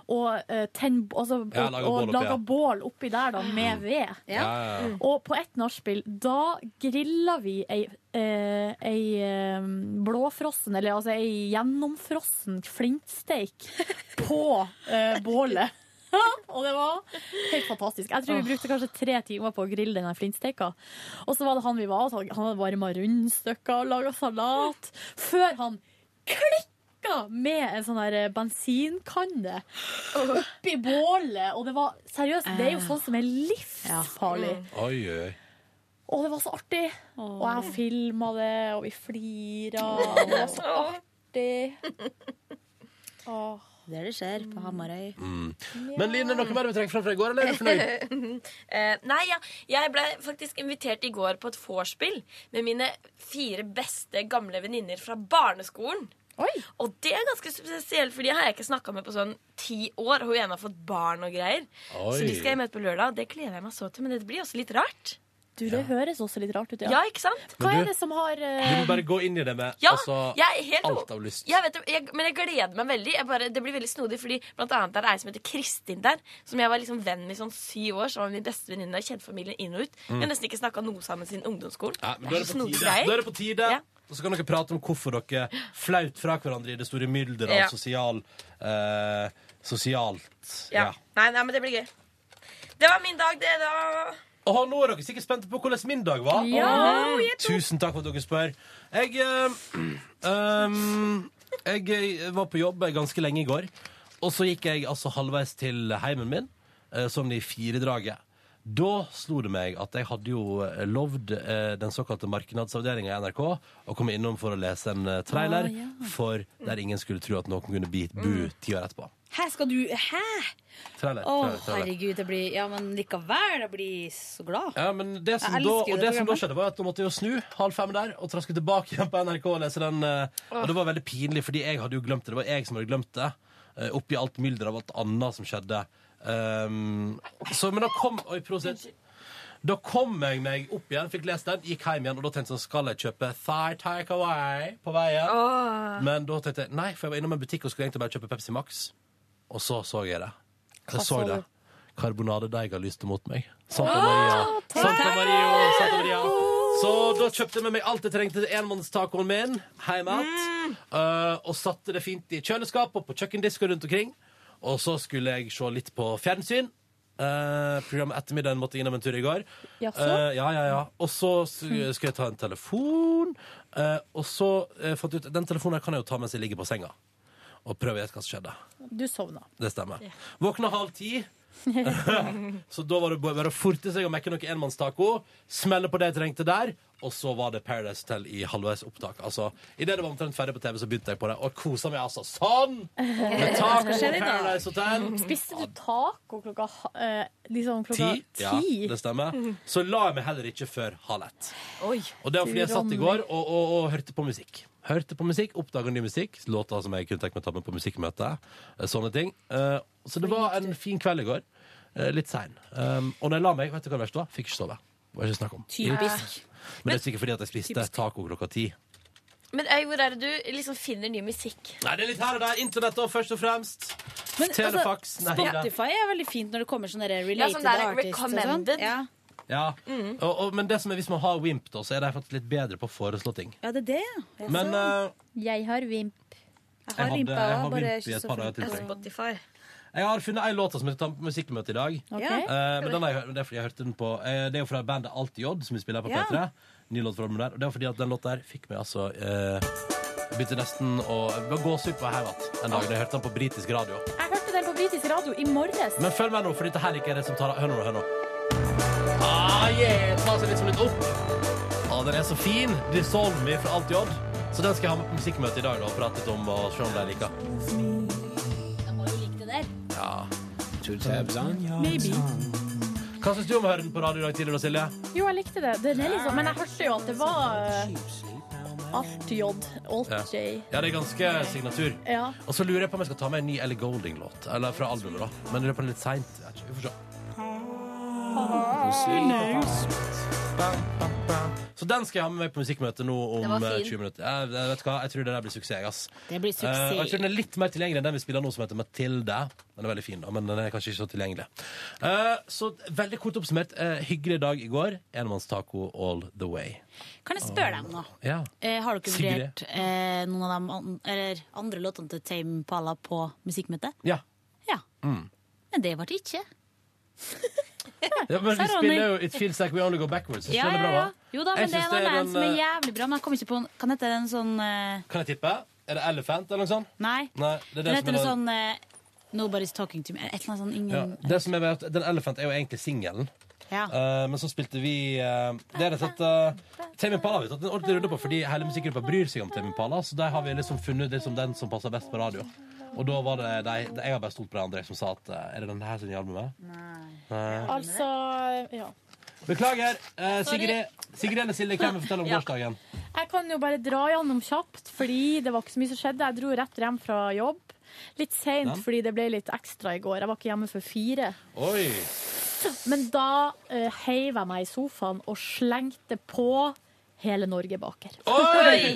Speaker 3: og, eh, tenn, altså,
Speaker 2: Ja,
Speaker 3: og,
Speaker 2: lager bål
Speaker 3: og
Speaker 2: oppi, ja.
Speaker 3: lager bål oppi der da, med ved.
Speaker 2: Ja, ja, ja.
Speaker 3: Og på ett nachspiel, da griller vi ei, eh, ei eh, blåfrossen, eller altså ei gjennomfrossen flintsteik på eh, bålet. og det var helt fantastisk. Jeg tror vi brukte kanskje tre timer på å grille denne flintsteika. Og så var det han vi var hos, han hadde varma rundstykker og laga salat. Før han klikka med en sånn der bensinkanne oppi bålet. Og det var seriøst, det er jo sånn som er livsfarlig.
Speaker 2: Oi, oi, oi.
Speaker 3: Og det var så artig. Og jeg filma det, og vi flira. og Det var så artig. Åh.
Speaker 1: Det er det skjer på Hamarøy.
Speaker 2: Men Line, noe mer du trekker fram fra i går, eller er du fornøyd?
Speaker 24: Eh, nei, ja. jeg ble faktisk invitert i går på et vorspiel med mine fire beste gamle venninner fra barneskolen. Og det er ganske spesielt, for de har jeg ikke snakka med på sånn ti år. Og hun ene har fått barn og greier.
Speaker 3: Oi.
Speaker 24: Så de skal jeg møte på lørdag, og det gleder jeg meg så til. Men det blir også litt rart.
Speaker 3: Du, det høres også litt rart ut,
Speaker 24: Ja, ikke sant?
Speaker 3: Hva
Speaker 2: Men du-
Speaker 3: er det som har
Speaker 2: Du
Speaker 3: eh,
Speaker 2: må bare gå inn i det med
Speaker 24: Ja,
Speaker 2: altså,
Speaker 24: jeg er helt
Speaker 2: alt av lyst.
Speaker 24: Jeg vet, det, jeg, men jeg gleder meg veldig. Jeg bare, det blir veldig snodig, fordi blant annet er det ei som heter Kristin der, som jeg var liksom venn med i sånn syv år. Som var min beste venninne og kjente familien inn og ut.
Speaker 2: Mm.
Speaker 24: Vi har nesten ikke snakka noe sammen siden ungdomsskolen.
Speaker 2: Ja, men da er det
Speaker 24: så
Speaker 2: på
Speaker 24: snodige
Speaker 2: tide.
Speaker 24: greier.
Speaker 2: Da er det på tide. Og så kan dere prate om hvorfor dere flaut fra hverandre i det store mylderet
Speaker 24: Ja.
Speaker 2: av sosial, eh, sosialt.
Speaker 24: Ja.
Speaker 2: Ja.
Speaker 24: Nei, nei, men det blir gøy. Det var min dag, det, da.
Speaker 2: Og nå er dere sikkert spente på hvordan min dag var.
Speaker 24: Ja,
Speaker 2: Åh,
Speaker 24: jeg tror-
Speaker 2: Tusen takk for at dere spør. Jeg, eh, ehm, jeg eh, var på jobb ganske lenge i går, og så gikk jeg altså halvveis til heimen min, eh, som det i firedraget. Da slo det meg at jeg hadde jo eh, lovd eh, den såkalte markedsavdelinga i NRK å komme innom for å lese en eh, trailer
Speaker 1: Ah, ja.
Speaker 2: for der ingen skulle tro at noen kunne bi- bu ti år etterpå.
Speaker 1: Her skal du Hæ?
Speaker 2: Trailer,
Speaker 1: Å,
Speaker 2: trailer, trailer.
Speaker 1: herregud. Det blir Ja, men likevel. Jeg blir så glad.
Speaker 2: Ja, men det som,
Speaker 1: Jeg
Speaker 2: da,
Speaker 1: elsker jo
Speaker 2: og
Speaker 1: det
Speaker 2: det som da
Speaker 1: programmet.
Speaker 2: skjedde, var at nå måtte jeg jo snu halv fem der og traske tilbake igjen på NRK og lese den. eh,
Speaker 1: Åh.
Speaker 2: Og det var veldig pinlig, fordi jeg hadde jo glemt det. Det var jeg som hadde glemt det. eh, Oppi alt mylderet av alt annet som skjedde. Um, så, men da kom Oi, prosit. Da kom jeg meg opp igjen, fikk lest den, gikk hjem igjen, og da tenkte jeg sånn, skal jeg kjøpe Thai Takeaway på veien? Men da tenkte jeg nei, for jeg var innom en butikk og skulle egentlig bare kjøpe Pepsi Max. Og så så jeg det.
Speaker 1: Hva
Speaker 2: Jeg så
Speaker 1: så
Speaker 2: det.
Speaker 1: du?
Speaker 2: Karbonadedeiga lyste mot meg. Santa
Speaker 1: Åh,
Speaker 2: Maria.
Speaker 1: takk!
Speaker 2: Santa Maria, Santa Maria. Så da kjøpte jeg med meg alt jeg trengte til enmannstacoen min hjemme
Speaker 1: Mm.
Speaker 2: igjen. eh, og satte det fint i kjøleskapet og på kjøkkendisker rundt omkring. Og så skulle jeg se litt på fjernsyn. Eh, programmet Ettermiddagen måtte innom en tur i går.
Speaker 25: Jaså?
Speaker 2: Eh, ja, ja, ja. Og så s-
Speaker 1: Mm.
Speaker 2: skulle jeg ta en telefon, eh, og så eh, fant jeg ut Den telefonen her kan jeg jo ta mens jeg ligger på senga. Og prøve å gjette hva som skjedde.
Speaker 3: Du sovna.
Speaker 2: Det stemmer. Våkna halv ti. Så da var det bare å forte seg og mekke noe enmannstaco. Smelle på det jeg trengte der. Og så var det Paradise Hotel i halvveis opptak. Altså, Idet det var omtrent ferdig på TV, så begynte jeg på det. Og kosa meg altså sånn! Med taco
Speaker 3: Hva skjer i
Speaker 2: på
Speaker 3: dag?
Speaker 2: Paradise Hotel.
Speaker 3: Spiste du taco klokka ha- eh, liksom klokka
Speaker 2: Ti. Ja, det stemmer. Så la jeg meg heller ikke før halv ett.
Speaker 3: Oi.
Speaker 2: Og det var fordi jeg satt i går og, og, og hørte på musikk. Hørte på musikk, oppdaga ny musikk, låter som jeg kunne tenkt meg å ta med på musikkmøte. eh, Sånne ting. Eh, Så det var en fin kveld i går. Eh, Litt sein. Um, og når jeg la meg, vet du hva det verste var? Fikk ikke sove. Det var ikke snakk om.
Speaker 24: Typisk.
Speaker 2: Men det er sikkert fordi at jeg spiste taco klokka ti.
Speaker 24: Men øy, hvor er det du liksom finner ny musikk?
Speaker 2: Nei, det er litt her og der. Internett og først og fremst.
Speaker 1: Men,
Speaker 2: Telefax.
Speaker 1: altså,
Speaker 2: Nei, da.
Speaker 1: Spotify er veldig fint når det kommer sånne der
Speaker 24: Ja,
Speaker 1: related
Speaker 24: sånn der
Speaker 1: artists. og sånn.
Speaker 24: recommended.
Speaker 1: Ja.
Speaker 2: Ja.
Speaker 1: Mm.
Speaker 2: Og, og, men det som er, hvis man har Wimp, da, så er de faktisk litt bedre på å foreslå ting.
Speaker 1: ja, det er det, ja. Ja,
Speaker 2: Men
Speaker 1: så-
Speaker 2: eh,
Speaker 1: Jeg har Vimp. Jeg har
Speaker 2: Jeg hadde-
Speaker 1: Vimpa
Speaker 2: jeg har
Speaker 1: òg, bare
Speaker 2: Vimp i
Speaker 1: ikke
Speaker 2: et
Speaker 1: så
Speaker 2: par dager til,
Speaker 1: fort.
Speaker 2: tror jeg.
Speaker 24: Spotify.
Speaker 2: Jeg har funnet ei låt som jeg tar på musikkmøte i dag.
Speaker 1: Ok.
Speaker 2: Eh, men den har jeg, hørt- det er fordi jeg hørte den på eh, Det er jo fra bandet Alt i Odd, som vi spiller her på
Speaker 1: Ja.
Speaker 2: P3. Ny låt fra dem der. Og det er fordi at den låta her fikk meg altså eh, jeg Begynte nesten å det var gåsehud på hodet igjen en dag da jeg hørte den på britisk radio.
Speaker 3: Jeg hørte den på britisk radio i morges.
Speaker 2: Men følg meg nå, for dette her ikke er det som tar av. Hør nå, hør nå. Ah, yeah, ta seg liksom litt opp. Ah, den er sånn så fin. Dissolve Me fra Alt i Odd. Så den skal jeg ha med på musikkmøte i dag da, og prate litt om og se om de liker. Ja.
Speaker 3: Maybe.
Speaker 2: Hva syns du om å høre den på radio i dag tidlig, da, Silje?
Speaker 3: Jo, jeg likte det. Den er liksom, men jeg hørte jo at det var eh, alt J, alt
Speaker 2: Ja.
Speaker 3: J.
Speaker 2: ja, det er ganske signatur.
Speaker 3: Ja.
Speaker 2: Og så lurer jeg på om jeg skal ta med en ny Ellie Golding-låt. Eller fra albumet, da. Men jeg lurer på den litt seint. Vi får se. Så den skal jeg ha med meg på musikkmøtet nå
Speaker 1: Det
Speaker 2: om
Speaker 1: var fin.
Speaker 2: eh, 20 minutter. Jeg, jeg vet hva, jeg tror det der blir suksess. jeg, ass.
Speaker 1: Det blir
Speaker 2: Eh,
Speaker 1: suksess.
Speaker 2: og jeg tror den er litt mer tilgjengelig enn den vi spiller nå, som heter Mathilde. Den er veldig fin, da, men den er kanskje ikke så tilgjengelig. Eh, så veldig kort oppsummert, eh, hyggelig dag i går. Enmannstaco all the way.
Speaker 1: Kan jeg spørre deg om noe?
Speaker 2: Ja.
Speaker 1: Eh, har dere
Speaker 2: Sigrid.
Speaker 1: vurdert eh, noen av de an eller andre låtene til Tame Pala på musikkmøtet?
Speaker 2: Ja.
Speaker 1: Ja,
Speaker 2: Mm.
Speaker 1: men det ble det ikke.
Speaker 2: Ja, men
Speaker 1: Sa
Speaker 2: vi
Speaker 1: Ronny.
Speaker 2: spiller jo It Feels Like We Only Go Backwards. Jeg
Speaker 1: Ja,
Speaker 2: synes
Speaker 1: ja,
Speaker 2: det er bra,
Speaker 1: ja.
Speaker 2: da.
Speaker 1: Jo da,
Speaker 2: Jeg
Speaker 1: men det
Speaker 2: synes
Speaker 1: var
Speaker 2: det er
Speaker 1: en som er
Speaker 2: den, eh,
Speaker 1: jævlig bra. Men jeg kom ikke på en Kan hette den sånn eh,
Speaker 2: Kan jeg tippe? Er det Elephant eller noe sånt?
Speaker 1: Nei.
Speaker 2: Nei, det er
Speaker 1: Den
Speaker 2: det som
Speaker 1: heter
Speaker 2: er
Speaker 1: noe
Speaker 2: den-
Speaker 1: sånn eh, Nobody's Talking To Me. Et eller annet sånn
Speaker 2: ja,
Speaker 1: ingen
Speaker 2: det som er med at Den Elephant er jo egentlig singelen.
Speaker 1: Ja.
Speaker 2: Eh, men så spilte vi eh, Det er rett og slett eh, Tame Impala har vi tatt en ordentlig runde på, fordi hele musikkgruppa bryr seg om Tame Impala, så der har vi liksom funnet liksom den som passer best på radio. Og da var det de, de, Jeg har bare stolt på de andre som sa at eh, Er det den her som er i albumet? Nei.
Speaker 3: Altså, ja.
Speaker 2: Beklager. eh,
Speaker 3: Sorry.
Speaker 2: Sigrid, Sigrid eller Silje, hvem vil fortelle om
Speaker 3: Ja.
Speaker 2: gårsdagen?
Speaker 3: Jeg kan jo bare dra gjennom kjapt, fordi det var ikke så mye som skjedde. Jeg dro rett hjem fra jobb. Litt seint,
Speaker 2: Ja.
Speaker 3: fordi det ble litt ekstra i går. Jeg var ikke hjemme før fire.
Speaker 2: Oi!
Speaker 3: Men da eh, heiv jeg meg i sofaen og slengte på Hele Norge baker.
Speaker 2: Oi!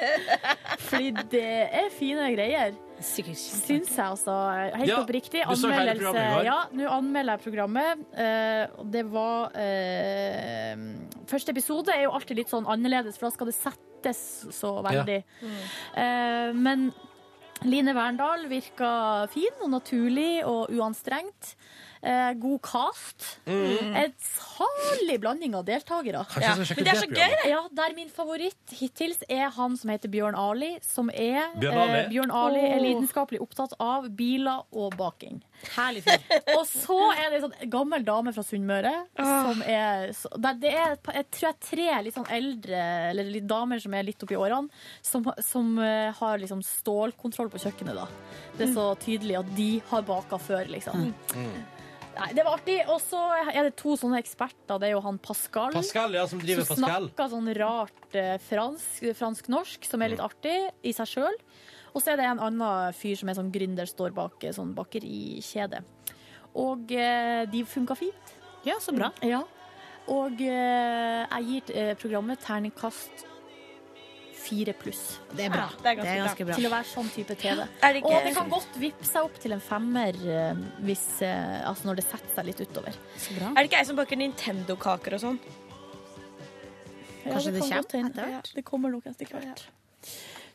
Speaker 3: Fordi det er fine greier. Syns jeg, altså. Helt
Speaker 25: Ja,
Speaker 3: oppriktig.
Speaker 25: du så hele
Speaker 3: Anmeldelse
Speaker 25: programmet i går.
Speaker 3: Ja, nå anmelder jeg programmet. eh, og det var eh, Første episode er jo alltid litt sånn annerledes, for da skal det settes så veldig. Eh, men Line Verndal virka fin og naturlig og uanstrengt. Eh, god cast.
Speaker 24: Mm.
Speaker 3: En salig blanding av deltakere.
Speaker 24: Kanskje jeg skal sjekke Men det er så det gøy, det.
Speaker 3: Ja, der min favoritt hittil er han som heter Bjørn Ali, som er
Speaker 24: Bjørn Ali?
Speaker 3: eh, Bjørn Ali er
Speaker 24: Åh.
Speaker 3: lidenskapelig opptatt av biler og baking.
Speaker 1: Herlig fyr.
Speaker 3: Og så er det en sånn gammel dame fra Sunnmøre som er så- der Det er et pa- jeg tror jeg tre litt sånn eldre eller litt damer som er litt oppi årene, som, som eh, har liksom stålkontroll på kjøkkenet, da. Det er
Speaker 1: Mm.
Speaker 3: så tydelig at de har baka før, liksom.
Speaker 24: Mm.
Speaker 3: Nei, det var artig. Og så er det to sånne eksperter. Det er jo han Pascal.
Speaker 2: Pascal, ja, som driver
Speaker 3: som
Speaker 2: Pascal.
Speaker 3: snakker sånn rart eh, fransk, fransk-norsk, som er litt artig i seg sjøl. Og så er det en annen fyr som er sånn gründer, står bak eh, sånn bakerikjede. Og eh, de funka fint. Mm,
Speaker 1: Ja, så bra.
Speaker 3: Ja. Og eh, jeg gir eh, programmet terningkast fire pluss.
Speaker 1: Det er bra.
Speaker 3: Ja,
Speaker 1: Det er ganske bra.
Speaker 3: Til å være sånn type TV.
Speaker 1: Er det ikke-
Speaker 3: Og det kan godt vippe seg opp til en femmer eh, hvis, eh, altså når det setter seg litt utover. Så bra.
Speaker 24: Er det ikke jeg som baker Nintendo-kaker og sånn?
Speaker 3: Kanskje det,
Speaker 24: kommer
Speaker 3: kommer etter hvert. Det kommer nok etter hvert.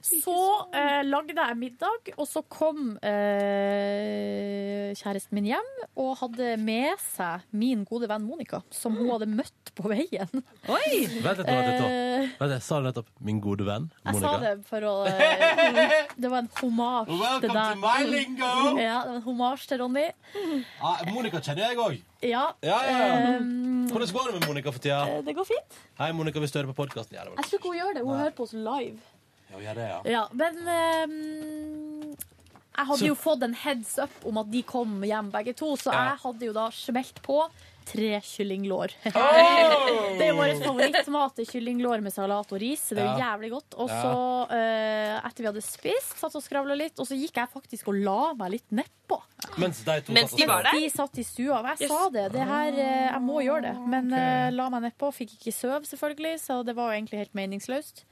Speaker 3: Så eh, lagde jeg middag, og så kom eh, kjæresten min hjem og hadde med seg min gode venn Monica, som hun hadde møtt på veien.
Speaker 2: Vent litt nå, vent litt nå.
Speaker 3: Eh,
Speaker 2: Vent, jeg sa det nettopp. Min gode venn
Speaker 3: Jeg
Speaker 2: Monica.
Speaker 3: sa det for å eh, Det var en hommage
Speaker 2: Welcome
Speaker 3: til deg.
Speaker 2: to my lingo!
Speaker 3: Ja, det var en hommage til Ronny.
Speaker 2: Ah, Monica kjenner jeg òg.
Speaker 3: Ja.
Speaker 2: Ja, ja, ja.
Speaker 3: ehm,
Speaker 2: Hvordan går det med Monica for tida?
Speaker 3: det går fint.
Speaker 2: Hei, Monica, hvis du hører på podkasten. Ja, det var
Speaker 3: Jeg tror ikke hun gjør det. Hun
Speaker 2: Nei.
Speaker 3: hører på oss live.
Speaker 2: Ja, vi gjør det, ja.
Speaker 3: Ja, men ehm, jeg hadde
Speaker 2: Så-
Speaker 3: jo fått en heads up om at de kom hjem begge to, så
Speaker 2: Ja.
Speaker 3: jeg hadde jo da smelt på tre kyllinglår.
Speaker 5: Oh!
Speaker 3: det er jo vår favorittmat, det er kyllinglår med salat og ris. Det er jo
Speaker 5: Ja.
Speaker 3: jævlig godt. Og
Speaker 5: Ja.
Speaker 3: så, eh, etter vi hadde spist, satt og skravla litt, og så gikk jeg faktisk og la meg litt nedpå.
Speaker 2: Mens de to satt og skrev.
Speaker 3: De satt i stua. og Jeg sa det. det her, eh, jeg må gjøre det. Men eh, la meg nedpå. Fikk ikke sove, selvfølgelig, så det var jo egentlig helt meningsløst.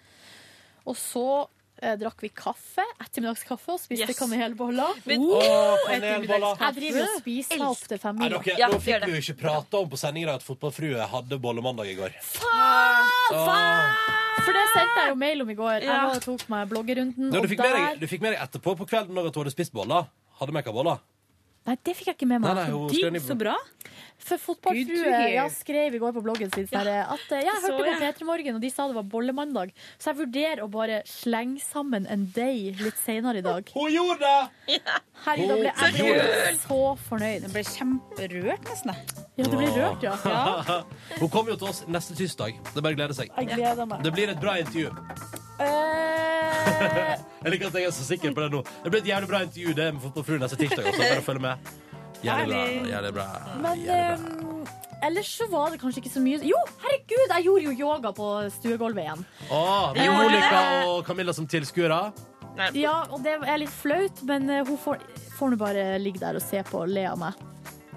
Speaker 3: Og så eh, drakk vi kaffe, ettermiddagskaffe, og spiste
Speaker 24: Yes.
Speaker 3: kanelboller.
Speaker 24: Men-
Speaker 3: Oh,
Speaker 2: Åh, kanelboller.
Speaker 3: Jeg driver og spiser meg opp til
Speaker 2: Nei,
Speaker 3: femmila.
Speaker 2: dere, nå fikk vi jo ikke prata om på sending i dag at Fotballfrue hadde bollemandag i går.
Speaker 24: Ah.
Speaker 2: Åh.
Speaker 3: For det sendte jeg jo mail om i går. Jeg
Speaker 5: Ja.
Speaker 3: var og tok meg
Speaker 2: Nå,
Speaker 3: bloggerunden.
Speaker 2: du,
Speaker 3: og
Speaker 2: fikk med
Speaker 3: der-
Speaker 2: deg, du fikk med deg etterpå på kvelden når at hun hadde spist boller. Hadde mekka boller.
Speaker 3: Nei, det fikk jeg ikke med meg.
Speaker 2: Nei, nei, hun skrev den i- Så bra.
Speaker 3: For
Speaker 2: Good to
Speaker 3: fotballfrue
Speaker 2: hear.
Speaker 3: ja, skrev i går på bloggen sin sånn her, at eh, jeg
Speaker 5: det så
Speaker 3: hørte på
Speaker 5: jeg.
Speaker 3: P3 Morgen, og de sa det var bollemandag. Så jeg vurderer å bare slenge sammen en day litt senere i dag.
Speaker 2: Hun gjorde det!
Speaker 3: Herregud, da ble
Speaker 2: Hun
Speaker 3: jeg
Speaker 2: gjorde
Speaker 3: ble
Speaker 2: det.
Speaker 3: så fornøyd. Jeg ble kjemperørt, nesten. Ja, du ble rørt, ja.
Speaker 2: Hun kommer jo til oss neste tirsdag. Det er bare å glede seg.
Speaker 3: Jeg gleder meg.
Speaker 2: Det blir et bra intervju.
Speaker 3: Eh,
Speaker 2: jeg liker at jeg er så sikker på det nå. Det blir et jævlig bra intervju det med Fotballfruen neste tirsdag. Også. Bare følg med. Jævlig bra. Jævlig bra.
Speaker 3: Men eh, ellers så var det kanskje ikke så mye Jo, herregud, jeg gjorde jo yoga på stuegulvet igjen.
Speaker 2: Å, med
Speaker 3: Jo, det-
Speaker 2: Monica og Camilla som tilskuere.
Speaker 3: Ja, og det er litt flaut, men eh, hun får, får nå bare ligge der og se på og le av meg.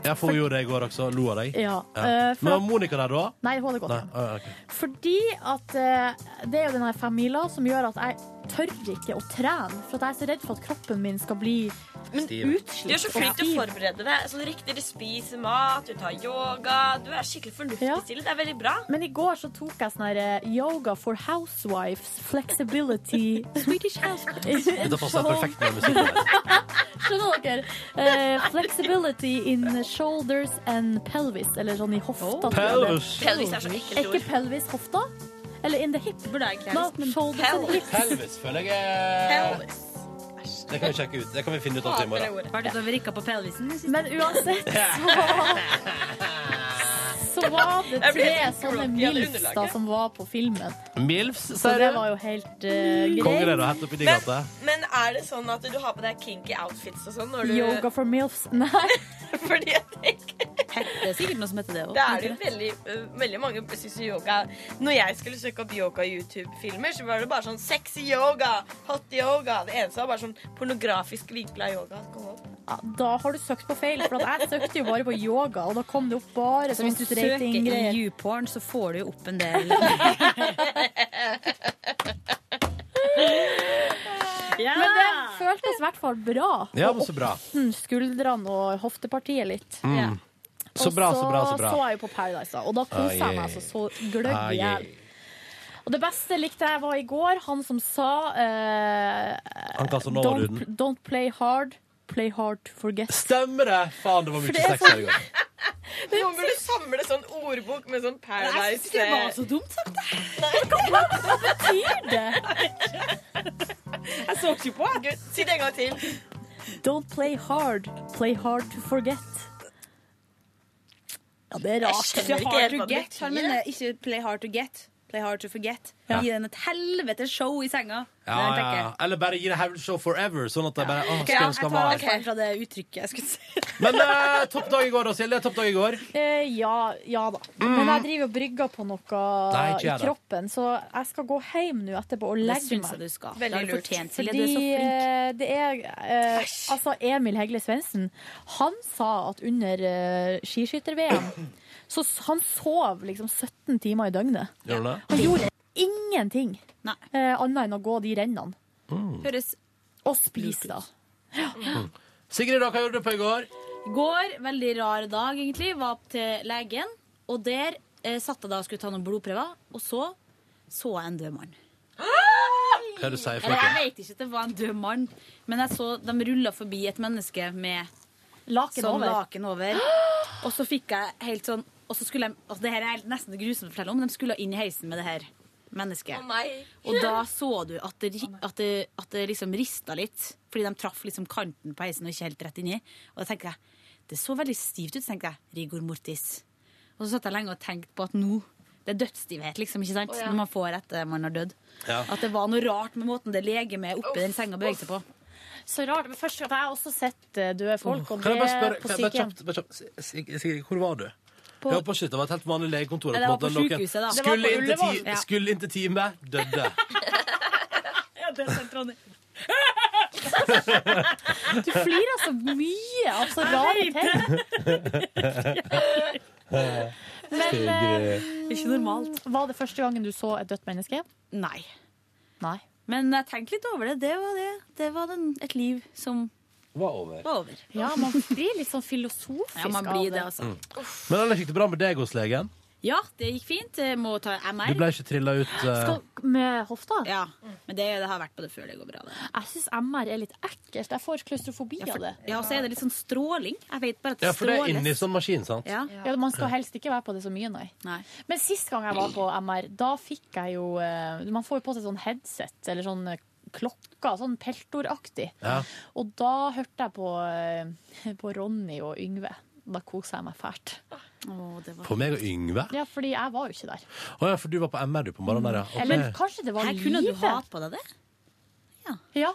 Speaker 2: Ja, for hun gjorde det i går også. Lo av deg.
Speaker 3: Ja, eh, for
Speaker 2: Men var
Speaker 3: at-
Speaker 2: Monica der da?
Speaker 3: Nei, hun hadde gått
Speaker 2: Nei,
Speaker 3: hjem.
Speaker 2: ah, ok.
Speaker 3: Fordi at eh, det er jo denne femmila som gjør at jeg tør ikke å trene. For at jeg er så redd for at kroppen min skal bli
Speaker 24: Du er
Speaker 3: utslitt
Speaker 24: så
Speaker 3: og
Speaker 24: flink til å
Speaker 3: stiv.
Speaker 24: forberede deg. Sånn riktig, Du spiser mat, du tar yoga. Du er skikkelig fornuftig stille. Det er veldig bra.
Speaker 3: Men i går så tok jeg sånn her eh, yoga for housewives, flexibility Swedish housewives.
Speaker 2: Dette passer perfekt med musikken.
Speaker 3: Skjønner dere? Eh, flexibility in shoulders and pelvis, eller sånn i hofta. tror jeg det
Speaker 2: Oh. Pelvis.
Speaker 24: Pelvis er så ekkelt ord.
Speaker 3: Ikke pelvis, hofta. Eller in the hip. No, shoulders and hips.
Speaker 2: Pelvis føler jeg er Det kan vi sjekke ut. Det kan vi finne ut av til i morgen.
Speaker 1: Var det da vi rikka på pelvisen?
Speaker 3: Men uansett så Så var det
Speaker 1: Jeg ble
Speaker 3: tre
Speaker 1: helt
Speaker 3: sånne
Speaker 1: crocky av det
Speaker 3: milfs da
Speaker 1: underlaget.
Speaker 3: som var på filmen.
Speaker 2: Milfs,
Speaker 3: Så
Speaker 2: sier
Speaker 3: det
Speaker 2: du?
Speaker 3: var jo helt eh,
Speaker 2: Kongen er
Speaker 3: greit.
Speaker 2: Mm. da helt oppi de gata.
Speaker 24: Men er det sånn at du har på deg kinky outfits og sånn når du
Speaker 3: Yoga for milfs. Nei.
Speaker 24: Fordi jeg tenker
Speaker 1: Det er sikkert noe som heter det òg.
Speaker 24: Det er det jo veldig, øh, veldig mange som synes yoga Når jeg skulle søke opp yoga i YouTube-filmer, så var det bare sånn sexy yoga, hot yoga Det eneste var bare sånn pornografisk vinkla yoga. som kom opp.
Speaker 3: Ja, da har du søkt på feil, for at jeg søkte jo bare på yoga, og da kom det opp bare
Speaker 1: Så hvis
Speaker 3: sånn
Speaker 1: du søker
Speaker 3: straighting-greier.
Speaker 1: i YouPorn, så får du jo opp en del
Speaker 3: Men det føltes i hvert fall bra.
Speaker 2: Ja, men så bra.
Speaker 3: Åtten skuldrene og hoftepartiet litt.
Speaker 2: Mm. Så bra, så bra, så
Speaker 3: Og så så
Speaker 2: bra.
Speaker 3: jeg jo på Paradise, da, og da koset
Speaker 2: Ai,
Speaker 3: jeg meg altså så gløgg
Speaker 2: Ai,
Speaker 3: i hjel. Og det beste likte jeg var i går, han som sa eh,
Speaker 2: Han kastet nå over
Speaker 3: don't,
Speaker 2: huden.
Speaker 3: don't play hard, play hard to forget.
Speaker 2: Stemmer det! Faen, det var
Speaker 3: For det
Speaker 2: mye
Speaker 3: er
Speaker 2: sex her i går.
Speaker 24: Nå må du samle sånn ordbok med sånn
Speaker 1: Jeg
Speaker 24: Paradise
Speaker 1: synes ikke det var så dumt sagt,
Speaker 24: Hva
Speaker 3: betyr
Speaker 24: det? Jeg så ikke på. Gud, si det en gang til.
Speaker 3: Don't play hard, play hard to forget. Ja, det er rart.
Speaker 1: Ikke hard to get. Han mener eh, ikke play hard to get. Play hard to forget.
Speaker 2: Ja.
Speaker 1: Gi den et helvete show i senga.
Speaker 2: Ja,
Speaker 1: Det er
Speaker 2: ja.
Speaker 1: tenker jeg.
Speaker 2: Eller bare gi det Haugenshow forever, sånn at de bare Å,
Speaker 1: Ok,
Speaker 2: skal
Speaker 1: ja, jeg
Speaker 2: skal
Speaker 1: tar
Speaker 2: man.
Speaker 1: avstand fra det uttrykket jeg skulle si.
Speaker 2: Men eh, topp dag i går, da, Silje. Topp dag i går.
Speaker 3: Eh, ja, ja da. Men jeg driver og brygger på noe
Speaker 2: Nei, ikke
Speaker 3: i
Speaker 2: jeg da.
Speaker 3: kroppen, så jeg skal gå hjem nå etterpå og legge
Speaker 1: syns
Speaker 3: meg.
Speaker 1: jeg du skal. Det har du Veldig lurt. fortjent, Silje. Du
Speaker 3: Fordi
Speaker 1: er så flink.
Speaker 3: eh, det er eh, Altså, Emil Hegle Svendsen, han sa at under eh, skiskytter-VM så s- han sov liksom 17 timer i døgnet.
Speaker 2: Gjør du det?
Speaker 3: Han gjorde ingenting eh, annet enn å gå de rennene.
Speaker 1: Høres
Speaker 3: Og spise, da.
Speaker 2: Sigrid, da, hva gjorde du på i går?
Speaker 1: I går, veldig rar dag egentlig, var opp til Eh, legen, og der eh, satt jeg da og skulle ta noen blodprøver, og så så jeg en død mann.
Speaker 2: Hva er det du sier,
Speaker 1: Eller jeg
Speaker 2: frøken?
Speaker 1: vet ikke at det var en død mann, men jeg så de rulla forbi et menneske med Laken sånn
Speaker 3: over.
Speaker 1: laken over. Og så fikk jeg helt sånn og så skulle jeg, altså Det her er helt nesten grusomt å fortelle om. De skulle inn i heisen med det her mennesket.
Speaker 24: Å, nei.
Speaker 1: og da så du at det, ri- at, det, at det liksom rista litt, fordi de traff liksom kanten på heisen og ikke helt rett inni. Og da tenkte jeg det så veldig stivt ut, så tenkte jeg. Rigor mortis. Og så satt jeg lenge og tenkte på at nå Det er dødsstivhet, liksom, ikke sant?
Speaker 24: Å, ja.
Speaker 1: Når man får etter man har dødd.
Speaker 2: Ja.
Speaker 1: At det var noe rart med måten det legemet oppi den senga beveget seg på.
Speaker 3: Så rart. Men først, for jeg har også sett eh, døde folk, og
Speaker 2: Kan
Speaker 3: det
Speaker 2: jeg bare spørre,
Speaker 3: på
Speaker 2: kan jeg bare
Speaker 3: sykehjem.
Speaker 2: kjapt, bare kjapt Sig- Sig- Sigrid, hvor var du?
Speaker 3: På-
Speaker 2: Jeg var på shit, det var et helt vanlig legekontor.
Speaker 1: Nei, det var
Speaker 2: på en
Speaker 1: på
Speaker 2: måte, noen-
Speaker 1: sykehuset, da. Det var
Speaker 2: Skulle
Speaker 1: på
Speaker 2: inn til ti-
Speaker 1: Ullevål. Ja.
Speaker 2: Skulle inn til time, døde.
Speaker 1: Ja, det er sentralt.
Speaker 3: Du flirer så mye av så
Speaker 1: Jeg
Speaker 3: rare
Speaker 1: vet
Speaker 3: ting. Men eh,
Speaker 1: Ikke normalt.
Speaker 3: Mm, Var det første gangen du så et dødt menneske?
Speaker 1: Nei.
Speaker 3: Nei.
Speaker 1: Men jeg tenkte litt over det. Det var det. Det var den, et liv som
Speaker 2: Var over.
Speaker 1: var over.
Speaker 3: Ja, man blir litt sånn filosofisk
Speaker 1: Ja, man
Speaker 3: av
Speaker 1: blir det,
Speaker 3: det.
Speaker 1: altså.
Speaker 2: Men ellers gikk det bra med deg hos legen?
Speaker 1: Ja, det gikk fint. Jeg må ta MR.
Speaker 2: Du ble ikke trilla ut eh,
Speaker 3: Med hofta?
Speaker 1: Ja. Men det, det har vært på det før. Det går bra, det.
Speaker 3: Jeg syns MR er litt ekkelt. Jeg får klaustrofobi av det.
Speaker 1: Ja, og så er det litt sånn stråling. Jeg vet bare at
Speaker 2: Ja, for det er
Speaker 1: stråles.
Speaker 2: inni sånn maskin, sant?
Speaker 1: Ja.
Speaker 3: Ja, Man skal helst ikke være på det så mye, nei. Men sist gang jeg var på MR, da fikk jeg jo eh, Man får jo på seg sånn headset eller sånn eh, klokka, sånn peltoraktig.
Speaker 2: Ja.
Speaker 3: Og da hørte jeg på, eh, på Ronny og Yngve. Da kosa jeg meg fælt.
Speaker 2: På meg og Yngve?
Speaker 3: Ja, fordi jeg var jo ikke der.
Speaker 2: Å ja, for du var på MR du på morgenen der, ja. Ok.
Speaker 3: Eller kanskje det var
Speaker 1: Her kunne du
Speaker 3: live.
Speaker 1: ha på deg det.
Speaker 3: Ja.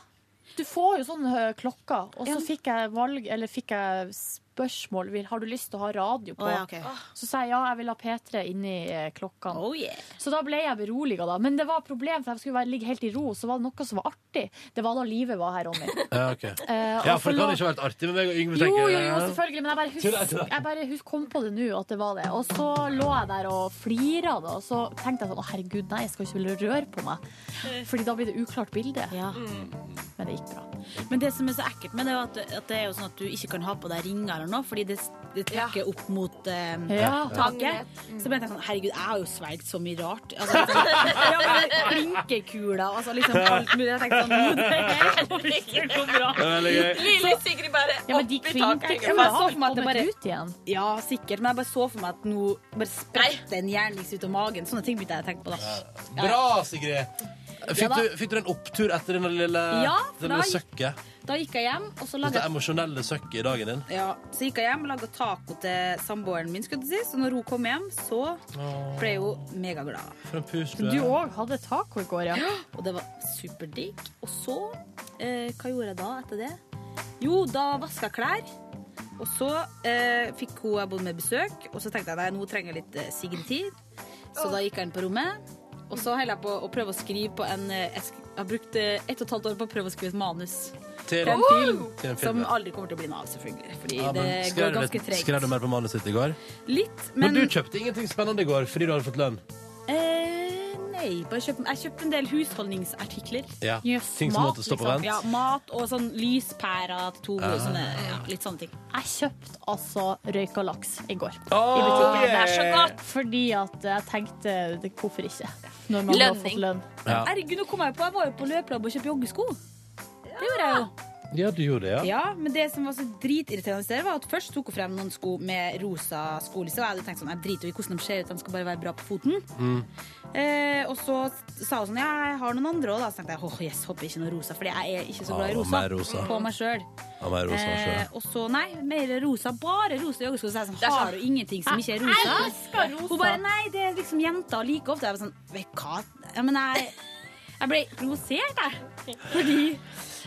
Speaker 3: Du får jo sånn ø, klokka, og så fikk jeg valg, eller fikk jeg spørsmål vil- Har du lyst til å ha radio på?
Speaker 1: Å, ja, ok.
Speaker 3: Så sa jeg ja, jeg vil ha P3 inni eh, ø, klokka.
Speaker 1: Oh, yeah.
Speaker 3: Så da ble jeg beroliga, da. Men det var et problem, for jeg skulle være, ligge helt i ro. Så var det noe som var artig. Det var da livet var her, Ronny.
Speaker 2: Ja, ok.
Speaker 3: Eh,
Speaker 2: ja,
Speaker 3: og
Speaker 2: for det kan
Speaker 3: forlåt-
Speaker 2: ikke ha vært artig med meg og Yngve,
Speaker 3: Jo,
Speaker 2: tenker
Speaker 3: jo,
Speaker 2: jeg.
Speaker 3: jo, selvfølgelig, men jeg bare,
Speaker 2: Tull, jeg
Speaker 3: husk,
Speaker 2: tull.
Speaker 3: jeg bare hus- kom på det nå, at det var det. Og så lå jeg der og flira, da, og så tenkte jeg sånn, å herregud, nei, jeg skal ikke ville røre på meg. Fordi da blir det uklart bilde.
Speaker 2: Mm.
Speaker 3: Men det gikk bra.
Speaker 1: Men det som er så ekkelt med det, er at, at det er jo sånn at du ikke kan ha på deg ringer eller noe, fordi det, det trekker opp mot eh,
Speaker 3: Ja.
Speaker 1: taket. Så mente jeg sånn, herregud, jeg har jo svelget så mye rart. Altså, liksom, ja, men Blinkekuler, altså liksom alt mulig. Jeg tenkte sånn, nå, det her kommer ikke til å gå bra.
Speaker 2: Det er veldig gøy.
Speaker 24: Lille Sigrid bare
Speaker 1: Ja, men de
Speaker 24: opp i taket.
Speaker 1: kvinnekjolene har vel kommet
Speaker 3: ut igjen?
Speaker 1: Ja, sikkert. Men jeg bare så for meg at nå bare spretter en jernings ut av magen. Sånne ting begynte jeg å tenke på da.
Speaker 2: Bra, Sigrid! Fikk,
Speaker 1: Ja da.
Speaker 2: du, fikk du en opptur etter denne lille,
Speaker 1: Ja, for
Speaker 2: denne
Speaker 1: da-
Speaker 2: søkket?
Speaker 1: Da gikk jeg hjem, og så
Speaker 2: Dette
Speaker 1: laget
Speaker 2: emosjonelle søkket i dagen din?
Speaker 1: ja, så gikk jeg hjem og laga taco til samboeren min. skulle jeg til å si Så når hun kom hjem, så ble hun megaglad.
Speaker 2: For en pus
Speaker 3: Du òg hadde taco i går, ja.
Speaker 1: Og det var superdigg. Og så, eh, hva gjorde jeg da etter det? Jo, da vaska jeg klær. Og så eh, fikk hun jeg bodde med besøk, og så tenkte jeg nei, nå trenger jeg litt eh, Sigrid-tid. Så da gikk jeg inn på rommet, og så holder jeg på å prøve å skrive på en eh, Jeg sk- jeg har brukt eh, ett og et halvt år på å prøve å skrive et manus.
Speaker 2: Til-
Speaker 1: en film,
Speaker 2: Til en film,
Speaker 1: som
Speaker 2: ja.
Speaker 1: aldri kommer til å bli noe av, selvfølgelig. Fordi
Speaker 2: Ja,
Speaker 1: det
Speaker 2: men skrev
Speaker 1: går
Speaker 2: du
Speaker 1: ganske
Speaker 2: litt- Skrev
Speaker 1: tregt.
Speaker 2: du mer på manuset ditt i går?
Speaker 1: Litt,
Speaker 2: Men,
Speaker 1: men
Speaker 2: du kjøpte ingenting spennende i går fordi du hadde fått lønn?
Speaker 1: eh, Nei, bare kjøp, jeg kjøpte en del husholdningsartikler.
Speaker 2: Ja,
Speaker 1: Yes,
Speaker 2: ting som måtte stå på vent.
Speaker 1: Ja, mat og sånn lyspærer til to,
Speaker 2: Ah.
Speaker 1: sånne, ja, litt sånne ting.
Speaker 3: Jeg kjøpte altså røyka laks i går.
Speaker 2: Oh,
Speaker 3: I butikken.
Speaker 2: yeah. Det er så godt.
Speaker 3: Fordi at jeg tenkte det- hvorfor ikke? Når man har fått lønn.
Speaker 2: Ja.
Speaker 1: Herregud, nå kom jeg på, jeg var jo på løplabb og kjøpte joggesko. Det gjorde jeg jo.
Speaker 2: Ja, du gjorde det,
Speaker 1: Ja.
Speaker 2: ja.
Speaker 1: men det som var så dritirriterende der, var at først tok hun frem noen sko med rosa skolisse, og jeg hadde tenkt sånn, jeg driter jo i hvordan de ser ut, de skal bare være bra på foten.
Speaker 2: Mm.
Speaker 1: Eh, og så sa hun sånn, ja, jeg har noen andre også, da. Så tenkte jeg, åh, yes, håper ikke noe rosa, fordi jeg er ikke så glad i
Speaker 2: Ah,
Speaker 1: rosa.
Speaker 2: mer rosa.
Speaker 1: På meg selv.
Speaker 2: Ja, men Rosa,
Speaker 1: Eh,
Speaker 2: så-
Speaker 1: og så, nei, mer rosa, bare rosa joggesko. Så jeg sånn,
Speaker 3: Det er sånn,
Speaker 1: har du ingenting som ikke er
Speaker 3: jeg
Speaker 1: rosa?
Speaker 3: elsker rosa.
Speaker 1: Hun bare, nei, det er liksom jenter like ofte. Jeg var sånn, vet du hva? Ja, men jeg, jeg ble provosert, jeg. Fordi...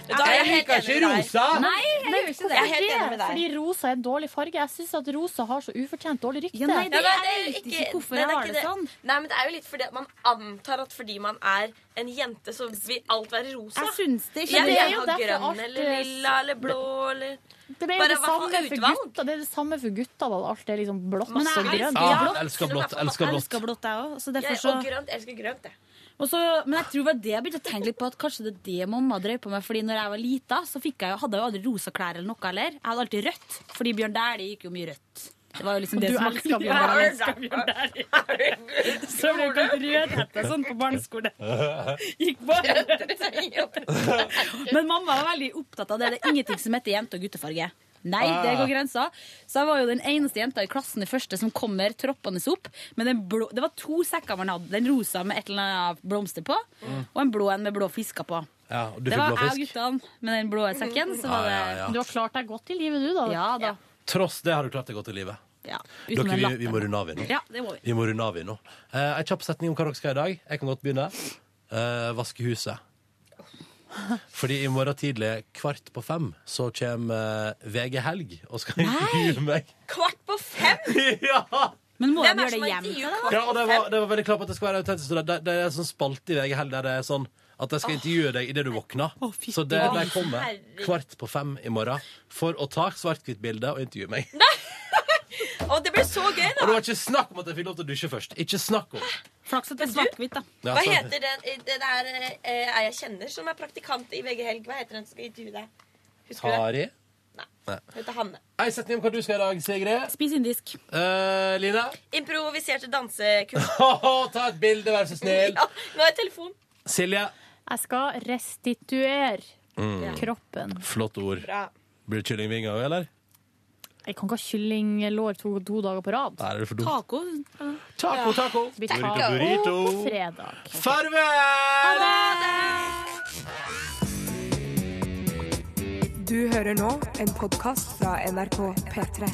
Speaker 24: Da er jeg helt Jeg liker enig ikke med deg. rosa.
Speaker 1: Nei, jeg gjør ikke det.
Speaker 24: Jeg er helt enig med deg.
Speaker 3: Fordi rosa er en dårlig farge. Jeg syns at rosa har så ufortjent dårlig rykte.
Speaker 1: Ja, nei,
Speaker 24: Ja, men
Speaker 1: det- jeg vet ikke hvorfor jeg
Speaker 24: er
Speaker 1: har
Speaker 24: ikke
Speaker 1: det sånn.
Speaker 24: Nei, men det er jo litt fordi at man antar at fordi man er en jente, så vil alt være rosa.
Speaker 1: Jeg syns det ikke.
Speaker 24: Jeg
Speaker 1: Det er
Speaker 24: vil
Speaker 1: jo
Speaker 24: ha
Speaker 1: derfor alt,
Speaker 24: grønn eller
Speaker 1: eh,
Speaker 24: lilla eller blå eller
Speaker 3: Det ble jo
Speaker 24: Bare
Speaker 3: det
Speaker 24: hva for
Speaker 3: samme, for
Speaker 24: utvalg?
Speaker 3: gutta, det er det samme for gutta, da. Alt er liksom blått
Speaker 1: Men jeg
Speaker 3: og
Speaker 1: elsker-
Speaker 3: grønt.
Speaker 1: Ja,
Speaker 2: blått. Ah, elsker blått, elsker blått.
Speaker 1: Elsker blått, jeg òg. Så derfor
Speaker 24: Jeg,
Speaker 1: så
Speaker 24: og grønt. Jeg elsker grønt, jeg.
Speaker 1: og så, men jeg tror det var det jeg begynte å tenke litt på, at kanskje det er det mamma drev på med. Fordi når jeg var lita, så fikk jeg, jo- hadde jeg jo aldri rosa klær eller noe heller. Jeg hadde alltid rødt, fordi Bjørn Dæhlie gikk jo mye rødt. Det var jo liksom
Speaker 3: Og
Speaker 1: det
Speaker 3: du
Speaker 1: som
Speaker 3: elsker Bjørn
Speaker 1: Ja,
Speaker 3: Dæhlie.
Speaker 1: jeg elsker Bjørn Dæhlie. Så ble jeg kalt rødhette sånn på barneskolen. Gikk bare rødt. Men mamma var veldig opptatt av det. Det er ingenting som heter jente- og guttefarge. Nei, det
Speaker 26: Ah.
Speaker 1: går grensa. Så jeg var jo den eneste jenta i klassen i første som kommer troppende opp. Men den blå, det var to sekker man hadde. Den rosa med et eller annet blomster på,
Speaker 2: Mm.
Speaker 1: og en blå en med blå fisker på.
Speaker 2: Ja, og du
Speaker 1: det
Speaker 2: fikk
Speaker 1: var
Speaker 2: blå
Speaker 1: jeg og
Speaker 2: fisk. Ah,
Speaker 1: guttene med den blå sekken. Så var det...
Speaker 2: Ja, ja, ja. Du
Speaker 1: har klart deg godt i livet, du, da. Ja da.
Speaker 2: Tross det har du klart deg godt i livet.
Speaker 1: Ja. Uten
Speaker 2: Dere,
Speaker 1: den
Speaker 2: vi,
Speaker 1: lappen.
Speaker 2: vi må runde av igjen nå.
Speaker 1: Ja, det må vi.
Speaker 2: Vi må runde av igjen nå. Eh, en kjapp setning om hva dere skal i dag. Jeg kan godt begynne. Eh, vaske huset. Fordi i morgen tidlig kvart på fem så kommer eh, VG Helg og skal intervjue meg.
Speaker 6: Kvart på fem?!
Speaker 2: ja!
Speaker 1: Men
Speaker 6: må
Speaker 1: Hvem
Speaker 6: de
Speaker 1: er
Speaker 6: gjøre
Speaker 1: som
Speaker 6: det
Speaker 1: har
Speaker 6: hjemme?
Speaker 2: Ja, og det var, det var veldig klart på at det skal være autentisk. og Det, det, det er en sånn spalte i VG Helg der det er sånn at de skal intervjue deg idet du våkner. så det
Speaker 26: Å,
Speaker 2: de kommer
Speaker 6: herregud.
Speaker 2: kvart på fem i morgen for å ta svart-hvitt bilde og intervjue meg.
Speaker 6: Og det ble så gøy,
Speaker 2: Og
Speaker 6: da!
Speaker 2: det var ikke snakk om at jeg fikk lov til å dusje først. Ikke snakk om.
Speaker 1: Flaks at det er svart-hvitt, da.
Speaker 2: Ja,
Speaker 6: Hva
Speaker 2: så-
Speaker 6: heter den, den der eh, ei jeg kjenner som er praktikant i VG Helg? Hva heter den som skal intervjue deg? Husker du det?
Speaker 2: Kari? Nei.
Speaker 6: Hun heter Hanne.
Speaker 2: Ei setning om hva du skal i dag, Sigrid.
Speaker 1: Spis indisk.
Speaker 2: Uh, Line?
Speaker 6: Improviserte dansekurs.
Speaker 2: Ta et bilde, vær så snill.
Speaker 6: Ja, nå har jeg telefon.
Speaker 2: Silje?
Speaker 3: Jeg skal restituere
Speaker 2: Mm.
Speaker 3: kroppen.
Speaker 2: Flott ord.
Speaker 3: Bra.
Speaker 2: Blir det kyllingvinger òg, eller?
Speaker 3: Jeg kan ikke ha kyllinglår to, to dager på rad.
Speaker 2: Nei, det er for dumt.
Speaker 3: Taco.
Speaker 2: Taco, taco.
Speaker 3: Det blir
Speaker 2: Burrito,
Speaker 3: taco
Speaker 2: burrito.
Speaker 3: på fredag.
Speaker 2: Farvel!
Speaker 27: Du hører nå en podkast fra NRK P3.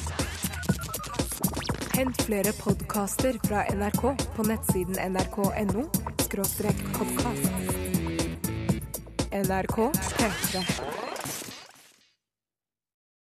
Speaker 27: Hent flere podkaster fra NRK på nettsiden nrk.no podkast. NRK P3.